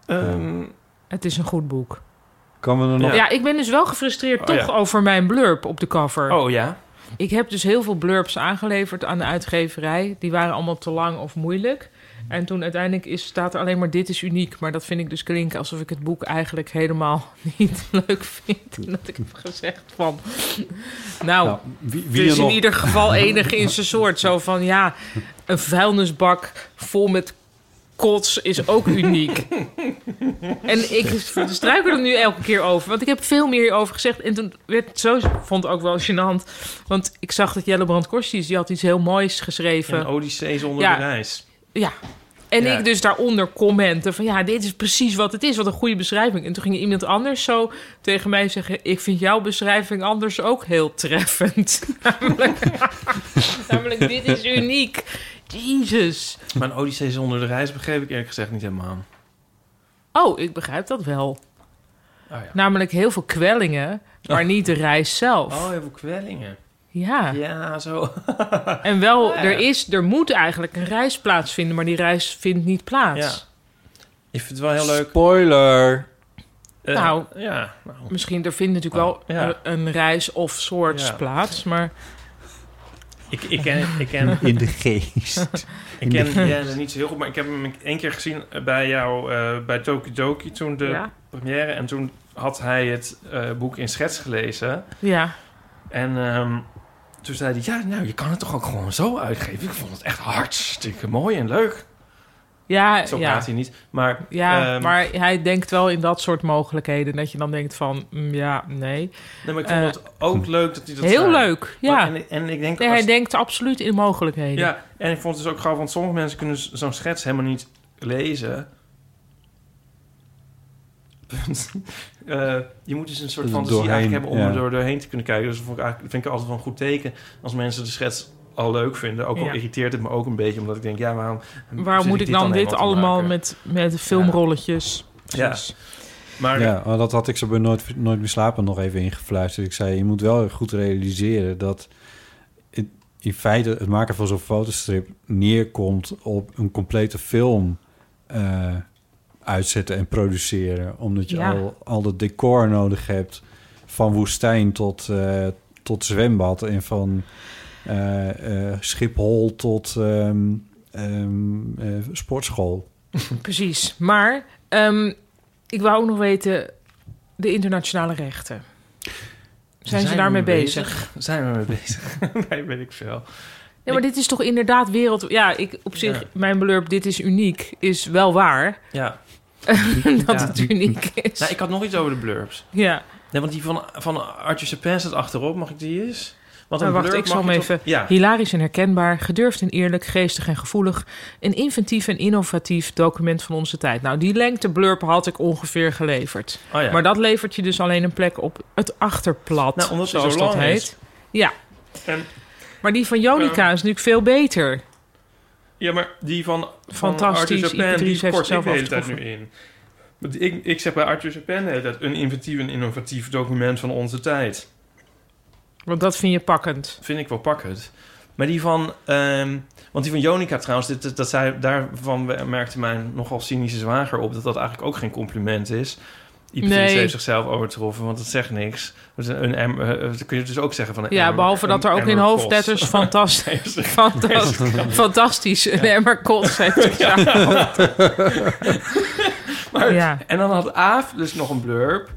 Speaker 1: Ehm,
Speaker 3: Het is een goed boek.
Speaker 2: Kan we er nog...
Speaker 3: Ja. ik ben dus wel gefrustreerd
Speaker 1: Oh,
Speaker 3: toch
Speaker 1: ja.
Speaker 3: over mijn blurb op de cover.
Speaker 1: Oh ja?
Speaker 3: Ik heb dus heel veel blurbs aangeleverd aan de uitgeverij. Die waren allemaal te lang of moeilijk. En toen uiteindelijk is, staat er alleen maar dit is uniek. Maar dat vind ik dus klinken alsof ik het boek eigenlijk helemaal niet leuk vind. En dat ik heb gezegd van... Nou,
Speaker 2: Nou, wie, wie
Speaker 3: dus
Speaker 2: er
Speaker 3: in
Speaker 2: nog...
Speaker 3: ieder geval enig in zijn soort. Zo van, ja, een vuilnisbak vol met kots is ook uniek. en ik struikel er nu elke keer over. Want ik heb veel meer hierover gezegd. En toen werd het zo, vond ik ook wel gênant. Want ik zag dat Jelle Brand Korsies, die had iets heel moois geschreven.
Speaker 1: Een odyssee zonder
Speaker 3: Ja.
Speaker 1: reis.
Speaker 3: Ja. En
Speaker 1: Ja.
Speaker 3: ik dus daaronder commenten van ja, dit is precies wat het is. Wat een goede beschrijving. En toen ging iemand anders zo tegen mij zeggen... ik vind jouw beschrijving anders ook heel treffend. namelijk, namelijk, dit is uniek. Jezus.
Speaker 1: Maar een odyssee zonder de reis begreep ik eerlijk gezegd niet helemaal.
Speaker 3: Oh, ik begrijp dat wel.
Speaker 1: Oh ja.
Speaker 3: Namelijk heel veel kwellingen, maar niet de reis zelf.
Speaker 1: Oh, heel veel kwellingen.
Speaker 3: ja.
Speaker 1: Ja, zo.
Speaker 3: En wel,
Speaker 1: Ja.
Speaker 3: er, is, er moet eigenlijk een reis plaatsvinden... maar die reis vindt niet plaats.
Speaker 1: Ik vind het wel heel leuk.
Speaker 2: Spoiler!
Speaker 1: Eh,
Speaker 3: Nou.
Speaker 1: Ja, nou.
Speaker 3: Misschien, er vindt natuurlijk wel
Speaker 1: Oh. ja.
Speaker 3: eh, een reis of soorts
Speaker 1: Ja.
Speaker 3: plaats, maar...
Speaker 1: Ik, ik ken, ik ken,
Speaker 2: In de geest.
Speaker 1: ik ken Jens niet zo heel goed, maar ik heb hem één keer gezien bij jou, eh, bij Tokidoki, toen de
Speaker 3: Ja.
Speaker 1: première. En toen had hij het eh, boek in schets gelezen.
Speaker 3: ja.
Speaker 1: En ehm, toen zei hij, ja, nou, je kan het toch ook gewoon zo uitgeven? Ik vond het echt hartstikke mooi en leuk.
Speaker 3: Ja,
Speaker 1: Zo
Speaker 3: Eh, ja.
Speaker 1: praat hij niet. Maar,
Speaker 3: Ja,
Speaker 1: ehm,
Speaker 3: maar hij denkt wel in dat soort mogelijkheden. Dat je dan denkt van, mm, ja, nee.
Speaker 1: nee, maar ik vond
Speaker 3: eh,
Speaker 1: het ook leuk dat hij dat zei.
Speaker 3: Heel leuk, ja.
Speaker 1: Maar- en, en ik denk...
Speaker 3: nee,
Speaker 1: als-
Speaker 3: hij denkt absoluut in mogelijkheden.
Speaker 1: ja, en ik vond het dus ook grappig, want sommige mensen kunnen z- zo'n schets helemaal niet lezen. Punt. Eh, je moet dus een soort
Speaker 2: Er
Speaker 1: fantasie
Speaker 2: doorheen,
Speaker 1: eigenlijk hebben om
Speaker 2: ja.
Speaker 1: er door, doorheen te kunnen kijken. Dus dat vond ik, eigenlijk, vind ik altijd wel een goed teken als mensen de schets al leuk vinden. Ook al
Speaker 3: Ja.
Speaker 1: irriteert het me ook een beetje, omdat ik denk, ja, waarom...
Speaker 3: Waarom
Speaker 1: zit
Speaker 3: moet ik dan, dit
Speaker 1: helemaal te
Speaker 3: allemaal
Speaker 1: maken?
Speaker 3: met, met filmrolletjes?
Speaker 1: Ja.
Speaker 3: Precies.
Speaker 1: Maar
Speaker 2: Ja, maar dat had ik ze bij Nooit, nooit meer slapen nog even ingefluisterd. Ik zei, je moet wel goed realiseren dat het- in feite het maken van zo'n fotostrip neerkomt op een complete film eh, uitzetten en produceren. Omdat je
Speaker 3: Ja.
Speaker 2: al, al het decor nodig hebt van woestijn tot, eh, tot zwembad en van eh, eh, Schiphol tot ehm, ehm, eh, sportschool.
Speaker 3: Precies. Maar ehm, ik wou ook nog weten, de internationale rechten. Zijn, ze
Speaker 1: we
Speaker 3: daarmee
Speaker 1: mee
Speaker 3: bezig?
Speaker 1: Zijn we mee bezig? nee, weet ik veel.
Speaker 3: Ja, maar dit is toch inderdaad wereld... Ja, ik, op zich,
Speaker 1: Ja.
Speaker 3: mijn blurb, dit is uniek, is wel waar.
Speaker 1: Ja.
Speaker 3: dat
Speaker 1: Ja.
Speaker 3: het uniek is.
Speaker 1: Nou, ik had nog iets over de blurbs.
Speaker 3: Ja.
Speaker 1: Nee, want die van, van Arthur Chapin staat achterop. Mag ik die eens? Want
Speaker 3: Maar
Speaker 1: een
Speaker 3: Nou, wacht,
Speaker 1: blurb
Speaker 3: ik zal
Speaker 1: mag
Speaker 3: hem
Speaker 1: je toch-
Speaker 3: even-
Speaker 1: Ja.
Speaker 3: Hilarisch en herkenbaar, gedurfd en eerlijk, geestig en gevoelig. Een inventief en innovatief document van onze tijd. Nou, die lengte blurb had ik ongeveer geleverd.
Speaker 1: Oh, ja.
Speaker 3: Maar dat levert je dus alleen een plek op het achterplat,
Speaker 1: Nou, omdat hij
Speaker 3: zoals
Speaker 1: zo
Speaker 3: dat
Speaker 1: lang
Speaker 3: heet.
Speaker 1: is.
Speaker 3: Ja.
Speaker 1: En-
Speaker 3: maar die van Jonica is natuurlijk veel beter.
Speaker 1: ja, maar die van, van
Speaker 3: Fantastisch,
Speaker 1: Arthur Chapin,
Speaker 3: Ipatrice
Speaker 1: die
Speaker 3: heeft
Speaker 1: kort ik
Speaker 3: zelf
Speaker 1: de hele tijd nu
Speaker 3: afgetroffen.
Speaker 1: in. Want ik, ik zeg bij Arthur Chapin de hele tijd... een inventief en innovatief document van onze tijd.
Speaker 3: Want dat vind je pakkend.
Speaker 1: Vind ik wel pakkend. Maar die van... ehm, want die van Jonica trouwens, dit, dat, dat zij, daarvan merkte mijn nogal cynische zwager op... dat dat eigenlijk ook geen compliment is. Ipatrice
Speaker 3: Nee.
Speaker 1: heeft zichzelf overtroffen, want dat zegt niks. Dus een, em- eh, eh, dan kun je dus ook zeggen van... een
Speaker 3: Ja,
Speaker 1: emmer-
Speaker 3: behalve dat
Speaker 1: een
Speaker 3: er ook in
Speaker 1: emmer kost.
Speaker 3: hoofdletters fantastisch, fantastisch, fantastisch een emmer kots heeft gestaan.
Speaker 1: Maar-
Speaker 3: Ja.
Speaker 1: En dan had Aaf dus nog een blurb.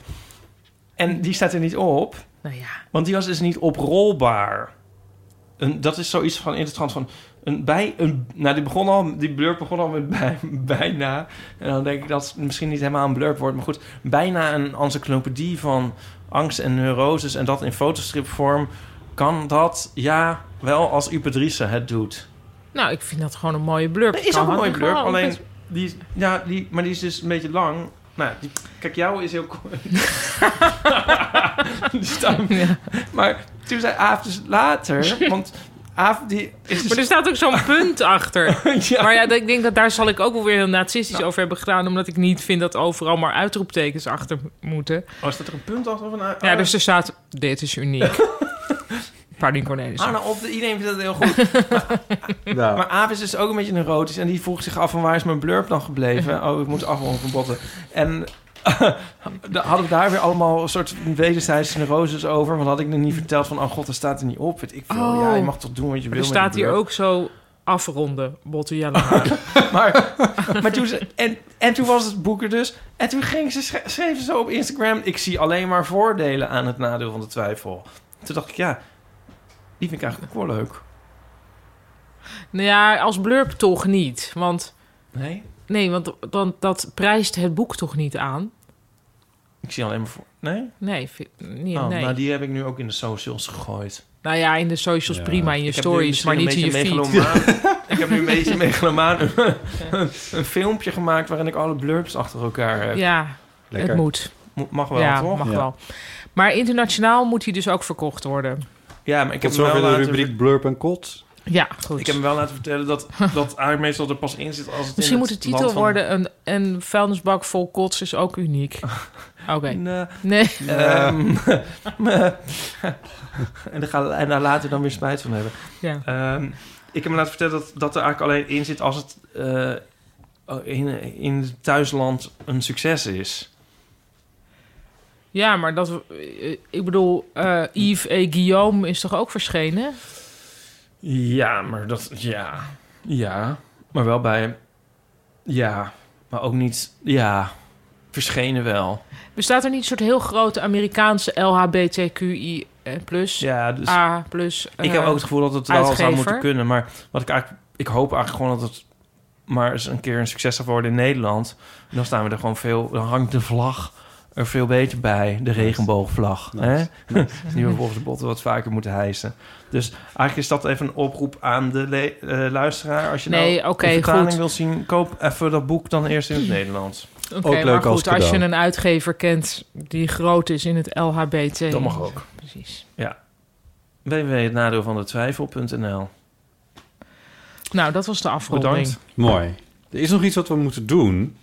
Speaker 1: En die staat er niet op,
Speaker 3: Nou ja,
Speaker 1: want die was dus niet oprolbaar. Een, dat is zoiets van in de trant van een bij een. Nou, die begon al, die blurb begon al met bij, bijna. En dan denk ik dat het misschien niet helemaal een blurb wordt, maar goed, bijna een encyclopedie van angst en neuroses en dat in fotostripvorm. Kan dat ja wel als Upadrice het doet?
Speaker 3: nou ik vind dat gewoon een mooie blurb.
Speaker 1: Nee, is ook een mooie blurb,
Speaker 3: Kan
Speaker 1: alleen
Speaker 3: best-
Speaker 1: die, is- ja, die, maar die is dus een beetje lang. Nou, die, kijk, jou is heel kort. die staat, Maar toen zei Aaf dus later, want Aaf die is dus...
Speaker 3: Maar er staat ook zo'n punt achter.
Speaker 1: ja,
Speaker 3: Maar ja, dat- ik denk dat daar zal ik ook wel weer heel nazistisch over hebben gedaan. Omdat ik niet vind dat overal maar uitroeptekens achter moeten.
Speaker 1: Oh, staat er een oh, punt achter van Aaf?
Speaker 3: Ja, dus er staat, dit is uniek. Paulien Cornelissen.
Speaker 1: Ah, nou, op de, iedereen vindt dat heel goed.
Speaker 2: Ja.
Speaker 1: Maar Aaf is dus ook een beetje neurotisch. En die vroeg zich af van waar is mijn blurb dan gebleven? Oh, ik moet afronden van botten. En Da- hadden we daar weer allemaal een soort wederzijdse neuroses over? Want had ik nog niet verteld van... oh god, daar staat er niet op. Weet ik veel.
Speaker 3: Oh.
Speaker 1: Ja, je mag toch doen wat je wil
Speaker 3: Er
Speaker 1: met
Speaker 3: staat
Speaker 1: die
Speaker 3: hier
Speaker 1: beurt.
Speaker 3: ook zo afronden, Botte Jellema.
Speaker 1: Maar, maar toen ze, en, en toen was het boek er dus. En toen ging ze, schre- schreef ze zo op Instagram... ik zie alleen maar voordelen aan het nadeel van de twijfel. Toen dacht ik, ja... die vind ik eigenlijk ook wel leuk.
Speaker 3: nou ja, als blurb toch niet. Want,
Speaker 1: Nee?
Speaker 3: nee, want dan, dat prijst het boek toch niet aan?
Speaker 1: Ik zie alleen maar voor... Nee?
Speaker 3: Nee, vind- nee,
Speaker 1: Oh,
Speaker 3: nee.
Speaker 1: Nou, die heb ik nu ook in de socials gegooid.
Speaker 3: Nou ja, in de socials
Speaker 2: Ja.
Speaker 3: prima, in je
Speaker 1: Ik heb nu
Speaker 3: stories,
Speaker 1: misschien
Speaker 3: maar
Speaker 1: een
Speaker 3: niet in je
Speaker 1: beetje
Speaker 3: feed.
Speaker 1: megalomaan- ik heb nu een beetje megalomaan een, een filmpje gemaakt... waarin ik alle blurbs achter elkaar heb.
Speaker 3: Ja,
Speaker 2: Lekker.
Speaker 3: het moet.
Speaker 1: Mo- Mag wel,
Speaker 3: ja,
Speaker 1: toch?
Speaker 3: mag
Speaker 2: Ja.
Speaker 3: wel. Maar internationaal moet hij dus ook verkocht worden.
Speaker 1: Ja, maar ik heb,
Speaker 2: Tot
Speaker 1: hem wel
Speaker 2: zover de
Speaker 1: laten
Speaker 2: rubriek Blurp en Kot.
Speaker 3: Ja, goed.
Speaker 1: ver- ik heb hem wel laten vertellen dat, dat eigenlijk meestal er pas in zit als het
Speaker 3: Misschien
Speaker 1: in
Speaker 3: moet de
Speaker 1: het
Speaker 3: titel
Speaker 1: land van-
Speaker 3: worden... Een, een vuilnisbak vol kots is ook uniek. Oké.
Speaker 1: Nee,
Speaker 3: Nee,
Speaker 1: ehm, en, daar gaan, en daar later dan weer spijt van hebben.
Speaker 3: ja.
Speaker 1: Ehm, ik heb hem laten vertellen dat, dat er eigenlijk alleen in zit als het eh, in, in het thuisland een succes is.
Speaker 3: ja, maar dat... eh, Ik bedoel, eh Yves E. Guillaume is toch ook verschenen?
Speaker 1: Ja, maar dat... Ja. Ja. Maar wel bij... Ja. Maar ook niet... Ja. Verschenen wel.
Speaker 3: Bestaat er niet een soort heel grote Amerikaanse LHBTQI eh, plus?
Speaker 1: Ja, dus...
Speaker 3: A plus?
Speaker 1: Ik heb
Speaker 3: eh,
Speaker 1: ook het gevoel dat het wel zou
Speaker 3: uitgever.
Speaker 1: moeten kunnen. Maar wat ik eigenlijk, ik hoop eigenlijk gewoon dat het maar eens een keer een succes zou worden in Nederland. En dan staan we er gewoon veel, dan hangt de vlag er veel beter bij, de regenboogvlag. Hè? Die we volgens de botten wat vaker moeten hijsen. Dus eigenlijk is dat even een oproep aan de le- eh, luisteraar. Als je
Speaker 3: Nee,
Speaker 1: nou
Speaker 3: oké,
Speaker 1: een vertaling
Speaker 3: goed.
Speaker 1: wil zien, koop even dat boek dan eerst in het Nederlands.
Speaker 3: Oké,
Speaker 2: Ook leuk
Speaker 3: maar
Speaker 2: als
Speaker 3: goed, als, je
Speaker 2: cadeau.
Speaker 3: een uitgever kent die groot is in het LHBT.
Speaker 1: Dat mag ook.
Speaker 3: Precies.
Speaker 1: www.hetnadeelvandetwijfel.nl
Speaker 3: Nou, dat was de afronding.
Speaker 1: Bedankt.
Speaker 2: Mooi. Er is nog iets wat we moeten doen.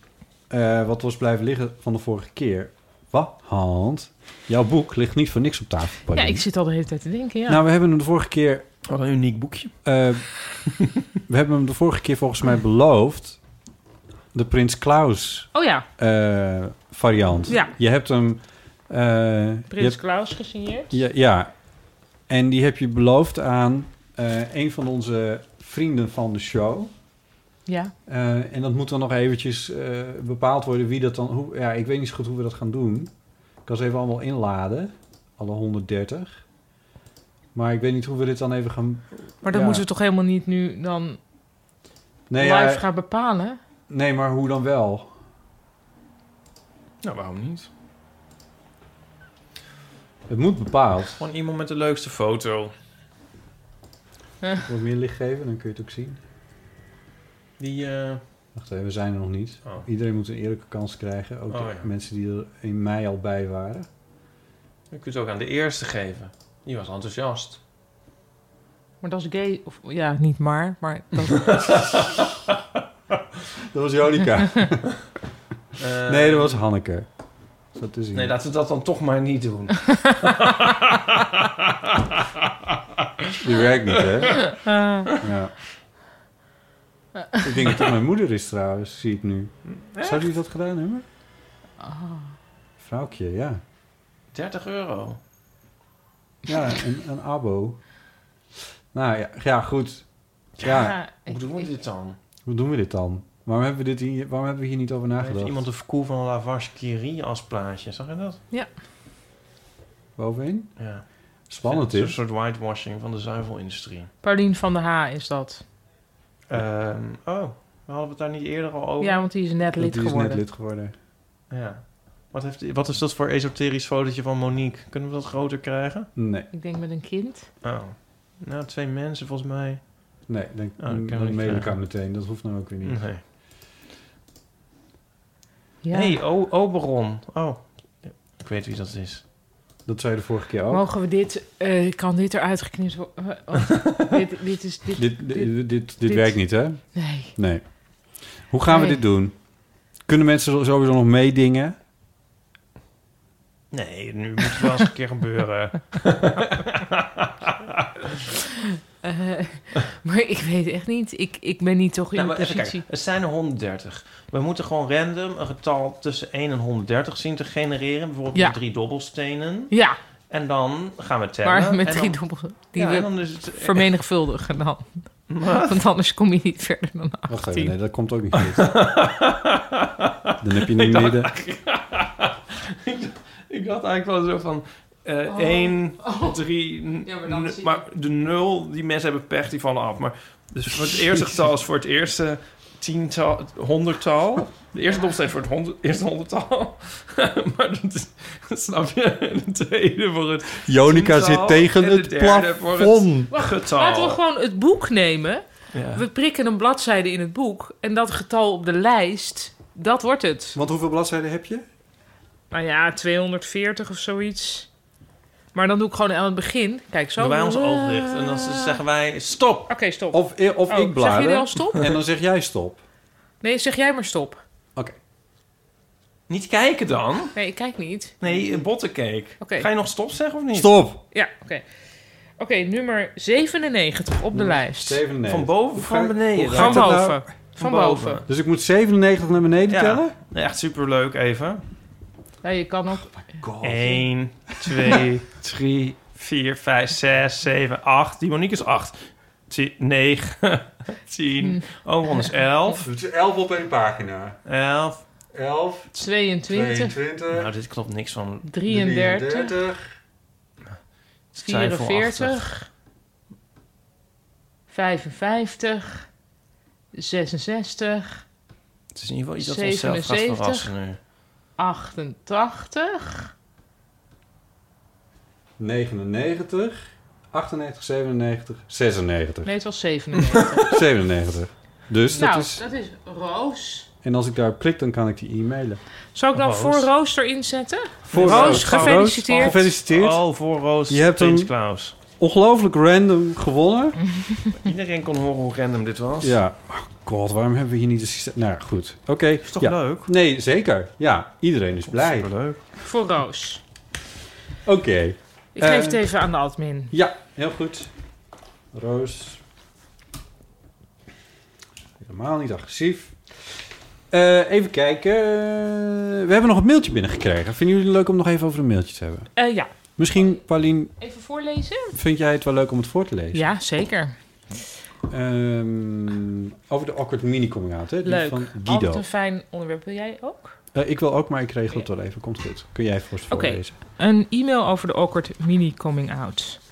Speaker 2: eh, wat was blijven liggen van de vorige keer. Wat, Hand? Jouw boek ligt niet voor niks op tafel.
Speaker 3: Ja,
Speaker 2: Paulien.
Speaker 3: ik zit al de hele tijd te denken, ja.
Speaker 2: Nou, we hebben hem de vorige keer...
Speaker 1: Wat een uniek boekje.
Speaker 2: eh, we hebben hem de vorige keer volgens mij beloofd. De Prins Klaus
Speaker 3: oh ja,
Speaker 2: eh, variant.
Speaker 3: Ja.
Speaker 2: Je hebt hem... eh, je
Speaker 3: Prins Klaus gesigneerd.
Speaker 2: Ja, ja. en die heb je beloofd aan eh, een van onze vrienden van de show.
Speaker 3: Ja.
Speaker 2: Eh, en dat moet dan nog eventjes eh, bepaald worden wie dat dan... Hoe, ja, ik weet niet zo goed hoe we dat gaan doen. Ik kan ze even allemaal inladen, alle 130. Maar ik weet niet hoe we dit dan even gaan...
Speaker 3: Maar dat
Speaker 2: Ja.
Speaker 3: moeten we toch helemaal niet nu dan
Speaker 2: Nee,
Speaker 3: live
Speaker 2: ja,
Speaker 3: gaan bepalen?
Speaker 2: nee, maar hoe dan wel?
Speaker 1: Nou, waarom niet?
Speaker 2: Het moet bepaald.
Speaker 1: Gewoon iemand met de leukste foto.
Speaker 2: Wat meer licht geven, dan kun je het ook zien.
Speaker 1: Die... eh,
Speaker 2: Wacht even, we zijn er nog niet.
Speaker 1: Oh.
Speaker 2: Iedereen moet een eerlijke kans krijgen. Ook
Speaker 1: Oh,
Speaker 2: de
Speaker 1: ja.
Speaker 2: mensen die er in mei al bij waren.
Speaker 1: Je kunt het ook aan de eerste geven. Die was enthousiast.
Speaker 3: Maar dat is gay, of ja, niet maar, maar dat,
Speaker 2: Dat was Jonica.
Speaker 1: Eh,
Speaker 2: nee, dat was Hanneke. Zo te zien.
Speaker 1: Nee, laten we dat dan toch maar niet doen.
Speaker 2: Die werkt niet, hè? Ja. Ik denk dat dat mijn moeder is trouwens, zie ik nu. Zou die dat gedaan hebben?
Speaker 1: Ah.
Speaker 2: Vrouwtje, ja.
Speaker 1: 30 euro.
Speaker 2: Ja, een, een abo. Nou ja, ja goed. Ja,
Speaker 3: ja,
Speaker 1: Hoe
Speaker 3: ik-
Speaker 1: doen we
Speaker 3: ik-
Speaker 1: dit dan?
Speaker 2: hoe doen we dit dan? Waarom hebben we, dit hier, waarom hebben we hier niet over
Speaker 1: Heeft
Speaker 2: nagedacht?
Speaker 1: iemand de verkoel van Lavage Curie als plaatje? Zag je dat?
Speaker 2: Bovenin?
Speaker 1: Ja.
Speaker 2: Spannend
Speaker 1: Een
Speaker 2: is.
Speaker 1: soort whitewashing van de zuivelindustrie.
Speaker 3: Paulien van der Ha is dat.
Speaker 1: Ehm, oh, we hadden het daar niet eerder al over.
Speaker 3: Ja, want die is net
Speaker 2: dat
Speaker 3: lid
Speaker 2: die is
Speaker 3: geworden.
Speaker 2: net lid geworden.
Speaker 1: Ja. Wat, heeft, wat is dat voor esoterisch fotootje van Monique? Kunnen we dat groter krijgen?
Speaker 2: Nee,
Speaker 3: Ik denk met een kind.
Speaker 1: Oh. Nou, twee mensen volgens mij.
Speaker 2: nee dan,
Speaker 1: Oh, dat kan
Speaker 2: dan
Speaker 1: ik niet
Speaker 2: mail ik
Speaker 1: vragen.
Speaker 2: haar meteen. Dat hoeft nou ook weer niet.
Speaker 1: Nee.
Speaker 3: Ja.
Speaker 1: hey, o- Oberon. Oh, ik weet wie dat is.
Speaker 2: Dat zei je de vorige
Speaker 1: oh.
Speaker 2: keer ook.
Speaker 3: Mogen we dit, eh, kan dit eruit geknipt worden? Oh, dit, dit is, dit,
Speaker 2: Dit, dit, dit, dit,
Speaker 3: Dit-
Speaker 2: werkt niet, hè?
Speaker 3: nee.
Speaker 2: Nee. Hoe gaan we
Speaker 3: Nee.
Speaker 2: dit doen? Kunnen mensen sowieso nog meedingen?
Speaker 1: Nee, nu moet het wel eens een keer gebeuren.
Speaker 3: Eh, maar ik weet echt niet. Ik, ik ben niet toch in
Speaker 1: Nou,
Speaker 3: de
Speaker 1: maar even
Speaker 3: positie.
Speaker 1: kijken. Het zijn er 130. We moeten gewoon random een getal tussen 1 en 130 zien te genereren. Bijvoorbeeld
Speaker 3: Ja.
Speaker 1: met drie dobbelstenen.
Speaker 3: Ja,
Speaker 1: En dan gaan we tellen.
Speaker 3: maar met
Speaker 1: en
Speaker 3: drie
Speaker 1: dan-
Speaker 3: dobbels. Die
Speaker 1: ja, en
Speaker 3: we
Speaker 1: dan is het...
Speaker 3: vermenigvuldigen dan. Want anders kom je niet verder dan acht.
Speaker 2: Wacht
Speaker 3: Tien.
Speaker 2: even, nee, dat komt ook niet goed. Dan heb je niet midden.
Speaker 1: Ik had eigenlijk wel zo van... eh,
Speaker 3: Oh.
Speaker 1: 1, 3...
Speaker 3: Ja, maar dan zie je-
Speaker 1: maar de 0, die mensen hebben pech, die vallen af. Maar dus voor het eerste getal is voor het eerste tiental, honderdtal. De eerste dobbelsteen is voor het honderd, eerste honderdtal. maar dat, is- dat snap je. En de tweede voor het
Speaker 2: Jonica
Speaker 1: tiental.
Speaker 2: zit tegen
Speaker 1: En de
Speaker 2: het
Speaker 1: derde voor
Speaker 2: plafond.
Speaker 1: Het getal.
Speaker 3: Laten we gewoon het boek nemen.
Speaker 1: Oh. Ja.
Speaker 3: We prikken een bladzijde in het boek. En dat getal op de lijst, dat wordt het.
Speaker 2: Want hoeveel bladzijden heb je?
Speaker 3: Nou ja, 240 of zoiets. Maar dan doe ik gewoon aan het begin. Kijk, zo.
Speaker 1: Doen wij ons oog dicht en dan zeggen wij stop.
Speaker 3: Oké, stop.
Speaker 2: Of, eh, of
Speaker 3: Oh,
Speaker 2: ik
Speaker 3: zeg jullie al
Speaker 2: blader.
Speaker 3: stop?
Speaker 2: En dan zeg jij stop.
Speaker 3: Nee, zeg jij maar stop.
Speaker 2: Oké.
Speaker 1: Niet kijken dan.
Speaker 3: Nee, ik kijk niet.
Speaker 1: Nee, een bottencake.
Speaker 3: Oké.
Speaker 1: Ga je nog stop zeggen of niet?
Speaker 2: Stop.
Speaker 3: Ja, oké. Oké, nummer 97 op de lijst.
Speaker 2: 97.
Speaker 1: Van boven of van
Speaker 2: Hoe ga-
Speaker 1: beneden?
Speaker 2: hoe ga
Speaker 3: Van
Speaker 2: ik dat nou-
Speaker 3: boven. Van boven.
Speaker 2: Dus ik moet 97 naar beneden
Speaker 1: Ja.
Speaker 2: tellen?
Speaker 1: Nee, Echt superleuk even.
Speaker 3: Ja, je kan nog.
Speaker 2: Eh.
Speaker 1: 1, 2, 3, 4, 5, 6, 7, 8. Die Monique is 8. 9, 10.
Speaker 3: Hm.
Speaker 1: Oh, Ron is 11.
Speaker 2: Het is 11 op één pagina.
Speaker 1: 11.
Speaker 2: 11,
Speaker 3: 22,
Speaker 1: Nou, dit klopt niks van.
Speaker 3: 33, 44, 55, 66,
Speaker 1: Het is in ieder geval iets dat onszelf gaat
Speaker 3: 77.
Speaker 1: verrassen nu.
Speaker 3: 88,
Speaker 2: 99, 98, 97, 96.
Speaker 3: nee, het was 97.
Speaker 2: 97. Dus
Speaker 3: nou,
Speaker 2: dat is...
Speaker 3: dat is Roos.
Speaker 2: En als ik daar op klik, dan kan ik die e-mailen.
Speaker 3: Zal ik dan
Speaker 1: Roos.
Speaker 3: voor Roos erin zetten?
Speaker 2: Voor
Speaker 3: Roos,
Speaker 2: Roos,
Speaker 3: Oh, gefeliciteerd.
Speaker 2: Gefeliciteerd.
Speaker 1: Oh, voor Roos.
Speaker 2: Je hebt hem.
Speaker 1: Prins Klaus.
Speaker 2: Ongelooflijk random gewonnen.
Speaker 1: Iedereen kon horen hoe random dit was.
Speaker 2: Ja. Oh god, waarom hebben we hier niet een systeem? Nou ja, goed. Oké.
Speaker 1: Is toch
Speaker 2: ja.
Speaker 1: leuk?
Speaker 2: Nee, zeker. Ja, iedereen is blij. Oké.
Speaker 1: Superleuk.
Speaker 3: Voor Roos. Ik geef
Speaker 2: Eh,
Speaker 3: het even aan de admin.
Speaker 2: Ja, heel goed. Roos. Helemaal niet agressief. Eh, even kijken. We hebben nog een mailtje binnengekregen. Vinden jullie het leuk om nog even over een mailtje te hebben?
Speaker 3: Eh, ja,
Speaker 2: Misschien, Paulien,
Speaker 3: even voorlezen?
Speaker 2: vind jij het wel leuk om het voor te lezen?
Speaker 3: Ja, zeker.
Speaker 2: Ehm, over de awkward mini coming out, hè? Die
Speaker 3: Leuk.
Speaker 2: van Guido.
Speaker 3: Altijd een fijn onderwerp. Wil jij ook?
Speaker 2: Eh, ik wil ook, maar ik regel het wel even. Komt goed. Kun jij voor
Speaker 3: Oké.
Speaker 2: voorlezen?
Speaker 3: Een e-mail over de awkward mini coming out.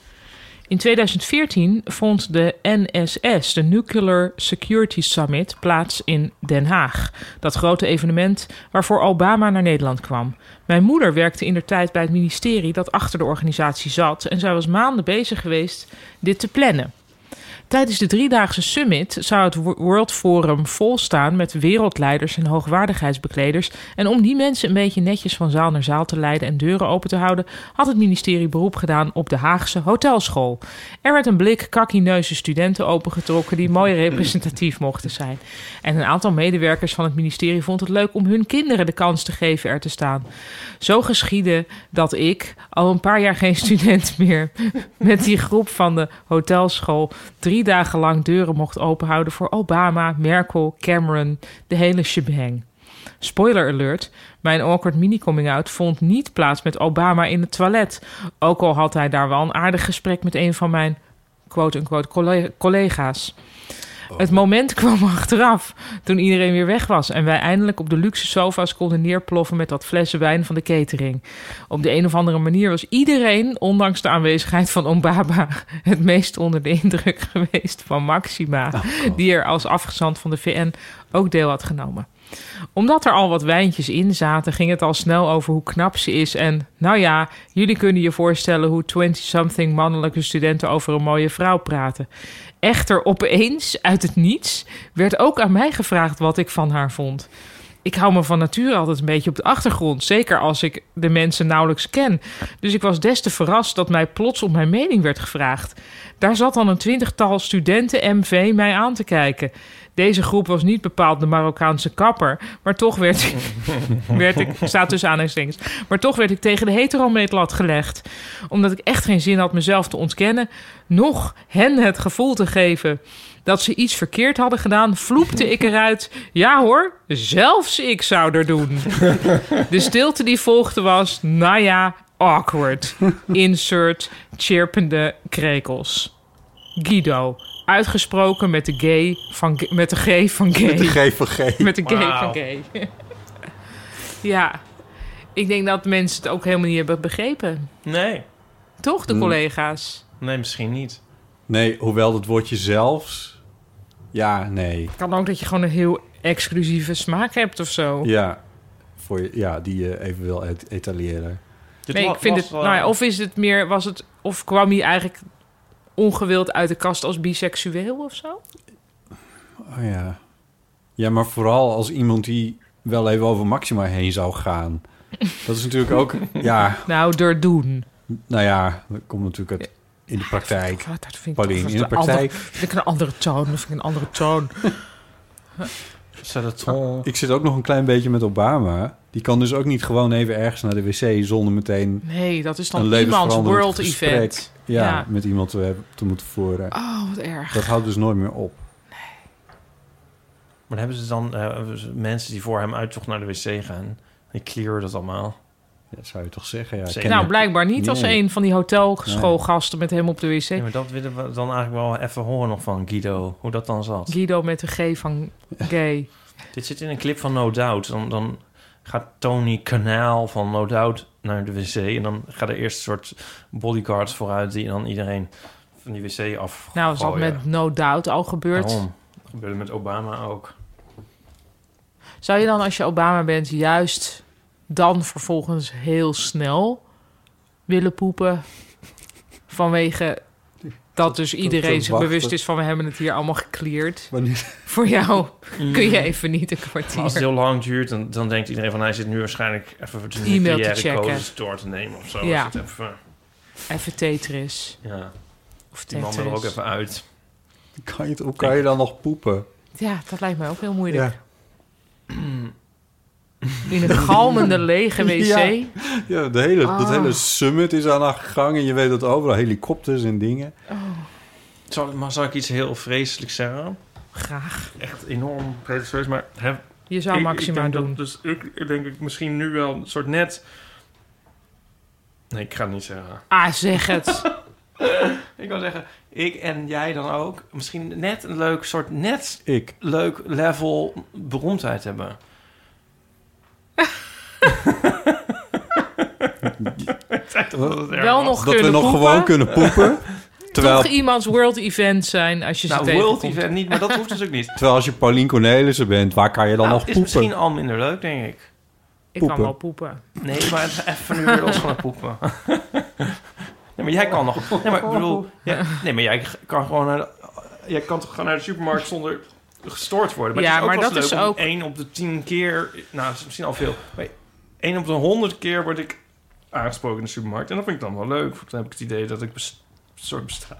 Speaker 3: In 2014 vond de NSS, de Nuclear Security Summit, plaats in Den Haag. Dat grote evenement waarvoor Obama naar Nederland kwam. Mijn moeder werkte in der tijd bij het ministerie dat achter de organisatie zat en zij was maanden bezig geweest dit te plannen. Tijdens de driedaagse summit zou het Wo- World Forum volstaan met wereldleiders en hoogwaardigheidsbekleders. En om die mensen een beetje netjes van zaal naar zaal te leiden en deuren open te houden, had het ministerie beroep gedaan op de Haagse hotelschool. Er werd een blik kakkineuze studenten opengetrokken die mooi representatief mochten zijn. En een aantal medewerkers van het ministerie vond het leuk om hun kinderen de kans te geven er te staan. Zo geschiedde dat ik, al een paar jaar geen student meer, met die groep van de hotelschool drie dagen lang deuren mocht openhouden voor Obama, Merkel, Cameron, de hele shebang. Spoiler alert, mijn awkward mini-coming-out vond niet plaats met Obama in het toilet. Ook al had hij daar wel een aardig gesprek met een van mijn quote-unquote colle- collega's. Het moment kwam achteraf, toen iedereen weer weg was... en wij eindelijk op de luxe sofa's konden neerploffen... met dat flessen wijn van de catering. Op de een of andere manier was iedereen, ondanks de aanwezigheid van Ombaba, het meest onder de indruk geweest van Maxima,
Speaker 2: Oh,
Speaker 3: die er als afgezant van de VN ook deel had genomen. Omdat er al wat wijntjes in zaten, ging het al snel over hoe knap ze is. En nou ja, jullie kunnen je voorstellen hoe 20-something mannelijke studenten over een mooie vrouw praten. Echter, opeens, uit het niets, werd ook aan mij gevraagd wat ik van haar vond. ik hou me van natuur altijd een beetje op de achtergrond. Zeker als ik de mensen nauwelijks ken. Dus ik was des te verrast dat mij plots om mijn mening werd gevraagd. Daar zat dan een twintigtal studenten MV mij aan te kijken. Deze groep was niet bepaald de Marokkaanse kapper, maar toch werd ik, werd ik staat tussen aanhalingstekens, maar toch werd ik tegen de heteromeetlat gelegd. Omdat ik echt geen zin had mezelf te ontkennen, nog hen het gevoel te geven dat ze iets verkeerd hadden gedaan, vloepte ik eruit. Ja hoor, zelfs ik zou er doen. De stilte die volgde was, nou ja, awkward. Insert chirpende krekels. Guido, uitgesproken met de gay van g- met de G van gay.
Speaker 2: Met de G van G.
Speaker 3: Met de gay
Speaker 1: Wauw.
Speaker 3: van gay. ja, ik denk dat mensen het ook helemaal niet hebben begrepen.
Speaker 1: Nee.
Speaker 3: Toch,
Speaker 2: Mm.
Speaker 3: de collega's?
Speaker 1: Nee, misschien niet.
Speaker 2: Nee, hoewel dat woordje zelfs... Ja, nee.
Speaker 3: Kan ook dat je gewoon een heel exclusieve smaak hebt of zo.
Speaker 2: Ja, voor, je- ja die je even wil et- etaleren.
Speaker 1: Dit
Speaker 3: nee,
Speaker 1: wa-
Speaker 3: ik vind
Speaker 1: was,
Speaker 3: het.
Speaker 1: eh,
Speaker 3: Nou ja, of is het meer, was het, of kwam hij eigenlijk ongewild uit de kast als biseksueel of zo?
Speaker 2: Oh ja. Ja, maar vooral als iemand die wel even over Maxima heen zou gaan. Dat is natuurlijk ook... Ja,
Speaker 3: Nou, door doen.
Speaker 2: nou ja, dat komt natuurlijk uit, in de praktijk.
Speaker 3: Wat, Ah, dat vind ik
Speaker 2: Paulien,
Speaker 3: toch-
Speaker 2: in de
Speaker 3: dat is een
Speaker 2: praktijk...
Speaker 3: andere- vind ik een andere toon, dat vind ik een andere toon.
Speaker 1: Zet het vol.
Speaker 2: Ik zit ook nog een klein beetje met Obama. Die kan dus ook niet gewoon even ergens naar de wc zonder meteen
Speaker 3: Nee, dat is
Speaker 2: een
Speaker 3: dan iemands
Speaker 2: levensveranderend
Speaker 3: world
Speaker 2: gesprek
Speaker 3: event.
Speaker 2: Ja,
Speaker 3: Ja.
Speaker 2: met iemand te, hebben- te moeten voeren.
Speaker 3: Oh, wat erg.
Speaker 2: Dat houdt dus nooit meer op.
Speaker 1: Maar hebben ze dan eh, mensen die voor hem uitzocht naar de wc gaan? Die clearen dat allemaal.
Speaker 2: Ja, dat zou je toch zeggen? Ja,
Speaker 1: Zeker.
Speaker 2: ken
Speaker 3: nou,
Speaker 2: je-
Speaker 3: blijkbaar niet als
Speaker 2: Nee.
Speaker 3: een van die hotelschoolgasten met hem op de wc.
Speaker 1: Nee, maar dat willen we dan eigenlijk wel even horen nog van Guido. Hoe dat dan zat.
Speaker 3: Guido met de G van gay.
Speaker 1: Dit zit in een clip van No Doubt. Dan, dan gaat Tony Kanaal van No Doubt naar de wc. En dan gaat er eerst een soort bodyguards vooruit... die dan iedereen van die wc af.
Speaker 3: Nou, is
Speaker 2: Oh,
Speaker 3: dat
Speaker 1: gooien.
Speaker 3: met No Doubt al gebeurd.
Speaker 1: Daarom. Dat gebeurde met Obama ook.
Speaker 3: Zou je dan als je Obama bent juist dan vervolgens heel snel willen poepen? Vanwege dat dus iedereen zich
Speaker 2: wachten.
Speaker 3: bewust is van we hebben het hier allemaal gecleared.
Speaker 2: Wanneer-
Speaker 3: Voor jou kun je even niet een
Speaker 1: Maar Mm. als het
Speaker 3: kwartier.
Speaker 1: heel lang duurt, dan, dan denkt iedereen van... hij zit nu waarschijnlijk even de
Speaker 3: E-mail te
Speaker 1: nucleaire
Speaker 3: checken.
Speaker 1: codes door te nemen of zo.
Speaker 3: Ja.
Speaker 1: Is het even,
Speaker 3: Even Tetris.
Speaker 1: ja.
Speaker 3: Of
Speaker 1: Die man wil er ook
Speaker 3: Tetris.
Speaker 1: even uit.
Speaker 2: Kan je het- hoe kan je dan nog poepen?
Speaker 3: Ja, dat lijkt mij ook heel moeilijk.
Speaker 2: Ja.
Speaker 3: In een galmende lege wc.
Speaker 2: Ja. Ja, de hele, dat
Speaker 3: Ah.
Speaker 2: hele summit is aan haar gang en je weet dat overal helikopters en dingen.
Speaker 1: Zal, maar zal ik iets heel vreselijks zeggen?
Speaker 3: Graag.
Speaker 1: Echt enorm pretentieus, maar... Heb,
Speaker 3: Je zou
Speaker 1: ik-
Speaker 3: Maxima
Speaker 1: ik denk dat
Speaker 3: doen.
Speaker 1: dus ik, ik denk ik misschien nu wel een soort net... Nee, ik ga het niet zeggen.
Speaker 3: Ah, zeg het.
Speaker 1: Ik wil zeggen, ik en jij dan ook... misschien net een leuk soort net
Speaker 2: Ik.
Speaker 1: leuk level beroemdheid hebben.
Speaker 3: Wel nog
Speaker 2: dat we
Speaker 3: kunnen
Speaker 2: nog
Speaker 3: poepen.
Speaker 2: gewoon kunnen poepen. terwijl,
Speaker 3: Toch iemands world event zijn als je ze
Speaker 1: Nou,
Speaker 3: tegenkomt.
Speaker 1: world event niet, maar dat hoeft dus ook niet.
Speaker 2: terwijl als je Paulien Cornelissen bent, waar kan je dan
Speaker 1: Nou,
Speaker 2: nog
Speaker 1: is misschien
Speaker 2: poepen?
Speaker 1: al minder leuk, denk ik.
Speaker 3: Ik
Speaker 2: Poepen.
Speaker 3: kan wel poepen.
Speaker 1: Nee, maar het is even nu weer los van het poepen. Nee, maar jij kan nog. Nee, maar ik bedoel... jij- nee, maar jij kan gewoon naar de, jij kan toch gewoon naar de supermarkt zonder gestoord worden. Maar
Speaker 3: Ja,
Speaker 1: het is ook
Speaker 3: maar
Speaker 1: wel eens
Speaker 3: dat is
Speaker 1: leuk om
Speaker 3: ook-
Speaker 1: één op de tien keer... Nou, dat is misschien al veel. Maar één op de honderd keer word ik aangesproken in de supermarkt. En dat vind ik dan wel leuk. want Dan heb ik het idee dat ik bes, soort besta.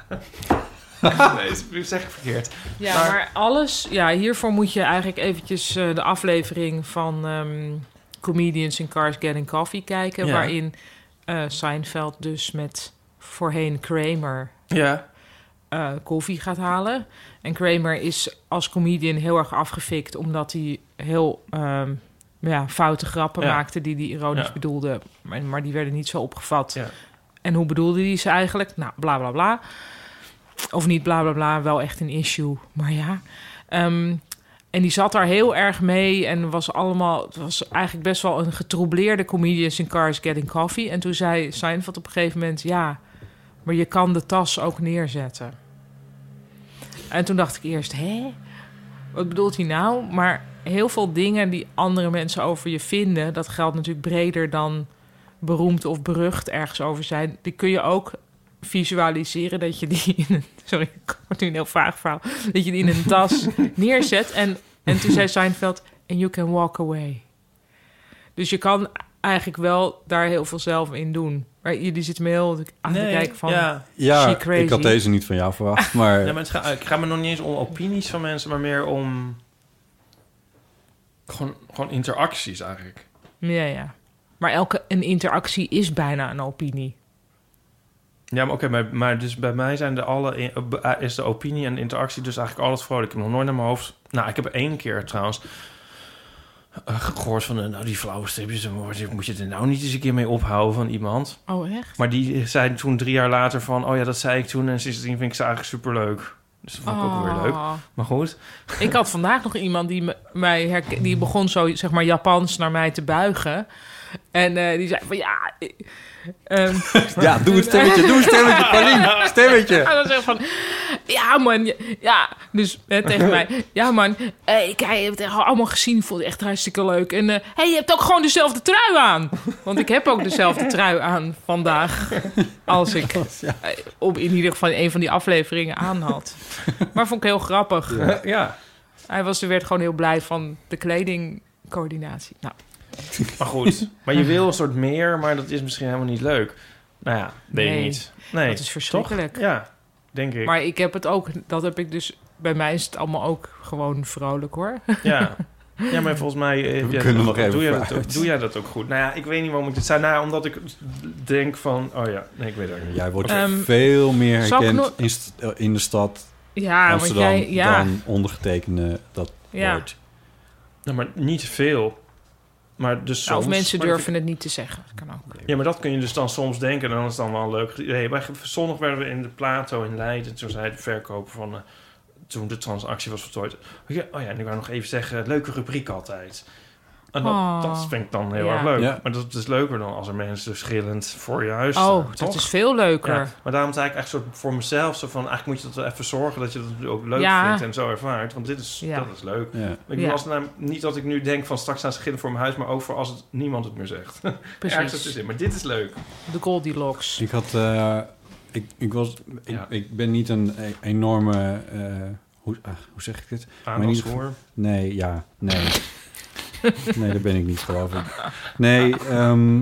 Speaker 1: nee, dat zeg ik verkeerd.
Speaker 3: Ja,
Speaker 1: Maar-
Speaker 3: maar, alles... Ja, hiervoor moet je eigenlijk eventjes eh, de aflevering van ehm, Comedians in Cars Getting Coffee kijken...
Speaker 1: Ja.
Speaker 3: waarin eh, Seinfeld dus met voorheen Kramer
Speaker 1: Ja.
Speaker 3: eh, koffie gaat halen. En Kramer is als comedian heel erg afgefikt... omdat hij heel ehm, ja, foute grappen
Speaker 1: Ja.
Speaker 3: maakte die hij ironisch
Speaker 1: Ja.
Speaker 3: bedoelde. Maar, maar die werden niet zo opgevat.
Speaker 1: Ja.
Speaker 3: En hoe bedoelde hij ze eigenlijk? Nou, bla bla bla. Of niet bla bla bla, wel echt een issue. Maar ja. Ehm, en die zat daar heel erg mee en was allemaal... Het was eigenlijk best wel een getroubleerde comedians in Cars Getting Coffee. En toen zei Seinfeld op een gegeven moment... Ja, maar je kan de tas ook neerzetten. En toen dacht ik eerst, hè? Wat bedoelt hij nou? Maar heel veel dingen die andere mensen over je vinden... dat geldt natuurlijk breder dan beroemd of berucht ergens over zijn... die kun je ook visualiseren dat je die in een... Sorry, ik word nu een heel vaag verhaal. Dat je die in een tas neerzet. En, en toen zei Seinfeld, and you can walk away. Dus je kan eigenlijk wel daar heel veel zelf in doen. Maar jullie zitten me heel aan te kijken van...
Speaker 1: Ja.
Speaker 3: she
Speaker 2: Ja,
Speaker 3: crazy.
Speaker 2: ik had deze niet van jou verwacht, maar...
Speaker 1: Ja, maar het ga- ik ga me nog niet eens om opinies van mensen, maar meer om... Gewoon, gewoon interacties eigenlijk.
Speaker 3: Ja, ja. Maar elke een interactie is bijna een opinie.
Speaker 1: Ja, maar oké, maar, maar dus bij mij zijn de alle in- eh, be- eh, is de opinie en de interactie dus eigenlijk alles vrolijk. Ik heb nog nooit naar mijn hoofd... Nou, ik heb één keer trouwens eh, gehoord van... eh, nou, die flauwe stripjes, eh, moet je- moet je er nou niet eens een keer mee ophouden van iemand?
Speaker 3: Oh, echt?
Speaker 1: Maar die zei toen drie jaar later van... oh ja, dat zei ik toen en sindsdien vind ik ze eigenlijk superleuk. Dus dat vond ik ook
Speaker 3: Oh.
Speaker 1: weer leuk. Maar goed,
Speaker 3: Ik had vandaag nog iemand die me- mij herken- die begon zo zeg maar Japans naar mij te buigen. En eh, die zei van ja. eh, ehm,
Speaker 2: Ja, doe een stemmetje, doe een stemmetje, Paulien, stemmetje.
Speaker 3: en dan zeg ik van ja man, ja, ja. dus hè, tegen mij. Ja man, eh, ik heb het echt allemaal gezien, vond het echt hartstikke leuk. En eh, hey, je hebt ook gewoon dezelfde trui aan. Want ik heb ook dezelfde trui aan vandaag als ik eh, op in ieder geval een van die afleveringen aan had. Maar vond ik heel grappig.
Speaker 1: ja.
Speaker 3: Hij was, er werd gewoon heel blij van de kledingcoördinatie. Nou,
Speaker 1: Maar goed, maar je wil een soort meer, maar dat is misschien helemaal niet leuk. Nou ja, weet
Speaker 3: Nee,
Speaker 1: je niet. Nee,
Speaker 3: dat is verschrikkelijk.
Speaker 1: toch? Ja, denk ik.
Speaker 3: Maar ik heb het ook, dat heb ik dus, bij mij is het allemaal ook gewoon vrolijk hoor.
Speaker 1: Ja. ja, maar volgens mij eh, ja,
Speaker 2: kunnen nog
Speaker 1: doe,
Speaker 2: even
Speaker 1: jij dat ook,
Speaker 2: vooruit.
Speaker 1: doe jij dat ook goed. Nou ja, ik weet niet waarom ik dit zei. Nou, omdat ik denk van, oh ja, nee, ik weet het ook niet.
Speaker 2: Jij wordt
Speaker 3: Ehm,
Speaker 2: veel meer
Speaker 3: zal ik
Speaker 2: herkend
Speaker 3: nog-
Speaker 2: in, st- eh, in de stad
Speaker 3: Ja,
Speaker 2: Amsterdam
Speaker 3: want jij, ja,
Speaker 2: dan ondergetekende dat
Speaker 3: Ja.
Speaker 2: woord.
Speaker 1: Nou, maar niet veel. Maar dus
Speaker 3: Nou,
Speaker 1: soms,
Speaker 3: of mensen
Speaker 1: Maar dat
Speaker 3: durven het niet te zeggen. Dat kan ook.
Speaker 1: Ja, maar dat kun je dus dan soms denken. En dan is het dan wel een leuk. Nee, wij, zondag werden we in de Plato in Leiden. Toen zei de verkoper van... eh, toen de transactie was voltooid. Oh ja, oh ja, en ik wou nog even zeggen... Leuke rubriek altijd. En dat,
Speaker 3: Oh.
Speaker 1: dat vind ik dan heel
Speaker 3: Ja.
Speaker 1: erg leuk.
Speaker 2: Ja.
Speaker 1: Maar dat is leuker dan als er mensen schillend voor je huis staan.
Speaker 3: Oh, dat
Speaker 1: toch?
Speaker 3: is veel leuker.
Speaker 1: Ja, maar daarom zei ik echt soort voor mezelf... Zo van, eigenlijk moet je dat wel even zorgen... dat je dat ook leuk
Speaker 3: Ja.
Speaker 1: vindt en zo ervaart. Want dit is,
Speaker 3: Ja.
Speaker 1: dat is leuk.
Speaker 2: Ja.
Speaker 1: Ik
Speaker 3: Ja.
Speaker 1: bedoel, als het nou, niet dat ik nu denk van straks staan schillen voor mijn huis... maar ook voor als het, niemand het meer zegt. Ergens
Speaker 3: Precies.
Speaker 1: tussenin. Maar dit is leuk.
Speaker 3: De Goldilocks.
Speaker 2: Ik had, eh, ik, ik was, ik,
Speaker 1: Ja.
Speaker 2: ik ben niet een e- enorme, eh, hoe, ah, hoe zeg ik dit? Maar in ieder
Speaker 1: Aandachtshoor.
Speaker 2: Nee, ja, nee. Nee, dat ben ik niet, geloof ik. Nee, ehm,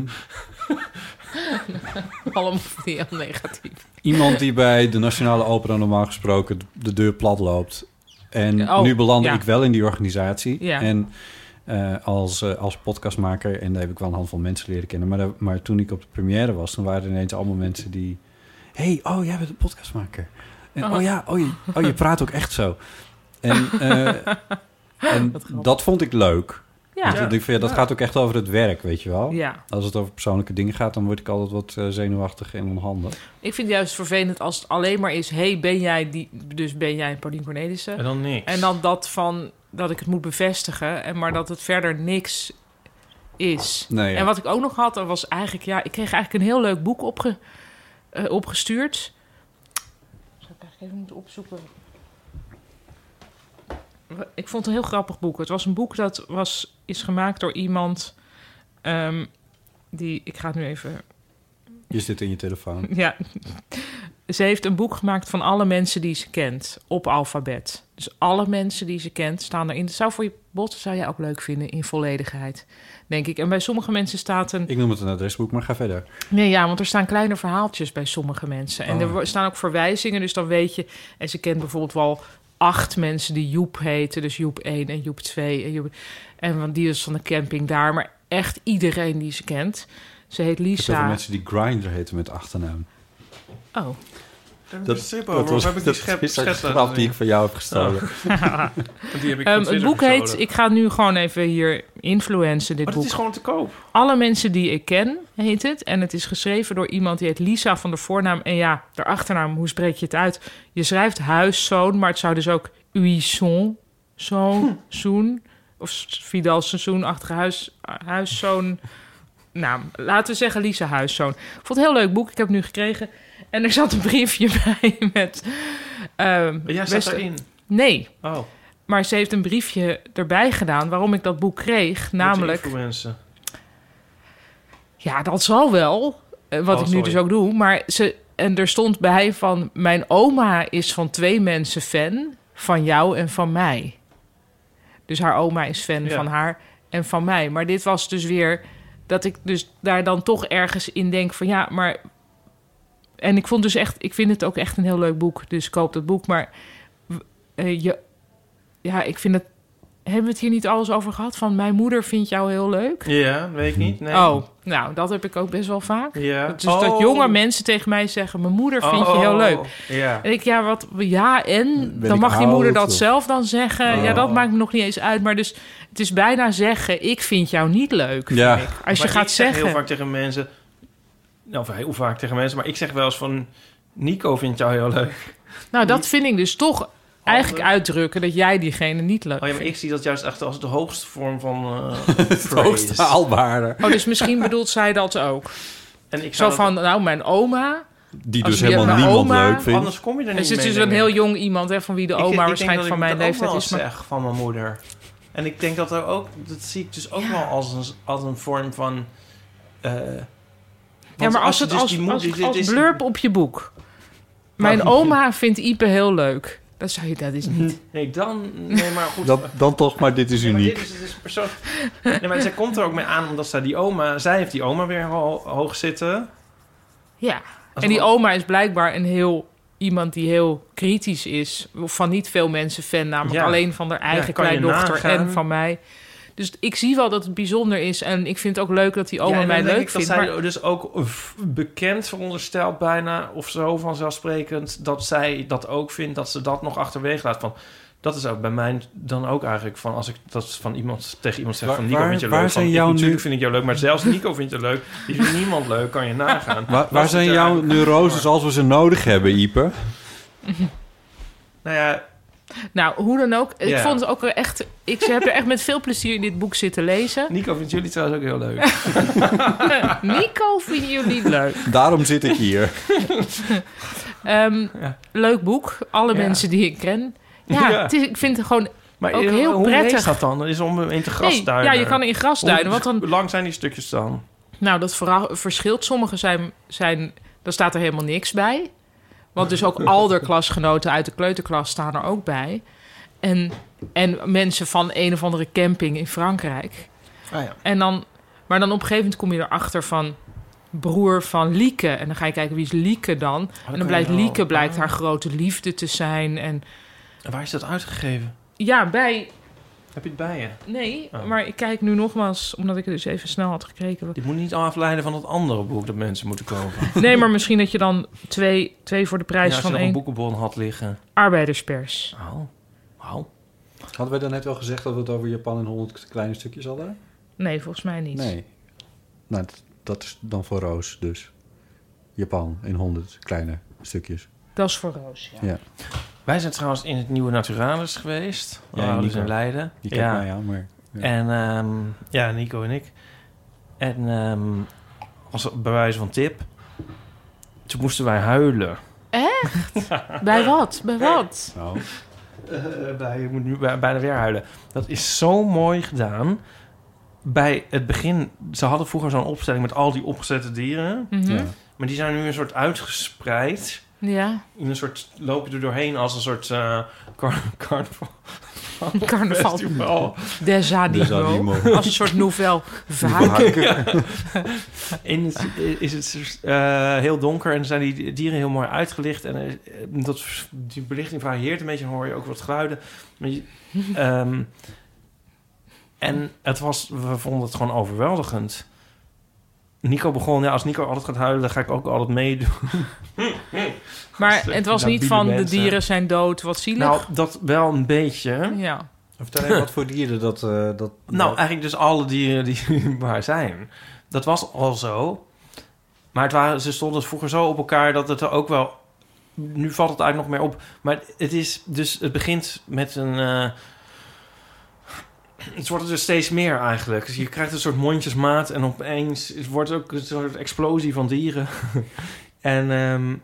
Speaker 3: Allemaal heel negatief.
Speaker 2: iemand die bij de Nationale Opera normaal gesproken de deur plat loopt. En
Speaker 3: Oh,
Speaker 2: nu belandde
Speaker 3: ja.
Speaker 2: ik wel in die organisatie.
Speaker 3: Ja.
Speaker 2: En eh, als, eh, als podcastmaker, en daar heb ik wel een handvol mensen leren kennen. Maar, daar- maar toen ik op de première was, dan waren er ineens allemaal mensen die... hey, oh, jij bent een podcastmaker. En, oh.
Speaker 3: Oh.
Speaker 2: ja, oh je, oh, je praat ook echt zo. En, eh, en dat vond ik leuk.
Speaker 3: Ja,
Speaker 2: Want
Speaker 3: ja.
Speaker 2: ik vind, ja, dat gaat ook echt over het werk, weet je wel.
Speaker 3: ja.
Speaker 2: Als het over persoonlijke dingen gaat, dan word ik altijd wat eh, zenuwachtig en onhandig.
Speaker 3: Ik vind het juist vervelend als het alleen maar is... hey, ben jij die... Dus ben jij Paulien Cornelissen?
Speaker 1: En dan niks.
Speaker 3: En dan dat van dat ik het moet bevestigen, en maar dat het verder niks is.
Speaker 2: Nee, ja.
Speaker 3: En wat ik ook nog had, dat was eigenlijk, ja, ik kreeg eigenlijk een heel leuk boek opge, eh, opgestuurd. Zou ik eigenlijk even moeten opzoeken. Ik vond het een heel grappig boek. Het was een boek dat was, is gemaakt door iemand ehm, die, ik ga het nu even
Speaker 2: Je zit in je telefoon.
Speaker 3: ja. Ze heeft een boek gemaakt van alle mensen die ze kent op alfabet. Dus alle mensen die ze kent staan erin. Dat zou voor je bot zou jij ook leuk vinden in volledigheid, denk ik. En bij sommige mensen staat een.
Speaker 2: Ik noem het een adresboek, maar ga verder.
Speaker 3: Nee, ja, want er staan kleine verhaaltjes bij sommige mensen. En er
Speaker 2: Oh.
Speaker 3: wo- staan ook verwijzingen, dus dan weet je. En ze kent bijvoorbeeld wel acht mensen die Joep heten. Dus Joep 1 en Joep 2. En, Joep... en want die is van de camping daar. Maar echt iedereen die ze kent. Ze heet
Speaker 2: Ik heb heel veel
Speaker 3: Lisa.
Speaker 2: mensen die Grinder heten met achternaam.
Speaker 3: Oh.
Speaker 1: dat strip over. Waarom heb ik die
Speaker 2: dat
Speaker 1: schep,
Speaker 2: is een
Speaker 1: schets laten
Speaker 2: grap die ik
Speaker 1: zien?
Speaker 2: van jou heb gestolen.
Speaker 3: Oh,
Speaker 1: Die heb ik
Speaker 3: Ehm,
Speaker 1: van
Speaker 3: het
Speaker 1: Twitter
Speaker 3: boek
Speaker 1: gestolen.
Speaker 3: heet, ik ga nu gewoon even hier influencen, dit
Speaker 1: Maar dat
Speaker 2: Oh,
Speaker 3: boek.
Speaker 1: is gewoon te koop.
Speaker 3: Alle mensen die ik ken, heet het. En het is geschreven door iemand die heet Lisa van de voornaam. En ja, de achternaam, hoe spreek je het uit? Je schrijft huiszoon, maar het zou dus ook uison, zoon, zoen. Of Vidal seizoen achter huis, huiszoon. Naam. Laten we zeggen Lisa Huiszoon. Ik vond het een heel leuk boek. Ik heb het nu gekregen. En er zat een briefje bij met... ehm,
Speaker 1: Maar jij staat
Speaker 3: beste-
Speaker 1: erin.
Speaker 3: Nee,
Speaker 1: Oh, wat
Speaker 3: maar ze heeft een briefje erbij gedaan waarom ik dat boek kreeg. Namelijk,
Speaker 1: influencer.
Speaker 3: ja, dat zal wel. eh, Wat
Speaker 1: Oh,
Speaker 3: ik nu
Speaker 1: sorry.
Speaker 3: dus ook doe. Maar ze, en er stond bij van: Mijn oma is van twee mensen fan. Van jou en van mij. Dus haar oma is fan
Speaker 1: Ja.
Speaker 3: van haar en van mij. Maar dit was dus weer dat ik dus daar dan toch ergens in denk van ja, maar... En ik vond dus echt, ik vind het ook echt een heel leuk boek. Dus koop dat boek. Maar w- eh, je, ja, ik vind het... Hebben we het hier niet alles over gehad? Van mijn moeder vindt jou heel leuk?
Speaker 1: Ja, weet ik niet. Nee.
Speaker 3: Oh, nou, dat heb ik ook best wel vaak.
Speaker 1: Ja. Oh.
Speaker 3: Dus dat jonge mensen tegen mij zeggen... mijn moeder vindt je heel leuk.
Speaker 1: Ja.
Speaker 3: En ik, ja, wat, ja, en?
Speaker 2: Ben
Speaker 3: dan
Speaker 2: ik
Speaker 3: mag die
Speaker 2: oud,
Speaker 3: moeder dat
Speaker 2: of?
Speaker 3: zelf dan zeggen. Ja,
Speaker 1: Oh.
Speaker 3: dat maakt me nog niet eens uit. Maar dus, het is bijna zeggen, ik vind jou niet leuk. vind
Speaker 2: Ja.
Speaker 3: ik. Als je
Speaker 1: Maar
Speaker 3: gaat
Speaker 1: ik zeg
Speaker 3: zeggen...
Speaker 1: heel vaak tegen mensen... Nou, of heel vaak tegen mensen, maar ik zeg wel eens van... Nico vindt jou heel leuk.
Speaker 3: Nou, dat vind ik dus toch eigenlijk uitdrukken... dat jij diegene niet leuk
Speaker 1: Oh ja, maar
Speaker 3: vindt.
Speaker 1: ik zie dat juist echt als de hoogste vorm van eh
Speaker 2: Het hoogst
Speaker 1: praise.
Speaker 2: haalbare.
Speaker 3: Oh, dus misschien bedoelt zij dat ook.
Speaker 1: En ik
Speaker 3: Zo
Speaker 1: zou
Speaker 3: van, nou, mijn oma...
Speaker 2: Die
Speaker 3: Als
Speaker 2: dus
Speaker 3: je
Speaker 2: helemaal
Speaker 3: mijn
Speaker 2: niemand
Speaker 3: oma-
Speaker 2: leuk
Speaker 1: dat-
Speaker 2: vindt.
Speaker 1: Anders kom je er
Speaker 3: Er
Speaker 1: niet
Speaker 3: zit
Speaker 1: mee,
Speaker 3: dus een
Speaker 1: denk
Speaker 3: heel
Speaker 1: ik.
Speaker 3: jong iemand hè, van wie de
Speaker 1: Ik- ik
Speaker 3: oma
Speaker 1: denk dat
Speaker 3: waarschijnlijk
Speaker 1: ik
Speaker 3: van mijn
Speaker 1: dat ook
Speaker 3: leeftijd
Speaker 1: wel
Speaker 3: is. Maar
Speaker 1: zeg van mijn moeder. En ik denk dat er ook... Dat zie ik dus ook wel als een, als een vorm van... eh,
Speaker 3: Ja,
Speaker 1: want
Speaker 3: maar als
Speaker 1: je
Speaker 3: het
Speaker 1: dus
Speaker 3: als,
Speaker 1: die Nou, moeder-
Speaker 3: als,
Speaker 1: dit
Speaker 3: als
Speaker 1: is-
Speaker 3: blurb op je boek. Mijn oma vindt Ipe heel leuk. Dat zou je, dat is niet.
Speaker 1: Nee, dan... Nee, maar goed.
Speaker 2: Dat, dan toch, maar dit is
Speaker 1: Nee, maar
Speaker 2: uniek.
Speaker 1: dit is, dit is persoon... nee, maar zij komt er ook mee aan omdat zij die oma... Zij heeft die oma weer ho- hoog zitten.
Speaker 3: Ja.
Speaker 1: Als
Speaker 3: En die
Speaker 1: wel-
Speaker 3: oma is blijkbaar een heel iemand die heel kritisch is. Van niet veel mensen fan, namelijk
Speaker 1: Ja.
Speaker 3: alleen van haar eigen
Speaker 1: kan je
Speaker 3: kleindochter
Speaker 1: nagaan.
Speaker 3: en van mij. Dus ik zie wel dat het bijzonder is. En ik vind het ook leuk dat die
Speaker 1: Ja,
Speaker 3: oma
Speaker 1: en dan
Speaker 3: mij
Speaker 1: denk
Speaker 3: leuk
Speaker 1: ik dat
Speaker 3: vindt.
Speaker 1: zij
Speaker 3: maar-
Speaker 1: dus ook f- bekend veronderstelt bijna... of zo vanzelfsprekend dat zij dat ook vindt... dat ze dat nog achterwege laat van... Dat is ook bij mij dan ook eigenlijk van als ik dat van iemand tegen iemand zeg
Speaker 2: Waar-
Speaker 1: van Nico
Speaker 2: waar-
Speaker 1: vind je
Speaker 2: waar
Speaker 1: leuk.
Speaker 2: zijn
Speaker 1: van, ik-
Speaker 2: jouw nu-
Speaker 1: natuurlijk vind ik jou leuk, maar zelfs Nico vindt je leuk. Die vindt niemand leuk, kan je nagaan.
Speaker 2: Waar,
Speaker 1: Was
Speaker 2: waar
Speaker 1: het
Speaker 2: zijn
Speaker 1: er
Speaker 2: jouw
Speaker 1: eigenlijk
Speaker 2: neuroses
Speaker 1: voor?
Speaker 2: als we ze nodig hebben, Ieper?
Speaker 1: Nou ja,
Speaker 3: Nou, hoe dan ook. Ik
Speaker 1: Ja.
Speaker 3: vond het ook echt. Ik heb er echt met veel plezier in dit boek zitten lezen.
Speaker 1: Nico vindt jullie trouwens ook heel leuk.
Speaker 3: Nico vinden jullie leuk.
Speaker 2: Daarom zit ik hier.
Speaker 3: Ehm,
Speaker 1: Ja.
Speaker 3: Leuk boek. Alle
Speaker 1: Ja.
Speaker 3: mensen die ik ken. Ja,
Speaker 1: Ja.
Speaker 3: het is- ik vind het gewoon.
Speaker 1: Maar
Speaker 3: Ook
Speaker 1: eh,
Speaker 3: heel
Speaker 1: hoe
Speaker 3: prettig.
Speaker 1: lees dat dan? Dat is om in te
Speaker 3: Nee,
Speaker 1: grasduinen.
Speaker 3: ja, je kan in gras duinen.
Speaker 1: Hoe-
Speaker 3: Want dan
Speaker 1: Hoe lang zijn die stukjes dan?
Speaker 3: Nou, dat vera- verschilt. Sommige zijn, zijn, daar staat er helemaal niks bij. Want dus ook alderklasgenoten uit de kleuterklas staan er ook bij. En, en mensen van een of andere camping in Frankrijk.
Speaker 1: Ah ja.
Speaker 3: En dan, maar dan op een gegeven moment kom je erachter van broer van Lieke. En dan ga je kijken wie is Lieke
Speaker 1: Oh,
Speaker 3: dan. En
Speaker 2: Oh,
Speaker 3: dan blijkt Lieke blijkt haar grote liefde te zijn. En
Speaker 1: En waar is dat uitgegeven?
Speaker 3: ja, bij.
Speaker 1: Heb je het bij je?
Speaker 3: Nee,
Speaker 1: Oh.
Speaker 3: maar ik kijk nu nogmaals, omdat ik het dus even snel had gekeken.
Speaker 1: Dit moet niet afleiden van dat andere boek dat mensen moeten kopen.
Speaker 3: Nee, maar misschien dat je dan twee, twee voor de
Speaker 1: Ja,
Speaker 3: prijs
Speaker 1: als je
Speaker 3: van
Speaker 1: nog
Speaker 3: één.
Speaker 1: een boekenbon had liggen.
Speaker 3: arbeiderspers.
Speaker 1: Oh. Wauw.
Speaker 2: Hadden wij daarnet wel gezegd dat we het over Japan in 100 kleine stukjes hadden?
Speaker 3: Nee, volgens mij niet.
Speaker 2: Nee. Nou, dat, dat is dan voor Roos dus. Japan in 100 kleine stukjes.
Speaker 3: Dat is voor Roos. Ja.
Speaker 1: Wij zijn trouwens in het nieuwe Naturalis geweest.
Speaker 2: Ja,
Speaker 1: Ja, dus
Speaker 2: Nico.
Speaker 1: in Leiden.
Speaker 2: Die kijkt
Speaker 1: ja.
Speaker 2: mij aan, maar... Ja.
Speaker 1: En ehm, ja, Nico en ik. En ehm, als bewijs van tip. Toen moesten wij huilen.
Speaker 3: Bij wat? Bij wat?
Speaker 2: Nou,
Speaker 1: Eh, bij, ik moet nu bij- bijna weer huilen. Dat is zo mooi gedaan. Bij het begin, ze hadden vroeger zo'n opstelling met al die opgezette dieren.
Speaker 3: Mhm.
Speaker 2: ja.
Speaker 1: Maar die zijn nu een soort uitgespreid.
Speaker 3: Ja,
Speaker 1: In een soort, loop je er doorheen als een soort eh car carnaval.
Speaker 3: carnaval
Speaker 1: festival.
Speaker 3: des
Speaker 2: Dus
Speaker 3: animo.
Speaker 2: animo.
Speaker 3: Als een soort novel vaak.
Speaker 1: In het, is het eh, heel donker en zijn die dieren heel mooi uitgelicht. En eh, dat, die belichting varieert een beetje. Dan hoor je ook wat geluiden. Maar je- ehm, en het was, we vonden het gewoon overweldigend. Nico begon, ja, als Nico altijd gaat huilen, dan ga ik ook altijd meedoen.
Speaker 3: Maar het was niet van de dieren zijn dood, wat
Speaker 1: Nou,
Speaker 3: zielig.
Speaker 1: dat wel een beetje.
Speaker 3: Ja.
Speaker 2: Vertel even wat voor dieren dat... eh, dat
Speaker 1: Nou, eigenlijk dus alle dieren die waar zijn. Dat was al zo. Maar het waren, ze stonden vroeger zo op elkaar dat het er ook wel... Nu valt het eigenlijk nog meer op. Maar het is dus... Het begint met een... eh, het wordt er dus steeds meer eigenlijk. Dus je krijgt een soort mondjesmaat en opeens het wordt ook een soort explosie van dieren. en ehm,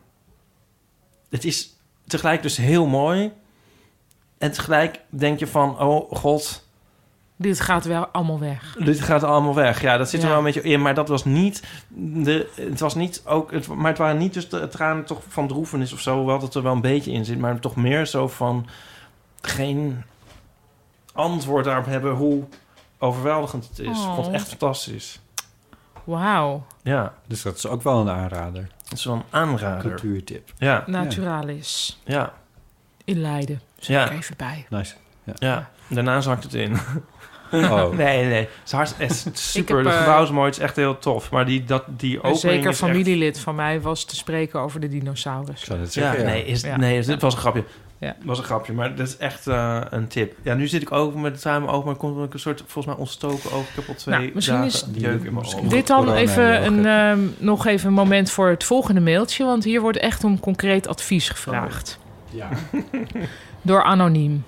Speaker 1: het is tegelijk dus heel mooi. En tegelijk denk je van, oh god,
Speaker 3: Dit gaat wel allemaal weg.
Speaker 1: dit gaat allemaal weg. Ja, dat zit er
Speaker 3: Ja.
Speaker 1: wel een beetje in. Maar dat was niet. De, het was niet ook. Het, maar het waren niet dus de tranen toch van droefenis of zo. Hoewel dat er wel een beetje in zit. Maar toch meer zo van. Geen antwoord daarop hebben hoe overweldigend het is. Ik vond het
Speaker 3: Oh.
Speaker 1: echt fantastisch.
Speaker 3: Wauw,
Speaker 1: Ja,
Speaker 2: Dus dat is ook wel een aanrader.
Speaker 1: het is wel een aanrader.
Speaker 2: Cultuurtip.
Speaker 1: Ja,
Speaker 3: naturalis.
Speaker 1: ja,
Speaker 3: In Leiden. Zeg
Speaker 1: Ja.
Speaker 3: ik er even bij.
Speaker 2: Nice.
Speaker 1: ja. Daarna zakt het in.
Speaker 2: Oh.
Speaker 1: Nee, nee. Het is hartstikke echt super.
Speaker 3: heb,
Speaker 1: de
Speaker 3: eh,
Speaker 1: gebouw is mooi. Het is echt heel tof. Maar die, dat, die
Speaker 3: Een
Speaker 1: opening
Speaker 3: zeker
Speaker 1: is echt-
Speaker 3: familielid van mij was te spreken over de dinosaurus.
Speaker 2: Ik zou het
Speaker 1: Ja,
Speaker 2: zeggen. ja.
Speaker 1: nee, is,
Speaker 3: Ja.
Speaker 1: nee is, dit was een grapje.
Speaker 3: Ja.
Speaker 1: was een grapje, maar dat is echt eh, een tip. Ja, nu zit ik ook met het samen ogen, maar er komt wel een soort volgens mij ontstoken oog. Ik heb al twee
Speaker 3: Nou, misschien
Speaker 1: dagen
Speaker 3: is-
Speaker 1: een jeuk in mijn ogen.
Speaker 3: Dit dan
Speaker 2: Corona, ja.
Speaker 3: even een, ehm, nog even een moment voor het volgende mailtje. Want hier wordt echt om concreet advies gevraagd.
Speaker 2: Ja.
Speaker 3: Door Anoniem.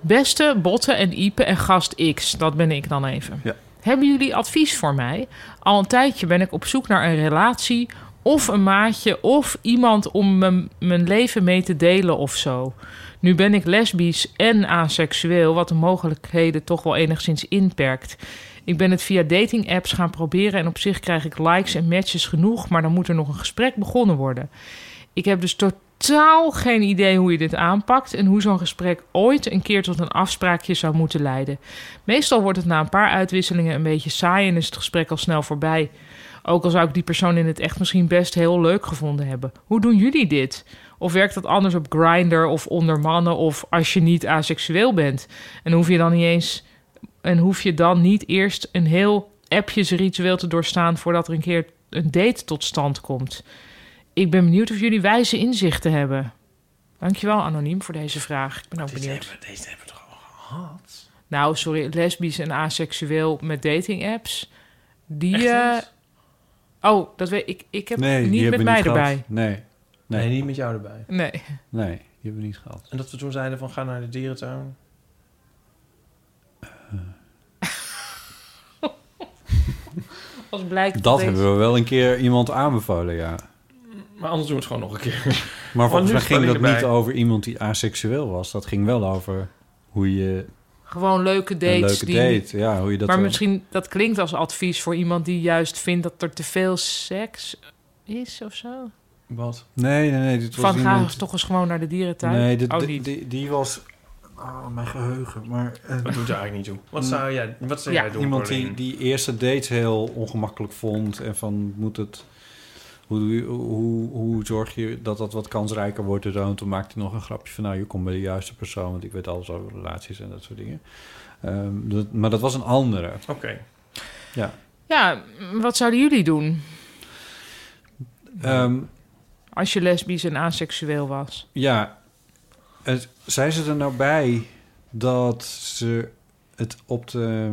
Speaker 3: Beste Botten en Ipe en gast X, dat ben ik dan even.
Speaker 1: Ja.
Speaker 3: Hebben jullie advies voor mij? Al een tijdje ben ik op zoek naar een relatie of een maatje of iemand om mijn- mijn leven mee te delen of zo. Nu ben ik lesbisch en aseksueel, wat de mogelijkheden toch wel enigszins inperkt. Ik ben het via dating apps gaan proberen en op zich krijg ik likes en matches genoeg, maar dan moet er nog een gesprek begonnen worden. Ik heb dus totaal geen idee hoe je dit aanpakt en hoe zo'n gesprek ooit een keer tot een afspraakje zou moeten leiden. Meestal wordt het na een paar uitwisselingen een beetje saai en is het gesprek al snel voorbij. Ook al zou ik die persoon in het echt misschien best heel leuk gevonden hebben. Hoe doen jullie dit? Of werkt dat anders op Grindr of onder mannen of als je niet aseksueel bent? En hoef je dan niet eens en hoef je dan niet eerst een heel appjesritueel te doorstaan voordat er een keer een date tot stand komt? Ik ben benieuwd of jullie wijze inzichten hebben. Dankjewel anoniem voor deze vraag. Ik ben ook
Speaker 1: Deze
Speaker 3: benieuwd.
Speaker 1: hebben, deze hebben we toch al gehad?
Speaker 3: Nou, sorry, lesbisch en aseksueel met dating apps. Die.
Speaker 1: Echt
Speaker 3: eh,
Speaker 1: eens?
Speaker 3: oh, dat weet ik. Ik heb
Speaker 2: Nee, die
Speaker 3: niet met
Speaker 2: hebben we
Speaker 3: mij
Speaker 2: gehad.
Speaker 3: erbij.
Speaker 2: Nee.
Speaker 1: Nee.
Speaker 2: Nee.
Speaker 1: niet met jou erbij.
Speaker 3: Nee.
Speaker 2: Nee, die hebben we niet gehad.
Speaker 1: En dat we toen zeiden van ga naar de dierentuin.
Speaker 3: Als blijkt
Speaker 2: Dat hebben we wel een keer iemand aanbevolen, ja.
Speaker 1: Maar anders doen we het gewoon nog een keer.
Speaker 3: Oh,
Speaker 2: Maar volgens
Speaker 1: nu
Speaker 2: mij
Speaker 1: is
Speaker 2: ging dat
Speaker 1: Pauline
Speaker 2: niet
Speaker 1: erbij.
Speaker 2: over iemand die aseksueel was. Dat ging wel over hoe je
Speaker 3: Gewoon leuke dates.
Speaker 2: een leuke
Speaker 3: die,
Speaker 2: date... Ja, hoe je dat
Speaker 3: maar
Speaker 2: dan-
Speaker 3: misschien dat klinkt als advies voor iemand die juist vindt dat er te veel seks is of zo.
Speaker 1: Wat?
Speaker 2: Nee, nee, nee. Dit was
Speaker 3: Van ga
Speaker 2: iemand...
Speaker 3: toch eens gewoon naar de dierentuin.
Speaker 2: Nee, dit-
Speaker 3: oh,
Speaker 2: di-
Speaker 3: niet.
Speaker 2: die, die was... Oh, mijn geheugen. Maar
Speaker 1: Dat
Speaker 2: eh,
Speaker 1: doet er eigenlijk niet toe. Wat zou jij, wat zou
Speaker 3: Mm. Ja,
Speaker 1: jij doen?
Speaker 2: iemand die,
Speaker 1: Paulien?
Speaker 2: die eerste dates heel ongemakkelijk vond... en van moet het... Hoe, doe je- hoe, hoe zorg je dat dat wat kansrijker wordt? En zo? En toen maakte hij nog een grapje van... nou, je komt bij de juiste persoon... want ik weet alles over relaties en dat soort dingen. Ehm, dat- maar dat was een andere.
Speaker 1: Oké.
Speaker 3: Ja, wat zouden jullie doen
Speaker 2: Ehm,
Speaker 3: als je lesbisch en aseksueel was?
Speaker 2: Ja, het, zijn ze er nou bij dat ze het op de...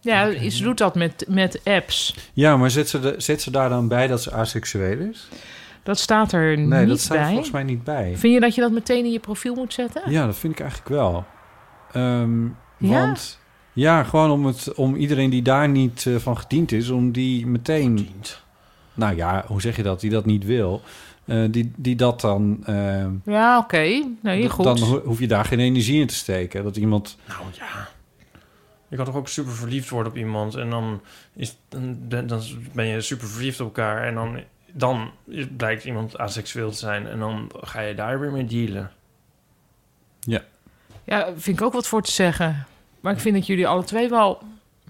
Speaker 3: Ja, ze doet dat met, met apps.
Speaker 2: Ja, maar zit ze, de, zit ze daar dan bij dat ze aseksueel is?
Speaker 3: Dat staat er
Speaker 2: Nee,
Speaker 3: niet
Speaker 2: dat staat er
Speaker 3: bij.
Speaker 2: volgens mij niet bij.
Speaker 3: Vind je dat je dat meteen in je profiel moet zetten?
Speaker 2: Ja, dat vind ik eigenlijk wel. Ehm,
Speaker 3: Ja?
Speaker 2: Want ja, gewoon om, het, om iedereen die daar niet eh, van gediend is, om die meteen... Nou ja, hoe zeg je dat? Die dat niet wil. eh, die, die dat dan... ehm,
Speaker 3: Ja, oké. Nee,
Speaker 2: dat-
Speaker 3: goed.
Speaker 2: Dan ho- hoef je daar geen energie in te steken. Dat iemand
Speaker 1: Nou ja. Je kan toch ook super verliefd worden op iemand en dan, is, dan, ben- dan ben je super verliefd op elkaar en dan, dan blijkt iemand aseksueel te zijn en dan ga je daar weer mee dealen.
Speaker 3: Ja, vind ik ook wat voor te zeggen. Maar ik vind dat jullie alle twee wel...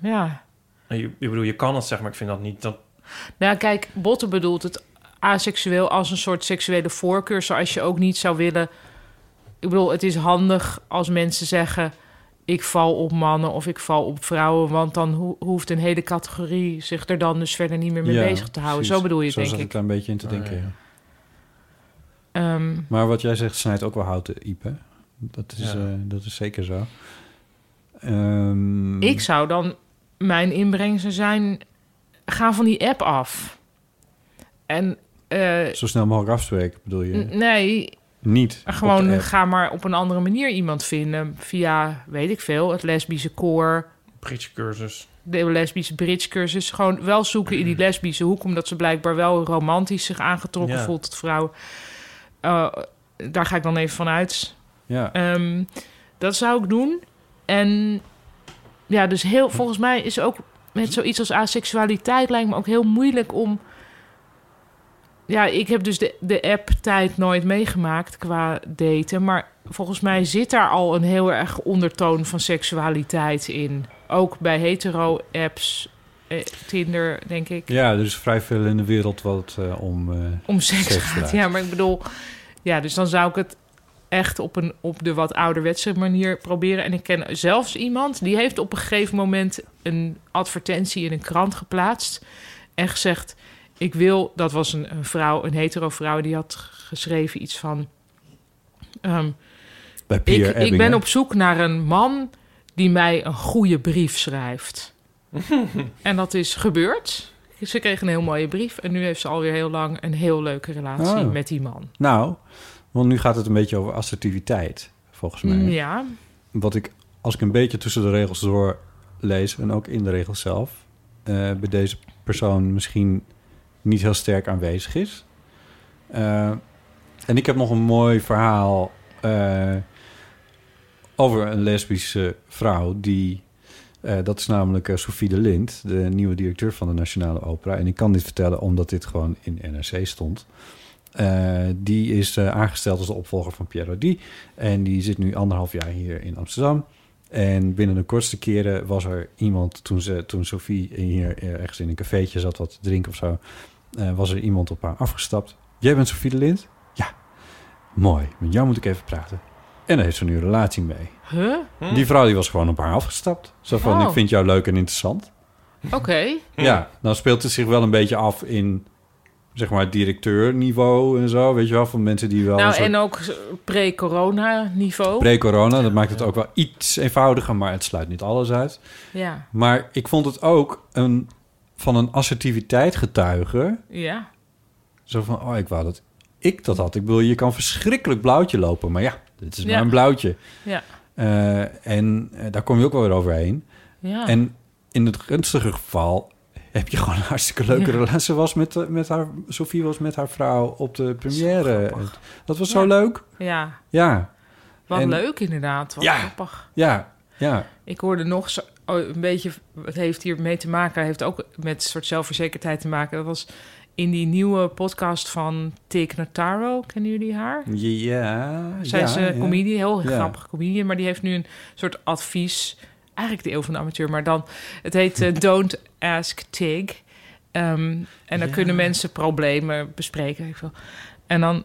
Speaker 3: Ja.
Speaker 1: Nou, Je, ik bedoel, je kan het zeg maar ik vind dat niet. Dat,
Speaker 3: Nou, ja, kijk, Botte bedoelt het aseksueel als een soort seksuele voorkeur... zoals je ook niet zou willen... Ik bedoel, het is handig als mensen zeggen... ik val op mannen of ik val op vrouwen... want dan ho- hoeft een hele categorie zich er dan dus verder niet meer mee
Speaker 2: Ja,
Speaker 3: bezig te houden.
Speaker 2: precies.
Speaker 3: Zo bedoel je het,
Speaker 2: Zo
Speaker 3: denk
Speaker 2: zat
Speaker 3: ik.
Speaker 2: ik daar een beetje in te
Speaker 1: Ah,
Speaker 2: denken.
Speaker 1: ja.
Speaker 2: ja.
Speaker 3: Ehm,
Speaker 2: Maar wat jij zegt snijdt ook wel houten, Iep. Hè? Dat,
Speaker 1: Ja.
Speaker 2: is, eh, dat is zeker zo. Ehm,
Speaker 3: Ik zou dan mijn inbreng zou zijn: ga van die app af. En eh,
Speaker 2: Zo snel mogelijk afspreken, bedoel je?
Speaker 3: n- nee,
Speaker 2: Niet. op de
Speaker 3: gewoon
Speaker 2: app.
Speaker 3: ga maar op een andere manier iemand vinden via, weet ik veel, het lesbische koor,
Speaker 1: Britse cursus.
Speaker 3: de lesbische bridge cursus. Gewoon wel zoeken in die lesbische hoek, omdat ze blijkbaar wel romantisch zich aangetrokken
Speaker 1: Ja.
Speaker 3: voelt tot vrouwen. Eh, daar ga ik dan even van uit.
Speaker 2: Ja.
Speaker 3: Ehm, dat zou ik doen. En ja, dus heel, volgens mij is ook met zoiets als aseksualiteit lijkt me ook heel moeilijk om ja, ik heb dus de, de app-tijd nooit meegemaakt qua daten. Maar volgens mij zit daar al een heel erg ondertoon van seksualiteit in. Ook bij hetero-apps, eh, Tinder, denk ik.
Speaker 2: Ja, er is vrij veel in de wereld wat eh, om... eh,
Speaker 3: om seks
Speaker 2: Seks
Speaker 3: gaat.
Speaker 2: draait.
Speaker 3: Ja, maar ik bedoel, ja, dus dan zou ik het echt op, een, op de wat ouderwetse manier proberen. En ik ken zelfs iemand die heeft op een gegeven moment een advertentie in een krant geplaatst en gezegd: Ik wil, dat was een, een vrouw, een hetero vrouw, die had geschreven iets van. ehm,
Speaker 2: bij Pier
Speaker 3: ik, ik
Speaker 2: Ebbing,
Speaker 3: ben
Speaker 2: hè?
Speaker 3: op zoek naar een man die mij een goede brief schrijft. en dat is gebeurd. Ze kreeg een heel mooie brief en nu heeft ze alweer heel lang een heel leuke relatie
Speaker 2: Oh.
Speaker 3: met die man.
Speaker 2: Nou, want nu gaat het een beetje over assertiviteit, volgens mij.
Speaker 3: Ja,
Speaker 2: Wat ik, als ik een beetje tussen de regels door lees... en ook in de regels zelf... eh, bij deze persoon misschien niet heel sterk aanwezig is. Eh, en ik heb nog een mooi verhaal... eh, over een lesbische vrouw die... eh, dat is namelijk eh, Sophie de Lind, de nieuwe directeur van de Nationale Opera. En ik kan dit vertellen omdat dit gewoon in NRC stond. Eh, die is eh, aangesteld als de opvolger van Pierre Rodi. En die zit nu anderhalf jaar hier in Amsterdam. En binnen de kortste keren was er iemand, toen, ze, toen Sophie hier eh, ergens in een cafeetje zat wat te drinken of zo, eh, was er iemand op haar afgestapt. Jij bent Sophie de Lind? Ja. Mooi, met jou moet ik even praten. En daar heeft ze nu een relatie mee.
Speaker 3: huh?
Speaker 2: Die vrouw die was gewoon op haar afgestapt. Zo van,
Speaker 3: Hm? Oh. Hm.
Speaker 2: ik vind jou leuk en interessant.
Speaker 3: Oké.
Speaker 2: Ja, dan speelt het zich wel een beetje af in, zeg maar, directeurniveau en zo. Weet je wel, van mensen die wel... een
Speaker 3: Nou,
Speaker 2: soort-
Speaker 3: en ook pre-corona niveau.
Speaker 2: Pre-corona, dat maakt het ook wel iets eenvoudiger, maar het sluit niet alles uit.
Speaker 3: ja,
Speaker 2: Maar ik vond het ook een, van een assertiviteit getuigen.
Speaker 3: ja.
Speaker 2: Zo van, oh, ik wou dat ik dat had. Ik bedoel, je kan verschrikkelijk blauwtje lopen, maar ja, dit is
Speaker 3: Ja.
Speaker 2: maar een blauwtje.
Speaker 3: Ja.
Speaker 2: Eh, en eh, daar kom je ook wel weer overheen.
Speaker 3: ja.
Speaker 2: En in het gunstige geval heb je gewoon een hartstikke leuke
Speaker 3: Ja.
Speaker 2: relatie. Ze was met, eh, met haar, Sophie was met haar vrouw op de première. Dat was zo
Speaker 3: Ja.
Speaker 2: leuk.
Speaker 3: ja.
Speaker 2: Ja,
Speaker 3: Wat
Speaker 2: en-
Speaker 3: leuk inderdaad, wat
Speaker 2: Ja.
Speaker 3: grappig.
Speaker 2: ja, ja.
Speaker 3: Ik hoorde nog zo, oh, een beetje, het heeft hier mee te maken, heeft ook met een soort zelfverzekerdheid te maken. Dat was in die nieuwe podcast van Tik Notaro, kennen jullie haar?
Speaker 2: Ja,
Speaker 3: Zij is een
Speaker 2: ja.
Speaker 3: comedian, heel
Speaker 2: Ja.
Speaker 3: grappige comedian, maar die heeft nu een soort advies. Eigenlijk de eeuw van de amateur, maar dan... Het heet eh, Don't Ask Tig. Ehm, en dan kunnen mensen problemen bespreken. weet ik veel. En dan,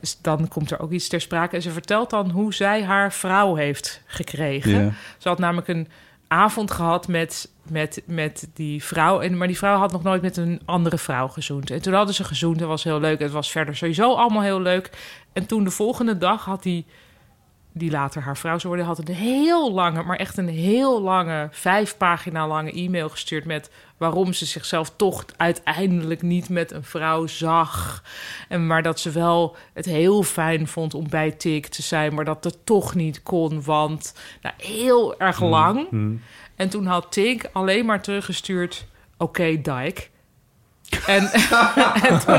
Speaker 3: is- dan komt er ook iets ter sprake. En ze vertelt dan hoe zij haar vrouw heeft gekregen.
Speaker 2: Ja.
Speaker 3: Ze had namelijk een avond gehad met, met, met die vrouw. En, maar die vrouw had nog nooit met een andere vrouw gezoend. En toen hadden ze gezoend. Dat was heel leuk. Het was verder sowieso allemaal heel leuk. En toen de volgende dag had die, die later haar vrouw zou worden... had een heel lange, maar echt een heel lange... vijf pagina lange e-mail gestuurd met... waarom ze zichzelf toch uiteindelijk niet met een vrouw zag. En maar dat ze wel het heel fijn vond om bij Tik te zijn... maar dat dat toch niet kon, want... Nou, heel erg lang. En toen had Tink alleen maar teruggestuurd... Oké, Dike. En, en, toen,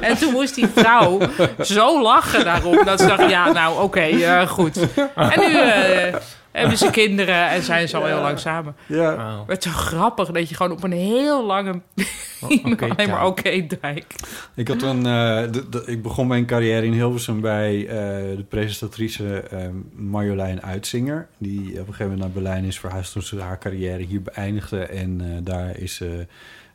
Speaker 3: en toen moest die vrouw zo lachen daarom... dat ze dacht, ja, nou, oké, eh, goed. En nu eh, hebben ze kinderen en zijn ze al heel lang samen.
Speaker 2: Ja.
Speaker 1: Wauw.
Speaker 3: Het is zo grappig dat je gewoon op een heel lange...
Speaker 1: oké,
Speaker 3: alleen maar
Speaker 1: Dijk.
Speaker 3: oké, Dijk.
Speaker 2: Ik, had een, eh, de- de- ik begon mijn carrière in Hilversum bij eh, de presentatrice eh, Marjolein Uitzinger. Die op een gegeven moment naar Berlijn is verhuisd toen ze haar carrière hier beëindigde. En eh, daar is ze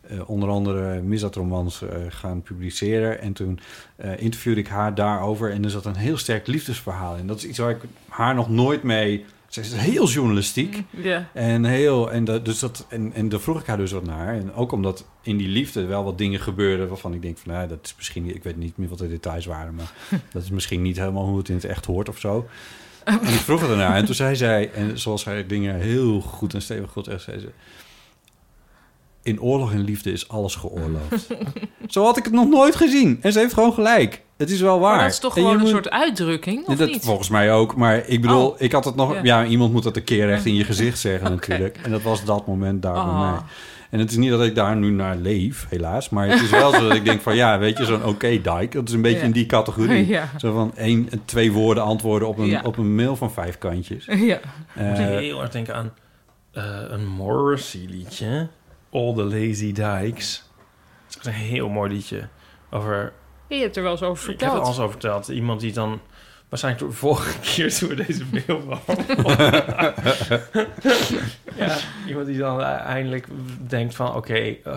Speaker 2: eh, onder andere misdaadromans eh, gaan publiceren. En toen eh, interviewde ik haar daarover. En er zat een heel sterk liefdesverhaal in. Dat is iets waar ik haar nog nooit mee... Ze is heel journalistiek.
Speaker 3: Ja.
Speaker 2: En heel, en, dat, dus dat, en, en daar vroeg ik haar dus wat naar. En ook omdat in die liefde wel wat dingen gebeurden waarvan ik denk van, nou, dat is misschien, niet- ik weet niet meer wat de details waren, maar dat is misschien niet helemaal hoe het in het echt hoort of zo.
Speaker 3: Oh.
Speaker 2: En ik vroeg het ernaar en toen zei zij, en zoals zij dingen heel goed en stevig goed echt zei ze, in oorlog en liefde is alles geoorloofd. zo had ik het nog nooit gezien. En ze heeft gewoon gelijk. Het is wel waar.
Speaker 3: Maar dat is toch
Speaker 2: En je
Speaker 3: gewoon een
Speaker 2: moet-
Speaker 3: soort uitdrukking,
Speaker 2: Nee,
Speaker 3: of
Speaker 2: dat
Speaker 3: niet?
Speaker 2: volgens mij ook. Maar ik bedoel,
Speaker 3: Oh.
Speaker 2: ik had het nog.
Speaker 3: Ja.
Speaker 2: Ja. iemand moet dat een keer echt in je gezicht zeggen,
Speaker 3: Oké.
Speaker 2: natuurlijk. En dat was dat moment daar bij
Speaker 3: Ah.
Speaker 2: mij. En het is niet dat ik daar nu naar leef, helaas. Maar het is wel zo dat ik denk van ja, weet je, zo'n oké dijk. Dat is een beetje
Speaker 3: Ja.
Speaker 2: in die categorie.
Speaker 3: Ja.
Speaker 2: Zo van één, twee woorden antwoorden op een,
Speaker 3: Ja.
Speaker 2: op een mail van vijf kantjes.
Speaker 3: Ja.
Speaker 1: Ik moet
Speaker 2: Eh,
Speaker 1: heel erg denken aan eh, een Morrissey liedje. All the Lazy Dykes. Dat is een heel mooi liedje. Over,
Speaker 3: Je hebt er wel eens over
Speaker 1: ik heb er
Speaker 3: verteld.
Speaker 1: al eens over verteld. Iemand die dan waarschijnlijk de vorige keer toen we deze mail behandelen. ja, iemand die dan eindelijk denkt van... Oké, eh,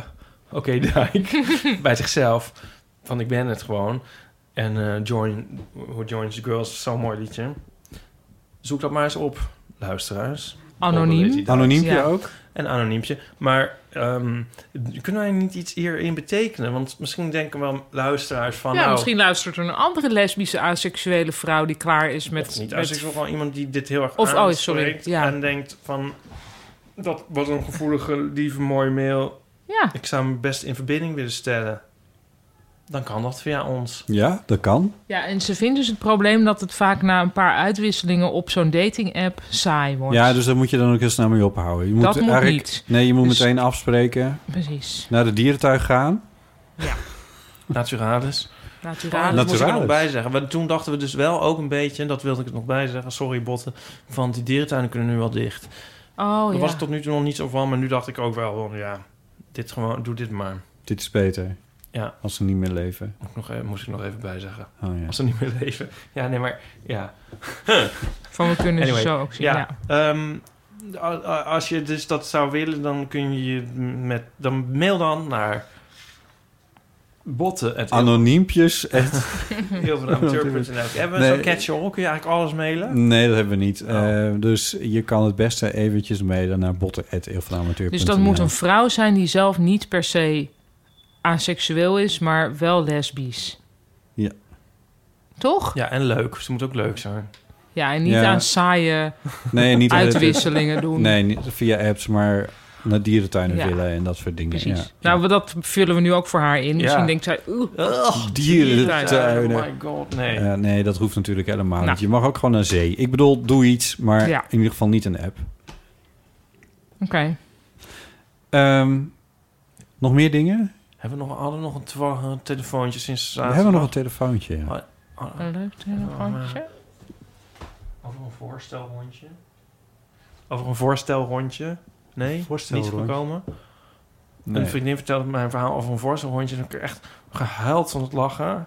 Speaker 1: oké Dijk. bij zichzelf. Van ik ben het gewoon. En eh, Join, Who Joins the Girls is zo'n mooi liedje. Zoek dat maar eens op, luisteraars. Onder Lady
Speaker 3: Anoniem.
Speaker 1: Dice.
Speaker 2: Anoniempje
Speaker 3: Ja.
Speaker 2: ook?
Speaker 1: Een anoniempje. Maar ehm, kunnen wij niet iets hierin betekenen? Want misschien denken wel luisteraars van...
Speaker 3: Ja,
Speaker 1: nou,
Speaker 3: misschien luistert er een andere lesbische aseksuele vrouw die klaar is
Speaker 1: of
Speaker 3: met...
Speaker 1: niet.
Speaker 3: met-
Speaker 1: Als ik wel gewoon iemand die dit heel erg
Speaker 3: Of- oh,
Speaker 1: aanspreekt
Speaker 3: sorry, ja.
Speaker 1: en denkt van... Dat was een gevoelige, lieve, mooie mail.
Speaker 3: Ja,
Speaker 1: Ik zou me best in verbinding willen stellen. Dan kan dat via ons.
Speaker 2: Ja, dat kan.
Speaker 3: ja, en ze vindt dus het probleem dat het vaak na een paar uitwisselingen op zo'n dating-app saai wordt.
Speaker 2: Ja, dus daar moet je dan ook heel snel mee ophouden. Je moet
Speaker 3: Dat moet
Speaker 2: eigenlijk-
Speaker 3: niet.
Speaker 2: Nee, je moet
Speaker 3: Dus-
Speaker 2: meteen afspreken.
Speaker 3: Precies.
Speaker 2: Naar de dierentuig gaan.
Speaker 1: Naturalis.
Speaker 3: Naturalis.
Speaker 1: dat moet ik er nog
Speaker 2: Naturalis.
Speaker 1: bij zeggen. Want toen dachten we dus wel ook een beetje... en dat wilde ik er nog bij zeggen, sorry botten... van die dierentuinen kunnen nu wel dicht.
Speaker 3: Oh
Speaker 1: Daar
Speaker 3: ja.
Speaker 1: was het tot nu toe nog niet zo van... maar nu dacht ik ook wel van, ja, dit gewoon, doe dit maar.
Speaker 2: Dit is beter.
Speaker 1: Ja.
Speaker 2: Als ze niet meer leven.
Speaker 1: Moet ik nog even, moest ik nog even bij zeggen.
Speaker 2: Oh ja.
Speaker 1: Als ze niet meer leven. Ja, nee, maar ja.
Speaker 3: Van we kunnen
Speaker 1: Anyway,
Speaker 3: ze zo ook zien.
Speaker 1: ja.
Speaker 3: Ja.
Speaker 1: Ehm, a- a- als je dus dat zou willen, dan kun je je met... Dan mail dan naar botten.
Speaker 2: Anoniempjes. echt-
Speaker 1: Heel veel amateur.nl. Hebben we
Speaker 2: Nee.
Speaker 1: zo'n catch-all? Kun je eigenlijk alles mailen?
Speaker 2: Nee, dat hebben we niet.
Speaker 1: Oh.
Speaker 2: Eh, dus je kan het beste eventjes mailen naar botten.eeuwvanamateur.nl.
Speaker 3: Dus dat moet een vrouw zijn die zelf niet per se aseksueel is, maar wel lesbisch.
Speaker 2: Ja.
Speaker 3: Toch?
Speaker 1: Ja, en leuk. Ze moet ook leuk zijn.
Speaker 3: Ja, en niet
Speaker 2: Ja.
Speaker 3: aan saaie
Speaker 2: Nee, niet
Speaker 3: uitwisselingen doen.
Speaker 2: Nee, niet via apps, maar naar dierentuinen
Speaker 3: Ja.
Speaker 2: willen en dat soort dingen.
Speaker 3: Precies.
Speaker 2: Ja.
Speaker 3: Nou, we- dat vullen we nu ook voor haar in. Misschien
Speaker 1: Ja.
Speaker 3: denkt zij, oeh,
Speaker 1: Oh
Speaker 2: dierentuinen.
Speaker 1: my god, nee.
Speaker 2: Eh, nee, dat hoeft natuurlijk helemaal
Speaker 3: Nou.
Speaker 2: niet. Je mag ook gewoon naar zee. Ik bedoel, doe iets, maar
Speaker 3: Ja.
Speaker 2: in ieder geval niet een app.
Speaker 3: oké.
Speaker 2: Ehm, nog meer dingen?
Speaker 1: Hebben we nog, hadden we nog een twa- telefoontje sinds
Speaker 2: we hebben nog een telefoontje. ja.
Speaker 1: Oh.
Speaker 3: Een leuk telefoontje.
Speaker 1: Over een voorstelrondje? Over een voorstelrondje? Nee, niet
Speaker 2: voorstelrondje.
Speaker 1: gekomen.
Speaker 2: Nee.
Speaker 1: Een vriendin vertelde mij een verhaal over een voorstelrondje... en ik heb echt gehuild van het lachen.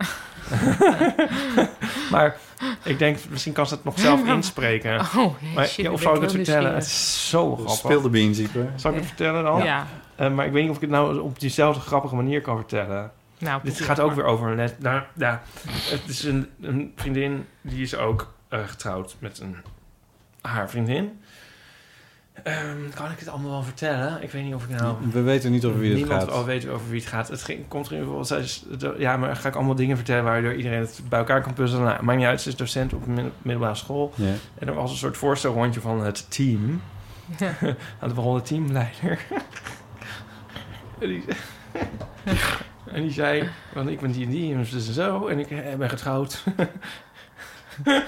Speaker 1: maar ik denk, misschien kan ze het nog zelf inspreken.
Speaker 3: Oh, jeetje,
Speaker 1: Maar, ja,
Speaker 3: ben
Speaker 1: of zou ik
Speaker 3: wel
Speaker 1: het vertellen? Het
Speaker 3: nieuwsgierig.
Speaker 1: is zo grappig.
Speaker 2: Speel de beans, Ieper.
Speaker 1: Zal ik het vertellen dan?
Speaker 3: Ja.
Speaker 1: Eh, maar ik weet niet of ik het nou op diezelfde grappige manier kan vertellen.
Speaker 3: Nou,
Speaker 1: Dit
Speaker 3: probeer
Speaker 1: gaat ook
Speaker 3: maar.
Speaker 1: weer over een les. Nou, ja. Het is een, een vriendin die is ook eh, getrouwd met een, haar vriendin. Ehm, kan ik het allemaal wel vertellen? Ik weet niet of ik nou.
Speaker 2: We weten niet over wie het
Speaker 1: Niemand
Speaker 2: gaat.
Speaker 1: al weet over wie het gaat. Het ging, komt er in ieder geval. zij is- de- Ja, maar ga ik allemaal dingen vertellen waardoor iedereen het bij elkaar kan puzzelen. Nou, maakt niet uit. Ze is docent op een mid- middelbare school.
Speaker 2: Ja.
Speaker 1: En er was een soort voorstelrondje van het team. Aan de begon de teamleider. en, die, en die zei, want ik ben die en die en dus zo. En ik eh, ben getrouwd.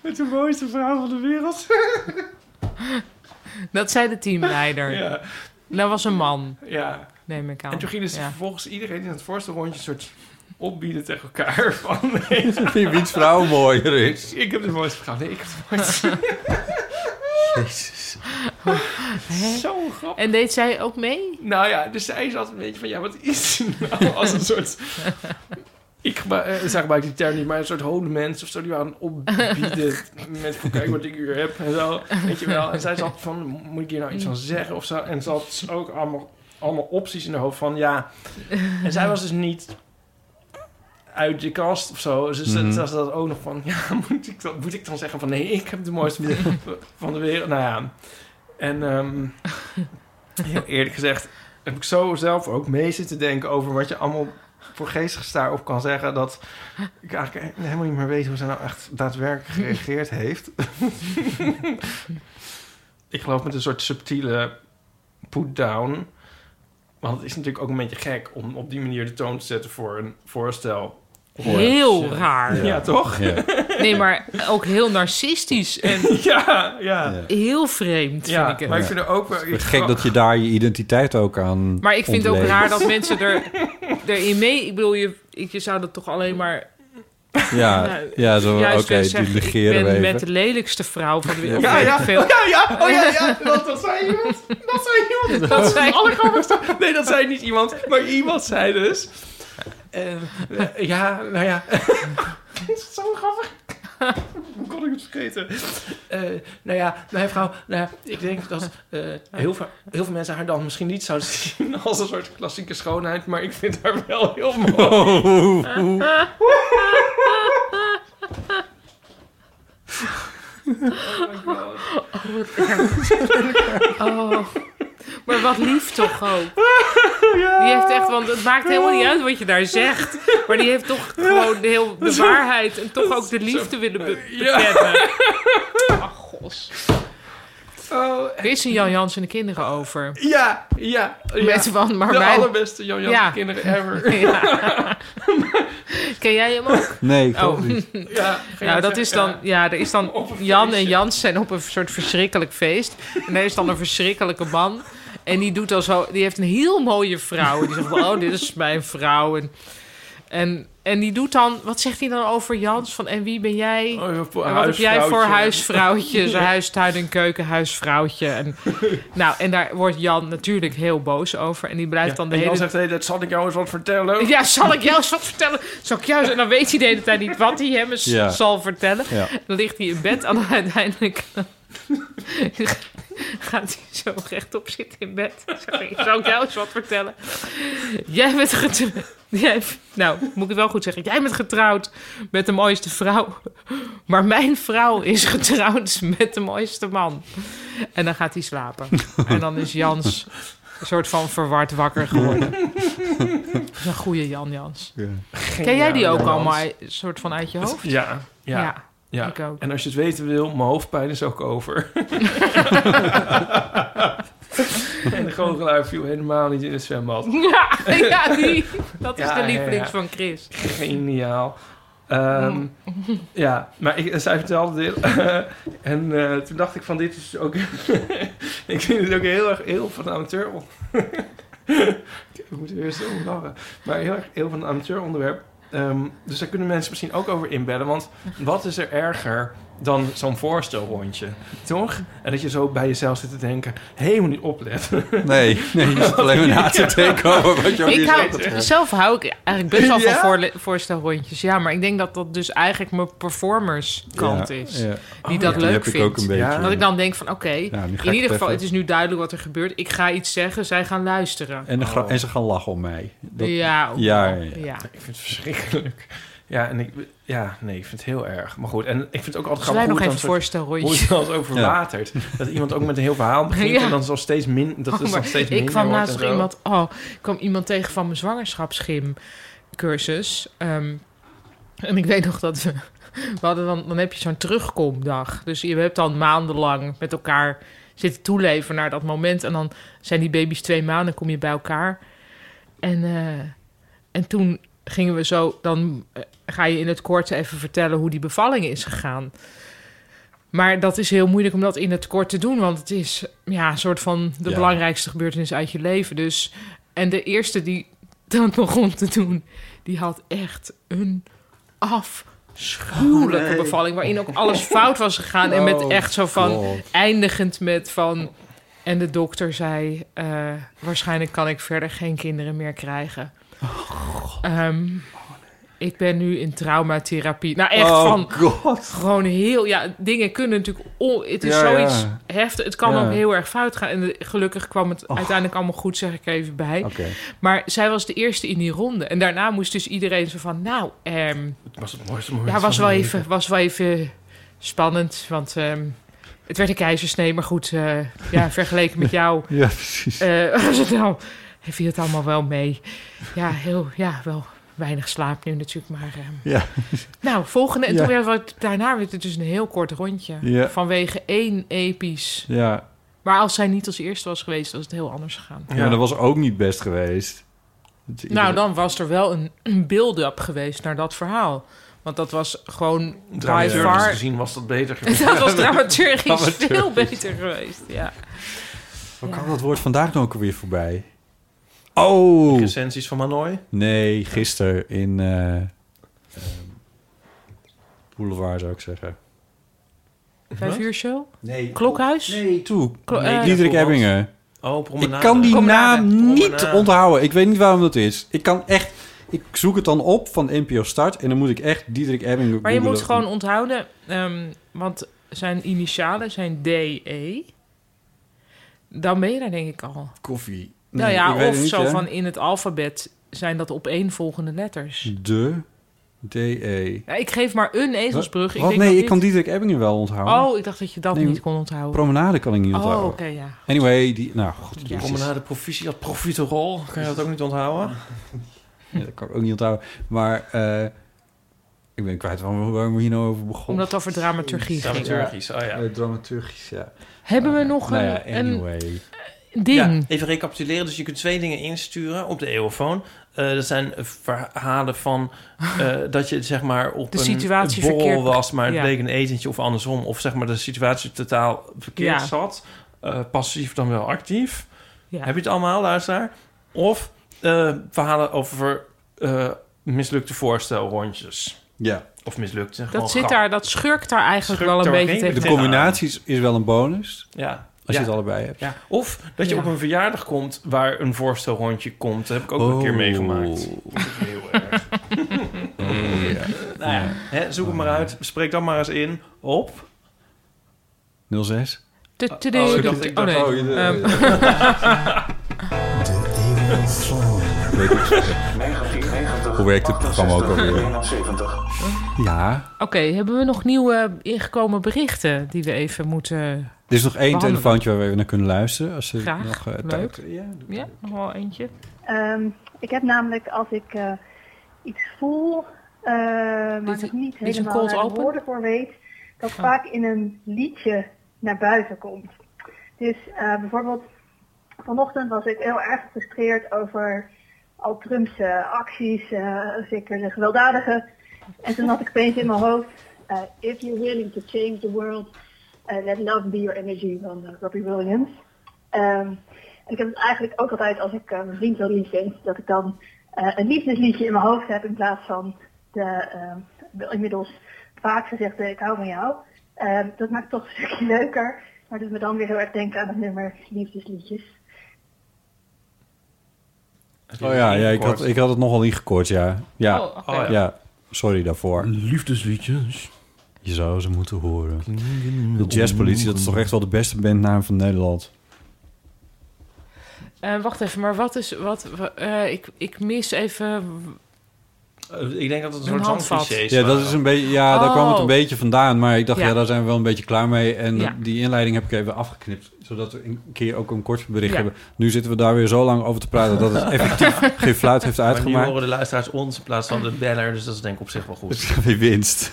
Speaker 1: Met de mooiste vrouw van de wereld.
Speaker 3: Dat zei de teamleider.
Speaker 1: ja,
Speaker 3: Dat was een man,
Speaker 1: ja.
Speaker 3: neem ik aan.
Speaker 1: En toen gingen ze
Speaker 3: Ja.
Speaker 1: vervolgens iedereen in het voorste rondje een soort opbieden tegen elkaar. Van,
Speaker 2: Wie- Wiens vrouw mooier is.
Speaker 1: ik heb de mooiste vrouw. Nee, ik heb de mooiste. Jezus. Zo grappig.
Speaker 3: En deed zij ook mee?
Speaker 1: Nou ja, dus zij zat een beetje van, ja, wat is het nou? Als een soort... Ik gebru- eh, zeg maar die term niet, maar een soort holen mensen of zo... die waren opbieden met van, kijk wat ik hier heb en zo. Weet je wel. En zij zat van, moet ik hier nou iets van zeggen of zo? En ze had dus ook allemaal, allemaal opties in haar hoofd van, ja... En zij was dus niet uit de kast of zo. Dus ze
Speaker 2: Mhm.
Speaker 1: ze zat ook nog van, ja, moet ik, dan, moet ik dan zeggen van... nee, ik heb de mooiste van de wereld. Nou ja, en... ehm, Heel eerlijk gezegd heb ik zo zelf ook mee zitten denken over wat je allemaal voor geestig daarop kan zeggen. Dat ik eigenlijk helemaal niet meer weet hoe ze nou echt daadwerkelijk gereageerd heeft. ik geloof met een soort subtiele put-down. Want het is natuurlijk ook een beetje gek om op die manier de toon te zetten voor een voorstel.
Speaker 3: Heel raar.
Speaker 1: Ja, toch?
Speaker 2: Ja.
Speaker 3: Nee, maar ook heel narcistisch en
Speaker 1: Ja, ja.
Speaker 2: Ja.
Speaker 1: ja.
Speaker 3: heel vreemd vind ik het.
Speaker 1: maar
Speaker 3: Maar,
Speaker 1: ik vind er ook wel... ik-
Speaker 2: Gek dat je daar je identiteit ook aan
Speaker 3: ik vind het ook
Speaker 2: ontleent.
Speaker 3: raar dat mensen er, erin mee... Ik bedoel, je, ik- je zou dat toch alleen maar
Speaker 2: Ja,
Speaker 3: Nou,
Speaker 2: ja zo, oké,
Speaker 3: Juist weer
Speaker 2: die
Speaker 3: zeggen,
Speaker 2: negeren
Speaker 3: ik
Speaker 2: we
Speaker 3: ben
Speaker 2: even.
Speaker 3: met de lelijkste vrouw van de wereld.
Speaker 1: Ja,
Speaker 3: Weet
Speaker 1: ja.
Speaker 3: ik veel.
Speaker 1: Ja, ja, oh ja, ja. Dat, dat zei iemand. Dat zei iemand. Dat zei allergrappigste. Nee, dat zei niet iemand. Maar iemand zei dus... eh, eh, ja, nou ja. is het zo grappig? Hoe kon ik het vergeten? Eh, nou ja, mijn vrouw... Nou ja, ik denk dat eh, heel, veel, heel veel mensen haar dan misschien niet zouden zien... als een soort klassieke schoonheid. Maar ik vind haar wel heel mooi.
Speaker 3: Oh. Maar wat lief toch ook. Die heeft echt, want het maakt helemaal niet uit wat je daar zegt. Maar die heeft toch gewoon de, heel, de waarheid en toch ook de liefde willen be- bekennen. Ach, gos.
Speaker 1: Oh,
Speaker 3: Er is een Jan Jans en de kinderen over.
Speaker 1: ja, ja. ja.
Speaker 3: Met van, maar
Speaker 1: de
Speaker 3: mijn...
Speaker 1: allerbeste Jan Jan
Speaker 3: Ja.
Speaker 1: kinderen ever.
Speaker 3: Ja. Ken jij hem ook?
Speaker 2: Nee, ik
Speaker 3: Oh.
Speaker 2: geloof niet.
Speaker 1: Ja, ging
Speaker 3: Nou,
Speaker 1: ik
Speaker 3: dat is
Speaker 1: zeggen,
Speaker 3: dan, ja, er is dan
Speaker 1: Op een
Speaker 3: Jan en
Speaker 1: feestje.
Speaker 3: Jans zijn op een soort verschrikkelijk feest. En er is dan een verschrikkelijke man. En die doet al zo, die heeft een heel mooie vrouw. En die zegt, van, oh, dit is mijn vrouw. En, en, en die doet dan, wat zegt hij dan over Jans? Van, en wie ben jij?
Speaker 1: ja. Oh, je hebt
Speaker 3: En wat heb jij voor
Speaker 1: huisvrouwtje.
Speaker 3: huisvrouwtje? Zo'n huis, tuin en keuken, huisvrouwtje. En, nou, en daar wordt Jan natuurlijk heel boos over. En die blijft dan de
Speaker 1: en
Speaker 3: hele
Speaker 1: Jan zegt, hey, dat zal ik jou eens wat vertellen.
Speaker 3: ja, zal ik jou eens wat vertellen? Zal ik jou eens- En dan weet hij de hele tijd niet wat hij hem eens
Speaker 2: Ja.
Speaker 3: zal vertellen.
Speaker 2: Ja.
Speaker 3: Dan ligt hij in bed en dan uiteindelijk... eh, gaat hij zo rechtop zitten in bed. Zal ik- Zal ik jou eens wat vertellen? Jij bent getrouwd... Jij, nou, moet ik het wel goed zeggen. Jij bent getrouwd met de mooiste vrouw. Maar mijn vrouw is getrouwd met de mooiste man. En dan gaat hij slapen. En dan is Jans een soort van verward wakker geworden. Dat is een goede Jan Jans. Ken jij die ook allemaal een soort van uit je hoofd?
Speaker 1: Ja, ja, ja.
Speaker 3: ik ook.
Speaker 1: En als je het weten wil, mijn hoofdpijn is ook over. en de goochelaar viel helemaal niet in het zwembad.
Speaker 3: Ja, ja, die. Dat is
Speaker 1: Ja,
Speaker 3: de
Speaker 1: ja,
Speaker 3: lievelings
Speaker 1: ja.
Speaker 3: van Chris.
Speaker 1: Geniaal. Ehm,
Speaker 3: Oh.
Speaker 1: Ja, maar ik, zij vertelde dit. en eh, toen dacht ik van dit is ook... ik vind het ook heel erg heel van de amateur... on- ik moet er eerst om lachen. Maar heel erg heel van een amateur onderwerp. Ehm, dus daar kunnen mensen misschien ook over inbellen. Want wat is er erger dan zo'n voorstelrondje? Toch? En dat je zo bij jezelf zit te denken... Helemaal niet opletten.
Speaker 2: Nee, nee, je zit alleen maar na te denken over wat je ook
Speaker 3: Ik
Speaker 2: weer zegt.
Speaker 3: hou, zelf hou ik eigenlijk best wel van
Speaker 1: Ja?
Speaker 3: voorle- voorstelrondjes. Ja, maar ik denk dat dat dus eigenlijk mijn performerskant
Speaker 2: Ja,
Speaker 3: is.
Speaker 2: ja.
Speaker 3: Die dat
Speaker 2: Die
Speaker 3: leuk
Speaker 2: heb
Speaker 3: vindt.
Speaker 2: ik ook een beetje. Nou,
Speaker 1: Ja.
Speaker 3: Dat ik dan denk van oké,
Speaker 2: ga ik
Speaker 3: in ieder
Speaker 2: het
Speaker 3: geval,
Speaker 2: even-
Speaker 3: het is nu duidelijk wat er gebeurt. Ik ga iets zeggen, zij gaan luisteren.
Speaker 2: En, de gra- en ze gaan lachen om mij. Dat,
Speaker 3: Oh. ja, ook
Speaker 2: Ja,
Speaker 3: wel.
Speaker 2: ja, ja.
Speaker 1: Ik vind het verschrikkelijk. Ja, en ik, ja, nee, ik vind het heel erg. Maar goed, en ik vind het ook altijd
Speaker 3: Zullen wij
Speaker 1: grappig hoe
Speaker 3: nog even
Speaker 1: het dan soort- hoe het
Speaker 3: voorstelrondjes?
Speaker 1: dan zo verwatert. Dat iemand ook met een heel verhaal begint
Speaker 3: Ja.
Speaker 1: en dan zo steeds min, dat
Speaker 3: Oh,
Speaker 1: is dan
Speaker 3: maar
Speaker 1: steeds minder
Speaker 3: ik kwam
Speaker 1: wordt
Speaker 3: laatst
Speaker 1: en
Speaker 3: nog
Speaker 1: zo.
Speaker 3: iemand, oh, ik kwam iemand tegen van mijn zwangerschapsgymcursus. Ehm, en ik weet nog dat we, we hadden dan, dan heb je zo'n terugkomdag. Dus je hebt dan maandenlang met elkaar zitten toeleven naar dat moment. En dan zijn die baby's twee maanden, kom je bij elkaar. En, eh, en toen gingen we zo, dan eh, ga je in het kort even vertellen hoe die bevalling is gegaan. Maar dat is heel moeilijk om dat in het kort te doen, want het is ja, een soort van de
Speaker 2: Ja.
Speaker 3: belangrijkste gebeurtenis uit je leven. Dus, en de eerste die dat begon te doen, die had echt een afschuwelijke bevalling, waarin ook alles fout was gegaan. en met
Speaker 2: Oh,
Speaker 3: echt zo van,
Speaker 2: God.
Speaker 3: eindigend met van... En de dokter zei, eh, waarschijnlijk kan ik verder geen kinderen meer krijgen.
Speaker 2: Oh.
Speaker 3: Ehm, Ik ben nu in traumatherapie. Nou, echt
Speaker 2: oh,
Speaker 3: van
Speaker 2: God.
Speaker 3: gewoon heel... Ja, dingen kunnen natuurlijk... on- het is
Speaker 2: Ja, ja.
Speaker 3: zoiets heftig. Het kan
Speaker 2: Ja. Oh.
Speaker 3: ook heel erg fout gaan. En eh, gelukkig kwam het uiteindelijk allemaal goed, zeg ik er even bij.
Speaker 2: Oké.
Speaker 3: Maar zij was de eerste in die ronde. En daarna moest dus iedereen zo van... Nou, ehm,
Speaker 1: Het was het mooiste moment
Speaker 3: ja, was
Speaker 1: van
Speaker 3: wel,
Speaker 1: mijn
Speaker 3: even, was wel even spannend, want ehm, het werd een keizersnee, maar goed, eh, ja, vergeleken met jou
Speaker 2: Ja, precies.
Speaker 3: eh, was het nou, hij viel het allemaal wel mee. Ja, heel, ja, wel weinig slaap nu natuurlijk, maar... ehm,
Speaker 2: Ja.
Speaker 3: Nou, volgende, en
Speaker 2: Ja.
Speaker 3: toen weer wat, daarna werd het dus een heel kort rondje,
Speaker 2: Ja.
Speaker 3: vanwege één episch.
Speaker 2: Ja.
Speaker 3: Maar als zij niet als eerste was geweest, was het heel anders gegaan.
Speaker 2: ja, maar dat was ook niet best geweest. Dat je-
Speaker 3: Nou, dan was er wel een, een build-up geweest naar dat verhaal. Want dat was gewoon by
Speaker 1: Dramaturgisch
Speaker 3: far
Speaker 1: gezien was dat beter.
Speaker 3: Dat was dramaturgisch
Speaker 2: Dramaturgisch.
Speaker 3: veel beter geweest. Ja.
Speaker 2: Hoe kwam dat woord vandaag dan ook alweer voorbij? Oh!
Speaker 1: Essenties van Manoy. Oh,
Speaker 2: Nee, gisteren in... eh, ehm, boulevard, zou ik zeggen.
Speaker 3: Vijf uur show?
Speaker 2: Nee.
Speaker 3: Klokhuis?
Speaker 2: Nee, toe.
Speaker 3: Klo- eh,
Speaker 2: Diederik
Speaker 1: Koolwald.
Speaker 2: Ebbingen.
Speaker 1: Oh, promenade.
Speaker 2: Ik kan die
Speaker 3: Promenade.
Speaker 2: naam niet
Speaker 1: Promenade.
Speaker 2: onthouden. Ik weet niet waarom dat is. Ik kan echt... Ik zoek het dan op van NPO Start en dan moet ik echt Diederik Ebbingen
Speaker 3: Maar je moet
Speaker 2: googelen.
Speaker 3: gewoon onthouden, ehm, want zijn initialen zijn DE. Dan ben je daar denk ik al.
Speaker 2: Koffie.
Speaker 3: nou
Speaker 2: Nee, ik
Speaker 3: ja,
Speaker 2: weet
Speaker 3: of
Speaker 2: het niet,
Speaker 3: zo
Speaker 2: hè.
Speaker 3: van in het alfabet zijn dat opeenvolgende letters.
Speaker 2: De DE.
Speaker 3: Ja, ik geef maar een ezelsbrug.
Speaker 2: Hm.
Speaker 3: Ik
Speaker 2: Wat?
Speaker 3: denk
Speaker 2: Nee,
Speaker 3: dat
Speaker 2: ik kan
Speaker 3: dit-
Speaker 2: Diederik Ebbingen wel onthouden.
Speaker 3: Oh, ik dacht dat je dat
Speaker 2: Nee,
Speaker 3: niet kon onthouden.
Speaker 2: Promenade kan ik niet
Speaker 3: oh,
Speaker 2: onthouden.
Speaker 3: oké, ja.
Speaker 2: Anyway, die... Nou, goed.
Speaker 3: Ja.
Speaker 2: jezus.
Speaker 1: Promenade provisie, dat profiterol. Kan je dat ook niet onthouden?
Speaker 2: Ja, dat kan ik ook niet onthouden. Maar eh, ik ben kwijt waarom, waarom we hier nou over begonnen.
Speaker 3: Omdat het over dramaturgie ging.
Speaker 1: Dramaturgisch, oh ja.
Speaker 2: Eh, dramaturgisch, ja.
Speaker 3: Hebben we nog eh,
Speaker 2: nou
Speaker 3: een,
Speaker 2: ja, anyway.
Speaker 3: een ding?
Speaker 1: Ja, even recapituleren. Dus je kunt twee dingen insturen op de eeuwfoon. Eh dat zijn verhalen van eh, dat je zeg maar op
Speaker 3: De
Speaker 1: een
Speaker 3: situatie
Speaker 1: borrel
Speaker 3: verkeerd-
Speaker 1: was, maar het
Speaker 3: ja.
Speaker 1: bleek een etentje of andersom. Of zeg maar de situatie totaal verkeerd
Speaker 3: Ja.
Speaker 1: zat. Eh, passief dan wel actief.
Speaker 3: Ja.
Speaker 1: Heb je het allemaal, luisteraar? Of eh, verhalen over eh, mislukte voorstelrondjes.
Speaker 2: Ja,
Speaker 1: Of mislukte gewoon
Speaker 3: Dat, zit
Speaker 1: grap-
Speaker 3: daar, dat schurkt daar eigenlijk
Speaker 1: Schurkt
Speaker 3: wel een
Speaker 1: daar
Speaker 3: beetje
Speaker 1: geen-
Speaker 3: tegen.
Speaker 2: de combinaties is wel een bonus.
Speaker 1: Ja.
Speaker 2: Als
Speaker 1: ja.
Speaker 2: je het allebei hebt.
Speaker 1: ja. Of dat je
Speaker 3: Ja.
Speaker 1: op een verjaardag komt waar een voorstelrondje komt. Dat heb ik ook een
Speaker 2: Oh.
Speaker 1: keer meegemaakt. Heel erg.
Speaker 2: Oh, ja.
Speaker 1: Nou ja, hè, zoek het maar uit. Spreek dan maar eens in op.
Speaker 2: 06.
Speaker 3: Tu- tu-
Speaker 1: Oh, ik
Speaker 3: tu-
Speaker 1: dacht- ik dacht-
Speaker 3: nee.
Speaker 1: oh,
Speaker 3: Ehm,
Speaker 2: Hoe werkt het programma ook alweer? Ja.
Speaker 3: Oké, hebben we nog nieuwe ingekomen berichten die we even moeten...
Speaker 2: Er is nog één
Speaker 3: Behandelen.
Speaker 2: telefoontje waar we even naar kunnen luisteren. Als ze
Speaker 3: Graag.
Speaker 2: nog eh,
Speaker 3: Leuk.
Speaker 2: tijd- Ja,
Speaker 3: Ja, nog wel eentje.
Speaker 6: Ehm, ik heb namelijk als ik eh, iets voel, eh waar
Speaker 3: Dit-
Speaker 6: ik niet
Speaker 3: dit is een
Speaker 6: helemaal
Speaker 3: cold
Speaker 6: naar de
Speaker 3: open?
Speaker 6: woorden voor weet, dat vaak in een liedje naar buiten komt. Dus eh, bijvoorbeeld vanochtend was ik heel erg gefrustreerd over al Trumps eh, acties, eh, zeker de gewelddadige. En toen had ik opeens in mijn hoofd, eh, if you're willing to change the world, eh, let love be your energy van eh, Robbie Williams. Ehm, en ik heb het eigenlijk ook altijd als ik eh, mijn vriend wil lief vind, dat ik dan eh, een liefdesliedje in mijn hoofd heb in plaats van de, ehm, de inmiddels vaak gezegde ik hou van jou. Ehm, dat maakt het toch een stukje leuker, maar doet me dan weer heel erg denken aan het nummer liefdesliedjes.
Speaker 2: Oh ja, ja ik, had, ik had het nogal ingekort, ja. Ja,
Speaker 3: Oh, oké.
Speaker 1: Oh, ja.
Speaker 2: ja. sorry daarvoor.
Speaker 1: Liefdesliedjes.
Speaker 2: Je zou ze moeten horen. De Jazzpolitie, dat is toch echt wel de beste bandnaam van Nederland.
Speaker 3: Eh, wacht even, maar wat is... Wat, wa- eh, ik, ik mis even...
Speaker 1: Eh, ik denk dat het een
Speaker 3: Een
Speaker 1: soort
Speaker 3: handvat.
Speaker 1: zangcliché is.
Speaker 2: Ja, dat is een beetje, ja daar
Speaker 3: Oh.
Speaker 2: kwam het een beetje vandaan. Maar ik dacht,
Speaker 3: Ja.
Speaker 2: ja, daar zijn we wel een beetje klaar mee. En
Speaker 3: Ja.
Speaker 2: die inleiding heb ik even afgeknipt. Zodat we een keer ook een kort bericht
Speaker 3: Ja.
Speaker 2: hebben. Nu zitten we daar weer zo lang over te praten... dat het effectief geen fluit heeft
Speaker 1: Maar nu
Speaker 2: uitgemaakt.
Speaker 1: horen de luisteraars ons in plaats van de beller, dus dat is denk ik op zich wel
Speaker 2: Dus
Speaker 1: goed.
Speaker 2: ik heb weer winst.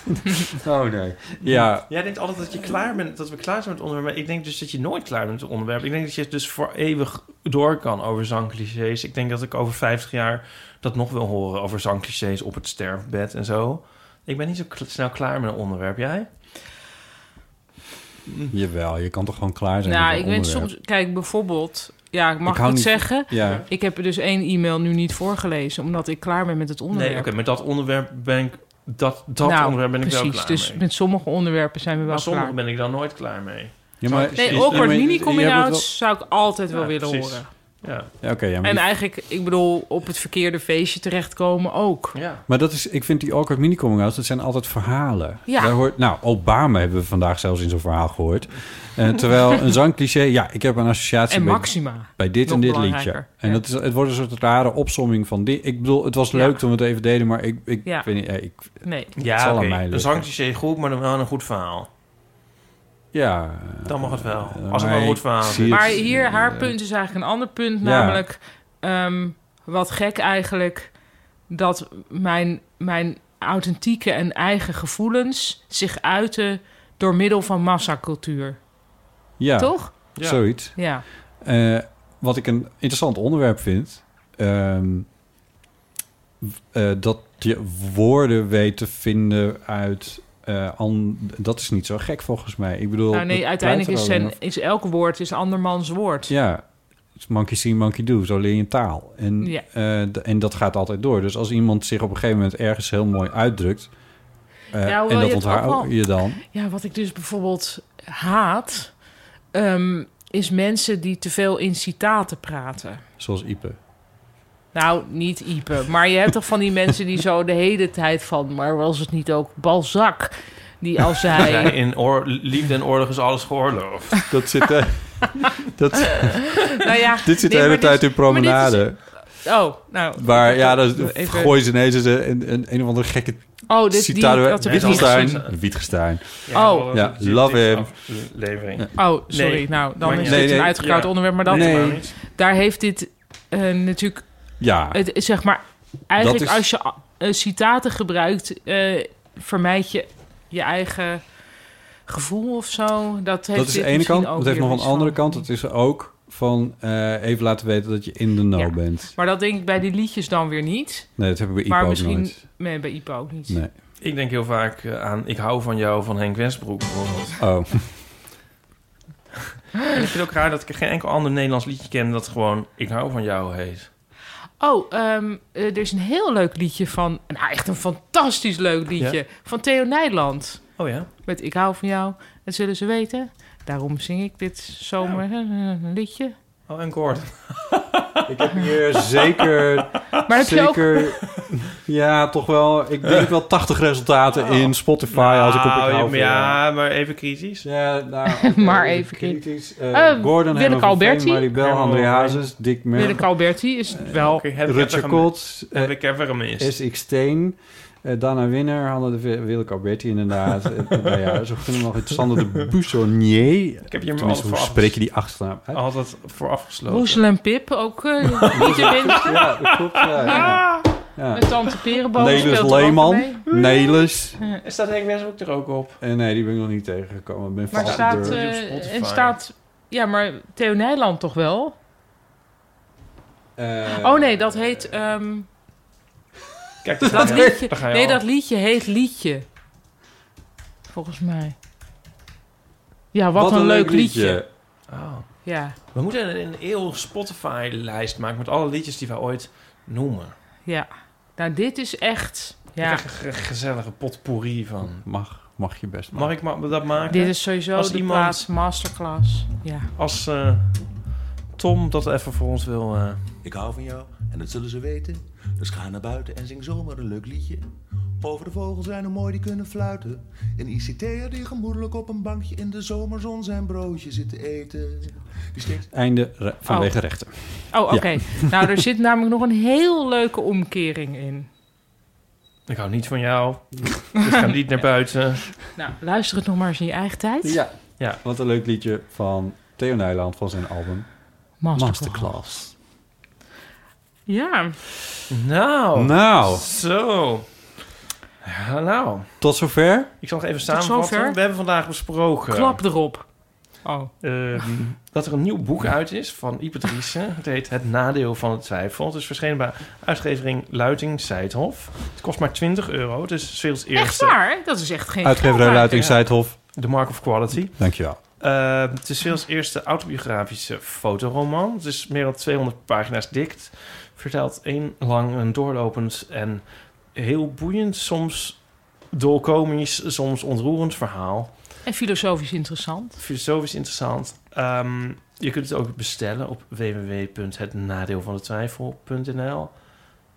Speaker 2: oh nee. Ja,
Speaker 1: Jij denkt altijd dat je klaar bent, dat we klaar zijn met het onderwerp. Maar ik denk dus dat je nooit klaar bent met het onderwerp. Ik denk dat je het dus voor eeuwig door kan over zangclichés. Ik denk dat ik over 50 jaar dat nog wil horen over zangclichés op het sterfbed en zo. Ik ben niet zo kl- snel klaar met een onderwerp. Jij?
Speaker 2: jawel. Je kan toch gewoon klaar zijn
Speaker 3: nou,
Speaker 2: met
Speaker 3: ik
Speaker 2: een
Speaker 3: ben
Speaker 2: onderwerp.
Speaker 3: soms... Kijk, bijvoorbeeld... Ja, mag
Speaker 2: hou
Speaker 3: ik het
Speaker 2: niet-
Speaker 3: zeggen?
Speaker 2: Ja,
Speaker 3: Ik heb dus één e-mail nu niet voorgelezen... omdat ik klaar ben met het
Speaker 1: Nee,
Speaker 3: onderwerp.
Speaker 1: oké, met dat onderwerp ben ik, dat, dat
Speaker 3: Nou,
Speaker 1: onderwerp ben ik
Speaker 3: precies,
Speaker 1: wel klaar
Speaker 3: dus
Speaker 1: mee.
Speaker 3: met sommige onderwerpen zijn we wel
Speaker 1: Maar sommige
Speaker 3: klaar.
Speaker 1: ben ik dan nooit klaar mee.
Speaker 2: ja maar...
Speaker 1: Nee,
Speaker 3: Nee,
Speaker 1: precies.
Speaker 3: awkward
Speaker 2: Ja, maar je hebt het wel-
Speaker 3: mini-coming-outs zou ik altijd wel
Speaker 1: Ja,
Speaker 3: willen
Speaker 1: precies.
Speaker 3: horen.
Speaker 1: Ja,
Speaker 2: Ja, oké, ja, maar
Speaker 3: En
Speaker 2: die-
Speaker 3: eigenlijk, ik bedoel, op het verkeerde feestje terechtkomen ook.
Speaker 1: ja.
Speaker 2: Maar dat is, ik vind die awkward mini coming outs, dat zijn altijd verhalen.
Speaker 3: Ja.
Speaker 2: Daar hoort, nou, Obama hebben we vandaag zelfs in zo'n verhaal gehoord. Eh, terwijl een zangcliché, ja, ik heb een associatie
Speaker 3: En
Speaker 2: bij,
Speaker 3: Maxima.
Speaker 2: bij dit
Speaker 3: nog
Speaker 2: en dit
Speaker 3: belangrijker.
Speaker 2: liedje. En
Speaker 3: Ja.
Speaker 2: dat is, het wordt een soort rare opsomming van dit. Ik bedoel, het was leuk
Speaker 3: Ja.
Speaker 2: toen we het even deden, maar ik, ik
Speaker 3: Ja.
Speaker 2: weet niet. eh, Ik,
Speaker 3: Nee.
Speaker 2: Het
Speaker 1: Ja,
Speaker 2: zal aan
Speaker 1: oké.
Speaker 2: mij
Speaker 1: Een
Speaker 2: liggen.
Speaker 1: zangcliché goed, maar dan wel een goed verhaal.
Speaker 2: ja,
Speaker 1: Dan mag het wel.
Speaker 2: eh,
Speaker 1: Als het
Speaker 2: maar
Speaker 1: wel een goed
Speaker 2: ik
Speaker 1: verhaal
Speaker 2: zie
Speaker 1: is.
Speaker 3: Maar
Speaker 2: het-
Speaker 3: hier, haar punt is eigenlijk een ander punt.
Speaker 2: Ja.
Speaker 3: Namelijk, ehm, wat gek eigenlijk... dat mijn, mijn authentieke en eigen gevoelens... zich uiten door middel van massacultuur.
Speaker 2: ja,
Speaker 3: Toch?
Speaker 1: Ja.
Speaker 2: zoiets.
Speaker 3: Ja.
Speaker 2: Eh, wat ik een interessant onderwerp vind, ehm, eh, dat je woorden weet te vinden uit. eh, an- dat is niet zo gek volgens mij. Ik bedoel,
Speaker 3: Nou,
Speaker 2: dat
Speaker 3: nee,
Speaker 2: blijft
Speaker 3: uiteindelijk
Speaker 2: er
Speaker 3: is,
Speaker 2: ook
Speaker 3: zijn,
Speaker 2: nog.
Speaker 3: is elk woord is andermans woord.
Speaker 2: Ja, it's monkey see, monkey do. Zo leer je taal. En,
Speaker 3: Ja.
Speaker 2: eh, d- en dat gaat altijd door. Dus als iemand zich op een gegeven moment ergens heel mooi uitdrukt. eh, Eh,
Speaker 3: Ja, hoewel
Speaker 2: en dat
Speaker 3: je het ook
Speaker 2: onthoud
Speaker 3: wel-
Speaker 2: je dan.
Speaker 3: Ja, wat ik dus bijvoorbeeld haat, ehm, is mensen die te veel in citaten praten.
Speaker 2: Zoals Ipe.
Speaker 3: Nou, niet Ipe, maar je hebt toch van die mensen die zo de hele tijd van, maar was het niet ook Balzac? Die als
Speaker 1: Ja,
Speaker 3: hij.
Speaker 1: in oor- liefde en oorlog is alles geoorloofd.
Speaker 2: Dat zit, eh, dat,
Speaker 3: nou ja,
Speaker 2: dit zit
Speaker 3: nee,
Speaker 2: de hele
Speaker 3: maar
Speaker 2: tijd
Speaker 3: dit-
Speaker 2: in
Speaker 3: maar dit is-
Speaker 2: promenade.
Speaker 3: Oh, nou.
Speaker 2: Waar, ja, dan
Speaker 3: Even-
Speaker 2: gooien ze ineens een, een, een, een of andere gekke
Speaker 3: Oh, dit, die,
Speaker 2: citaat.
Speaker 3: dat er
Speaker 1: Nee,
Speaker 3: niet-
Speaker 1: Wittgenstein.
Speaker 2: Wittgenstein. Wittgenstein.
Speaker 3: Oh.
Speaker 2: Ja, love him.
Speaker 1: Levering.
Speaker 3: Oh, sorry.
Speaker 1: Nee.
Speaker 3: nou, dan
Speaker 1: Maar
Speaker 3: is
Speaker 1: nee,
Speaker 3: dit een
Speaker 2: nee.
Speaker 3: uitgekoud
Speaker 1: Ja.
Speaker 3: onderwerp. Maar dat,
Speaker 2: Nee.
Speaker 3: daar heeft dit eh, natuurlijk...
Speaker 2: Ja,
Speaker 3: het- zeg maar, eigenlijk
Speaker 2: Dat is-
Speaker 3: als je a- eh, citaten gebruikt... eh, vermijd je je eigen gevoel of zo. Dat, heeft
Speaker 2: dat is de
Speaker 3: dit
Speaker 2: ene
Speaker 3: misschien
Speaker 2: kant.
Speaker 3: ook
Speaker 2: Het heeft
Speaker 3: weer
Speaker 2: nog een
Speaker 3: iets
Speaker 2: andere
Speaker 3: van.
Speaker 2: kant. Het is ook van eh, even laten weten dat je in de know
Speaker 3: Ja.
Speaker 2: bent.
Speaker 3: Maar dat denk ik bij die liedjes dan weer niet.
Speaker 2: Nee, dat heb ik bij Ipe
Speaker 3: maar
Speaker 2: ook
Speaker 3: misschien...
Speaker 2: nooit.
Speaker 3: Nee, bij Ipo ook niet.
Speaker 2: Nee.
Speaker 1: Ik denk heel vaak eh, aan Ik hou van jou van Henk Westbroek bijvoorbeeld.
Speaker 2: Oh,
Speaker 1: En ik vind het ook raar dat ik geen enkel ander Nederlands liedje ken dat gewoon Ik hou van jou heet.
Speaker 3: Oh, ehm, eh, er is een heel leuk liedje van... Nou, echt een fantastisch leuk liedje.
Speaker 1: Ja?
Speaker 3: Van Theo Nijland.
Speaker 1: Oh ja?
Speaker 3: Met ik hou van jou, dat zullen ze weten. Daarom zing ik dit zomer een liedje.
Speaker 1: Oh, en Gordon.
Speaker 2: ik heb hier zeker,
Speaker 3: Maar heb je ook...
Speaker 2: zeker, ja, toch wel, ik denk wel 80 resultaten
Speaker 3: Oh.
Speaker 2: in Spotify Ah als ik op
Speaker 1: Nou,
Speaker 2: ik hou van jou.
Speaker 1: ja, maar even kritisch.
Speaker 2: Ja, nou, oké,
Speaker 3: Maar
Speaker 2: de
Speaker 3: even kritisch.
Speaker 2: kritisch.
Speaker 3: Eh,
Speaker 2: Eh Gordon,
Speaker 3: Willeke
Speaker 2: Herman van
Speaker 3: Alberti.
Speaker 2: Veen, Maribel,
Speaker 1: Herman
Speaker 2: André
Speaker 1: van
Speaker 2: Hazes, Dick
Speaker 3: Willeke
Speaker 2: Merck,
Speaker 3: Alberti is wel...
Speaker 1: Oké, heb, ik
Speaker 2: Rutger eh,
Speaker 1: even gem-
Speaker 2: Kot,
Speaker 1: heb ik even gemist.
Speaker 2: S.X. Steen, eh, Dana Winner, Hanne de Ve- Willeke Alberti inderdaad. Eh, nou ja, zo kunnen we nog het Sander de Buissonnier.
Speaker 1: ik heb je maar
Speaker 2: Tenminste,
Speaker 1: altijd
Speaker 2: hoe
Speaker 1: voor,
Speaker 2: spreek je die achternaam
Speaker 3: Oh.
Speaker 2: uit?
Speaker 1: altijd voor afgesloten.
Speaker 3: Roesel en Pip, ook eh, niet te minste.
Speaker 2: Ja, dat klopt. Ja, ja. ja.
Speaker 3: Met Tante Perenboom
Speaker 2: Nelis
Speaker 3: Dus speelt er ook mee.
Speaker 2: Leeman, Nelis.
Speaker 1: Staat Henk Westbroek er ook op?
Speaker 2: Eh, nee, die ben ik nog niet tegengekomen. Ik ben
Speaker 3: Maar
Speaker 2: vast
Speaker 3: staat...
Speaker 2: door.
Speaker 1: eh, Op
Speaker 3: eh,
Speaker 1: Spotify.
Speaker 3: en staat... Ja, maar Theo Nijland toch wel?
Speaker 2: Eh,
Speaker 3: Oh nee, dat heet... ehm,
Speaker 1: Kijk, daar
Speaker 3: dat
Speaker 1: ga je-
Speaker 3: liedje...
Speaker 1: daar ga je
Speaker 3: Nee,
Speaker 1: al.
Speaker 3: dat liedje heet Liedje. Volgens mij. Ja, wat, een, leuk liedje.
Speaker 1: Oh.
Speaker 3: Ja,
Speaker 1: We moeten een eeuw Spotify-lijst maken met alle liedjes die wij ooit noemen.
Speaker 3: ja. Nou, dit is echt...
Speaker 1: Ja.
Speaker 3: Ja.
Speaker 1: Ik krijg een ge- gezellige potpourri van.
Speaker 2: Mag, mag je best.
Speaker 1: Mag ik ma- dat maken?
Speaker 3: Dit is sowieso
Speaker 1: Als
Speaker 3: de
Speaker 1: iemand-
Speaker 3: plaats masterclass. Ja.
Speaker 1: Als eh, Tom dat even voor ons wil... eh,
Speaker 7: Ik hou van jou en dat zullen ze weten. Dus ga naar buiten en zing zomaar een leuk liedje. Over de vogels zijn er mooi die kunnen fluiten. Een ICT'er die gemoedelijk op een bankje in de zomerzon zijn broodje zit te eten. Die steekt...
Speaker 2: Einde re- vanwege
Speaker 3: Oh.
Speaker 2: rechten.
Speaker 3: Oh, oké. Nou, er zit namelijk nog een heel leuke omkering in.
Speaker 1: ik hou niet van jou. ik ga niet naar buiten.
Speaker 3: Nou, luister het nog maar eens in je eigen tijd.
Speaker 2: Ja.
Speaker 1: Ja.
Speaker 2: Wat een leuk liedje van Theo Nijland van zijn album
Speaker 3: Masterclass.
Speaker 2: Masterclass.
Speaker 3: Ja.
Speaker 1: Nou,
Speaker 3: Oh.
Speaker 2: Nou,
Speaker 1: zo. Ja, nou,
Speaker 2: tot zover.
Speaker 1: ik zal nog even samenvatten.
Speaker 3: zover.
Speaker 1: We hebben vandaag besproken...
Speaker 3: Klap erop. Oh.
Speaker 1: Ehm, dat er een nieuw boek uit is van Ipe Driessen. Het heet Het Nadeel van de Twijfel. Het is verschenen bij uitgevering Luiting Seidhof. Het kost maar 20 euro. Het is veel eerste.
Speaker 3: Echt waar? Dat is echt geen
Speaker 2: Uitgeverij
Speaker 3: geldwaarde.
Speaker 2: Luiting Zuidhof.
Speaker 1: The Mark of Quality.
Speaker 2: Dankjewel.
Speaker 1: Eh, het is Veels eerste autobiografische fotoroman. Het is meer dan 200 pagina's dik. Het Vertelt één lang een doorlopend en heel boeiend, soms dolkomisch, soms ontroerend verhaal.
Speaker 3: En filosofisch interessant.
Speaker 1: Filosofisch interessant. Ehm, je kunt het ook bestellen op www.hetnadeelvandetwijfel.nl.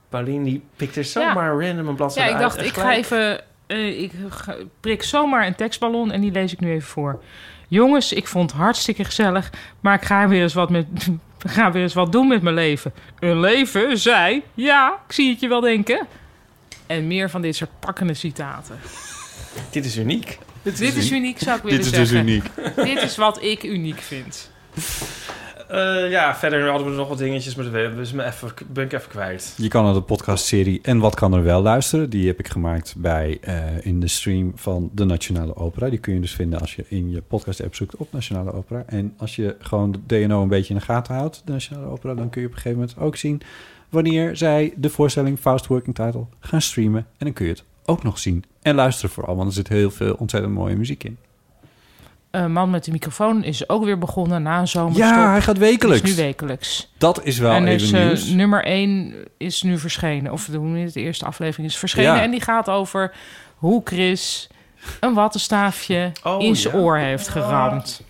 Speaker 1: Pauline die pikt er zomaar random een
Speaker 3: Ja,
Speaker 1: bladzijde
Speaker 3: ik
Speaker 1: uit
Speaker 3: dacht,
Speaker 1: en
Speaker 3: ik ga
Speaker 1: gelijk-
Speaker 3: even... eh, ik ga- prik zomaar een tekstballon en die lees ik nu even voor. Jongens, ik vond het hartstikke gezellig, maar ik ga weer eens wat, met, ga weer eens wat doen met mijn leven. Een leven, zij, ja, ik zie het je wel denken. En meer van dit soort pakkende citaten.
Speaker 1: Dit is uniek.
Speaker 3: Dit is, uniek, zou ik willen
Speaker 2: Dit is dus
Speaker 3: zeggen.
Speaker 2: uniek.
Speaker 3: Dit is wat ik uniek vind.
Speaker 1: Eh, ja, verder hadden we nog wat dingetjes, maar dat ben- dus me even, ben ik even kwijt.
Speaker 2: Je kan naar de podcastserie En Wat Kan Er Wel luisteren. Die heb ik gemaakt bij, eh, in de stream van de Nationale Opera. Die kun je dus vinden als je in je podcast-app zoekt op Nationale Opera. En als je gewoon de DNO een beetje in de gaten houdt, de Nationale Opera... dan kun je op een gegeven moment ook zien wanneer zij de voorstelling Faust Working Title gaan streamen. En dan kun je het ook nog zien en luisteren vooral, want er zit heel veel ontzettend mooie muziek in.
Speaker 3: eh, Man met de microfoon is ook weer begonnen na een zomerstop.
Speaker 2: Ja, hij gaat wekelijks.
Speaker 3: Is nu wekelijks.
Speaker 2: Dat is wel
Speaker 3: en
Speaker 2: even
Speaker 3: dus, eh,
Speaker 2: nieuws.
Speaker 3: nummer 1 is nu verschenen. Of hoe heet het, de eerste aflevering is verschenen.
Speaker 2: Ja.
Speaker 3: En die gaat over hoe Chris een wattenstaafje
Speaker 1: Oh,
Speaker 3: in zijn
Speaker 1: ja.
Speaker 3: oor heeft geramd.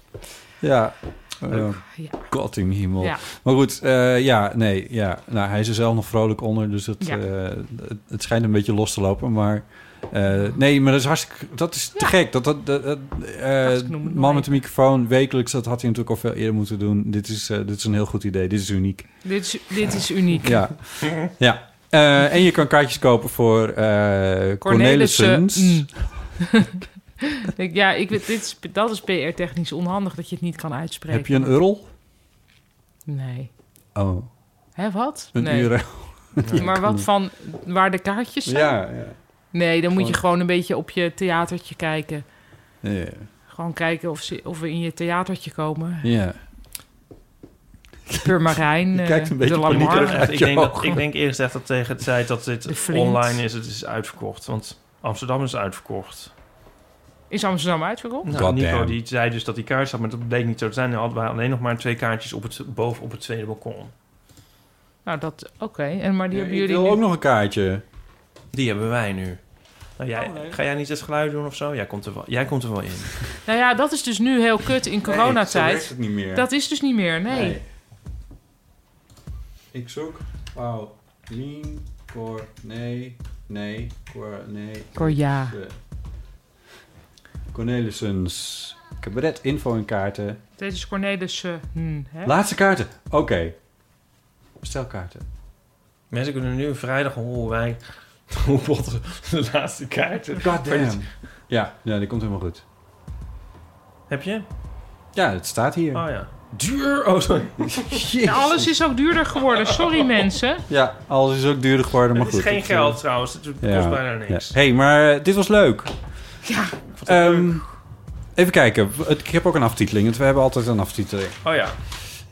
Speaker 2: Ja.
Speaker 1: Leuk.
Speaker 2: Eh, God in hemel.
Speaker 3: Ja.
Speaker 2: Maar goed, eh, ja, nee, ja. Nou, hij is er zelf nog vrolijk onder, dus het,
Speaker 3: Ja.
Speaker 2: eh, het, het schijnt een beetje los te lopen. Maar eh, nee, maar dat is hartstikke, dat is te gek. Dat, dat, dat, dat, eh,
Speaker 3: noem het nog
Speaker 2: man met de microfoon, wekelijks, dat had hij natuurlijk al veel eerder moeten doen. Dit is, eh, dit is een heel goed idee, dit is uniek.
Speaker 3: Dit is, dit is uniek.
Speaker 2: Ja, ja. Eh, en je kan kaartjes kopen voor eh Cornelissens.
Speaker 3: Cornelissen, mm. Ik denk, ja, ik, weet- dit is, dat is PR-technisch onhandig dat je het niet kan uitspreken.
Speaker 2: Heb je een url?
Speaker 3: Nee.
Speaker 2: Oh,
Speaker 3: Hè, wat?
Speaker 2: een
Speaker 3: nee.
Speaker 2: url.
Speaker 3: Maar wat van waar de kaartjes zijn?
Speaker 2: Ja, ja.
Speaker 3: Nee, dan moet je
Speaker 2: Gewoon-
Speaker 3: gewoon een beetje op je theatertje kijken.
Speaker 2: Ja,
Speaker 3: Gewoon kijken of, ze, of we in je theatertje komen.
Speaker 2: ja.
Speaker 3: Purmerijn,
Speaker 2: Je kijkt een
Speaker 3: eh,
Speaker 2: beetje
Speaker 3: de Lamar.
Speaker 2: paniekerig.
Speaker 1: Echt,
Speaker 2: uit
Speaker 1: ik,
Speaker 2: je
Speaker 1: denk dat,
Speaker 2: ogen.
Speaker 1: ik denk eerlijk gezegd dat tegen de tijd dat
Speaker 3: De
Speaker 1: dit
Speaker 3: Flint.
Speaker 1: online is, het is uitverkocht. Want Amsterdam is uitverkocht.
Speaker 3: Is Amsterdam uitverkocht?
Speaker 1: Nou,
Speaker 2: Goddamn.
Speaker 1: Nico die zei dus dat die kaartjes had, maar dat bleek niet zo te zijn. Dan hadden we alleen nog maar twee kaartjes op het, boven op het tweede balkon.
Speaker 3: Nou, dat... Oké, en maar die
Speaker 2: Ik
Speaker 3: hebben jullie
Speaker 2: wil
Speaker 3: nu-
Speaker 2: ook nog een kaartje.
Speaker 1: Die hebben wij nu. Nou, jij, Ga jij niet het geluid doen of zo? Jij komt er wel, jij komt er wel in.
Speaker 3: Nou ja, dat is dus nu heel kut in coronatijd.
Speaker 2: het niet meer.
Speaker 3: dat is dus niet meer, nee.
Speaker 2: Ik zoek. Wauw. Lien, Cor, nee, nee, Cor, nee.
Speaker 3: Cor, ja.
Speaker 2: Cornelissens. Cabaret, info en kaarten.
Speaker 3: Dit is Cornelis... eh, hm, hè?
Speaker 2: Laatste kaarten. Oké. Bestelkaarten.
Speaker 1: Mensen kunnen nu vrijdag horen hoe wij hoe botten de laatste kaarten.
Speaker 2: Goddamn. Ja, ja, die komt helemaal goed.
Speaker 1: Heb je?
Speaker 2: Ja, het staat hier.
Speaker 1: Oh ja. Duur! Oh, sorry.
Speaker 3: Ja, alles is ook duurder geworden. Sorry, mensen.
Speaker 2: Ja, alles is ook duurder geworden, maar
Speaker 1: Het
Speaker 2: goed.
Speaker 1: is geen
Speaker 2: Ik,
Speaker 1: geld trouwens. Het kost
Speaker 2: eh, ja.
Speaker 1: bijna niks.
Speaker 2: Ja. hey, maar eh, dit was leuk. Ehm, even kijken. Het- Ik heb ook een aftiteling. want We hebben altijd een aftiteling.
Speaker 1: Oh ja.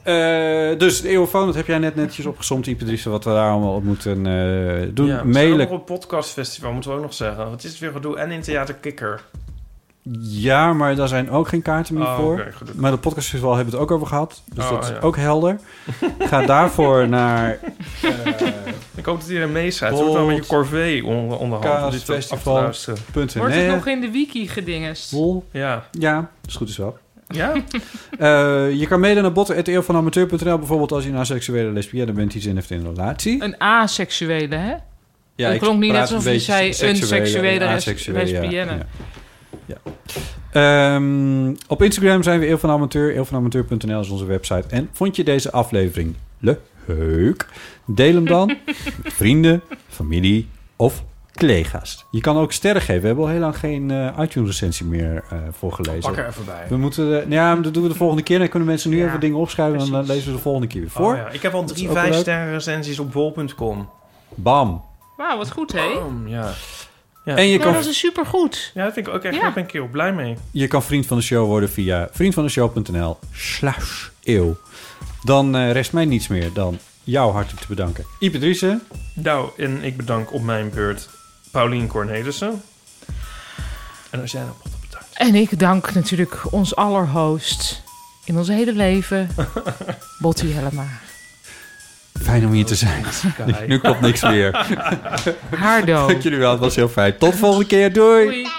Speaker 2: Eh, dus de eeuwfoon, dat heb jij net netjes opgezomd, Ipadrisse, wat we daar allemaal op moeten eh, doen.
Speaker 1: ja.
Speaker 2: Mailen.
Speaker 1: Op een podcastfestival moeten we ook nog zeggen. Want het is weer gedoe. En in Theater Kikker.
Speaker 2: Ja, maar daar zijn ook geen kaarten meer
Speaker 1: Oh,
Speaker 2: voor.
Speaker 1: oké, gelukkig.
Speaker 2: maar de podcastfestival hebben we het ook over gehad. Dus
Speaker 1: Oh,
Speaker 2: dat is
Speaker 1: ja.
Speaker 2: ook helder. Ga daarvoor naar
Speaker 1: Ik hoop dat iedereen meeschrijft. Het wordt wel met je corvée onder, onderhand. om dit te- af te
Speaker 2: Kaasfestival.
Speaker 1: luisteren.
Speaker 3: Wordt het
Speaker 2: .nl.
Speaker 3: nog in de wiki gedingest?
Speaker 1: Ja.
Speaker 2: Ja, is goed is wel.
Speaker 1: Ja?
Speaker 2: Eh, je kan mailen naar botten.eeuwvanamateur.nl bijvoorbeeld als je een seksuele lesbienne bent die zin heeft in een relatie.
Speaker 3: Een aseksuele, hè?
Speaker 2: Ja,
Speaker 3: Dat
Speaker 2: ik
Speaker 3: klonk niet
Speaker 2: praat
Speaker 3: net alsof
Speaker 2: een
Speaker 3: je
Speaker 2: beetje
Speaker 3: zei een
Speaker 2: seksuele en
Speaker 3: seksuele les-
Speaker 2: aseksuele, ja,
Speaker 3: lesbienne.
Speaker 2: ja. Ja. Ehm, op Instagram zijn we Eeuw van Amateur. Eeuwvanamateur.nl is onze website. En vond je deze aflevering leuk? Deel hem dan met vrienden, familie of collega's. Je kan ook sterren geven. We hebben al heel lang geen eh, iTunes-recensie meer eh voorgelezen.
Speaker 1: Pak er even bij.
Speaker 2: We moeten... eh, nou ja, dat doen we de volgende keer. Dan kunnen mensen nu
Speaker 3: Ja,
Speaker 2: even dingen opschrijven... en dan
Speaker 3: precies.
Speaker 2: lezen we de volgende keer weer voor.
Speaker 1: Oh, ja. Ik heb al
Speaker 2: is
Speaker 1: drie
Speaker 2: ook wel leuk.
Speaker 1: 5 sterren recensies op bol.com.
Speaker 2: Bam.
Speaker 3: Wauw, wat goed, hè?
Speaker 1: Oh, ja.
Speaker 2: En je
Speaker 3: Ja,
Speaker 2: kan,
Speaker 3: dat is supergoed.
Speaker 1: Ja, dat vind ik ook echt.
Speaker 3: Ja.
Speaker 1: Daar ben ik heel blij mee.
Speaker 2: je kan vriend van de show worden via vriendvandeshow.nl slash eeuw. Dan eh, rest mij niets meer dan jou hartelijk te bedanken. Ipe Driessen.
Speaker 1: Nou, en ik bedank op mijn beurt Paulien Cornelissen. En als jij nou botten bedankt.
Speaker 3: En ik dank natuurlijk ons allerhost in ons hele leven, Botti Helma.
Speaker 2: Fijn om hier te zijn.
Speaker 1: Kai.
Speaker 2: Nu klopt niks meer.
Speaker 3: Haardo.
Speaker 2: Dank jullie wel, het was heel fijn. Tot de volgende keer. Doei.
Speaker 3: Doei.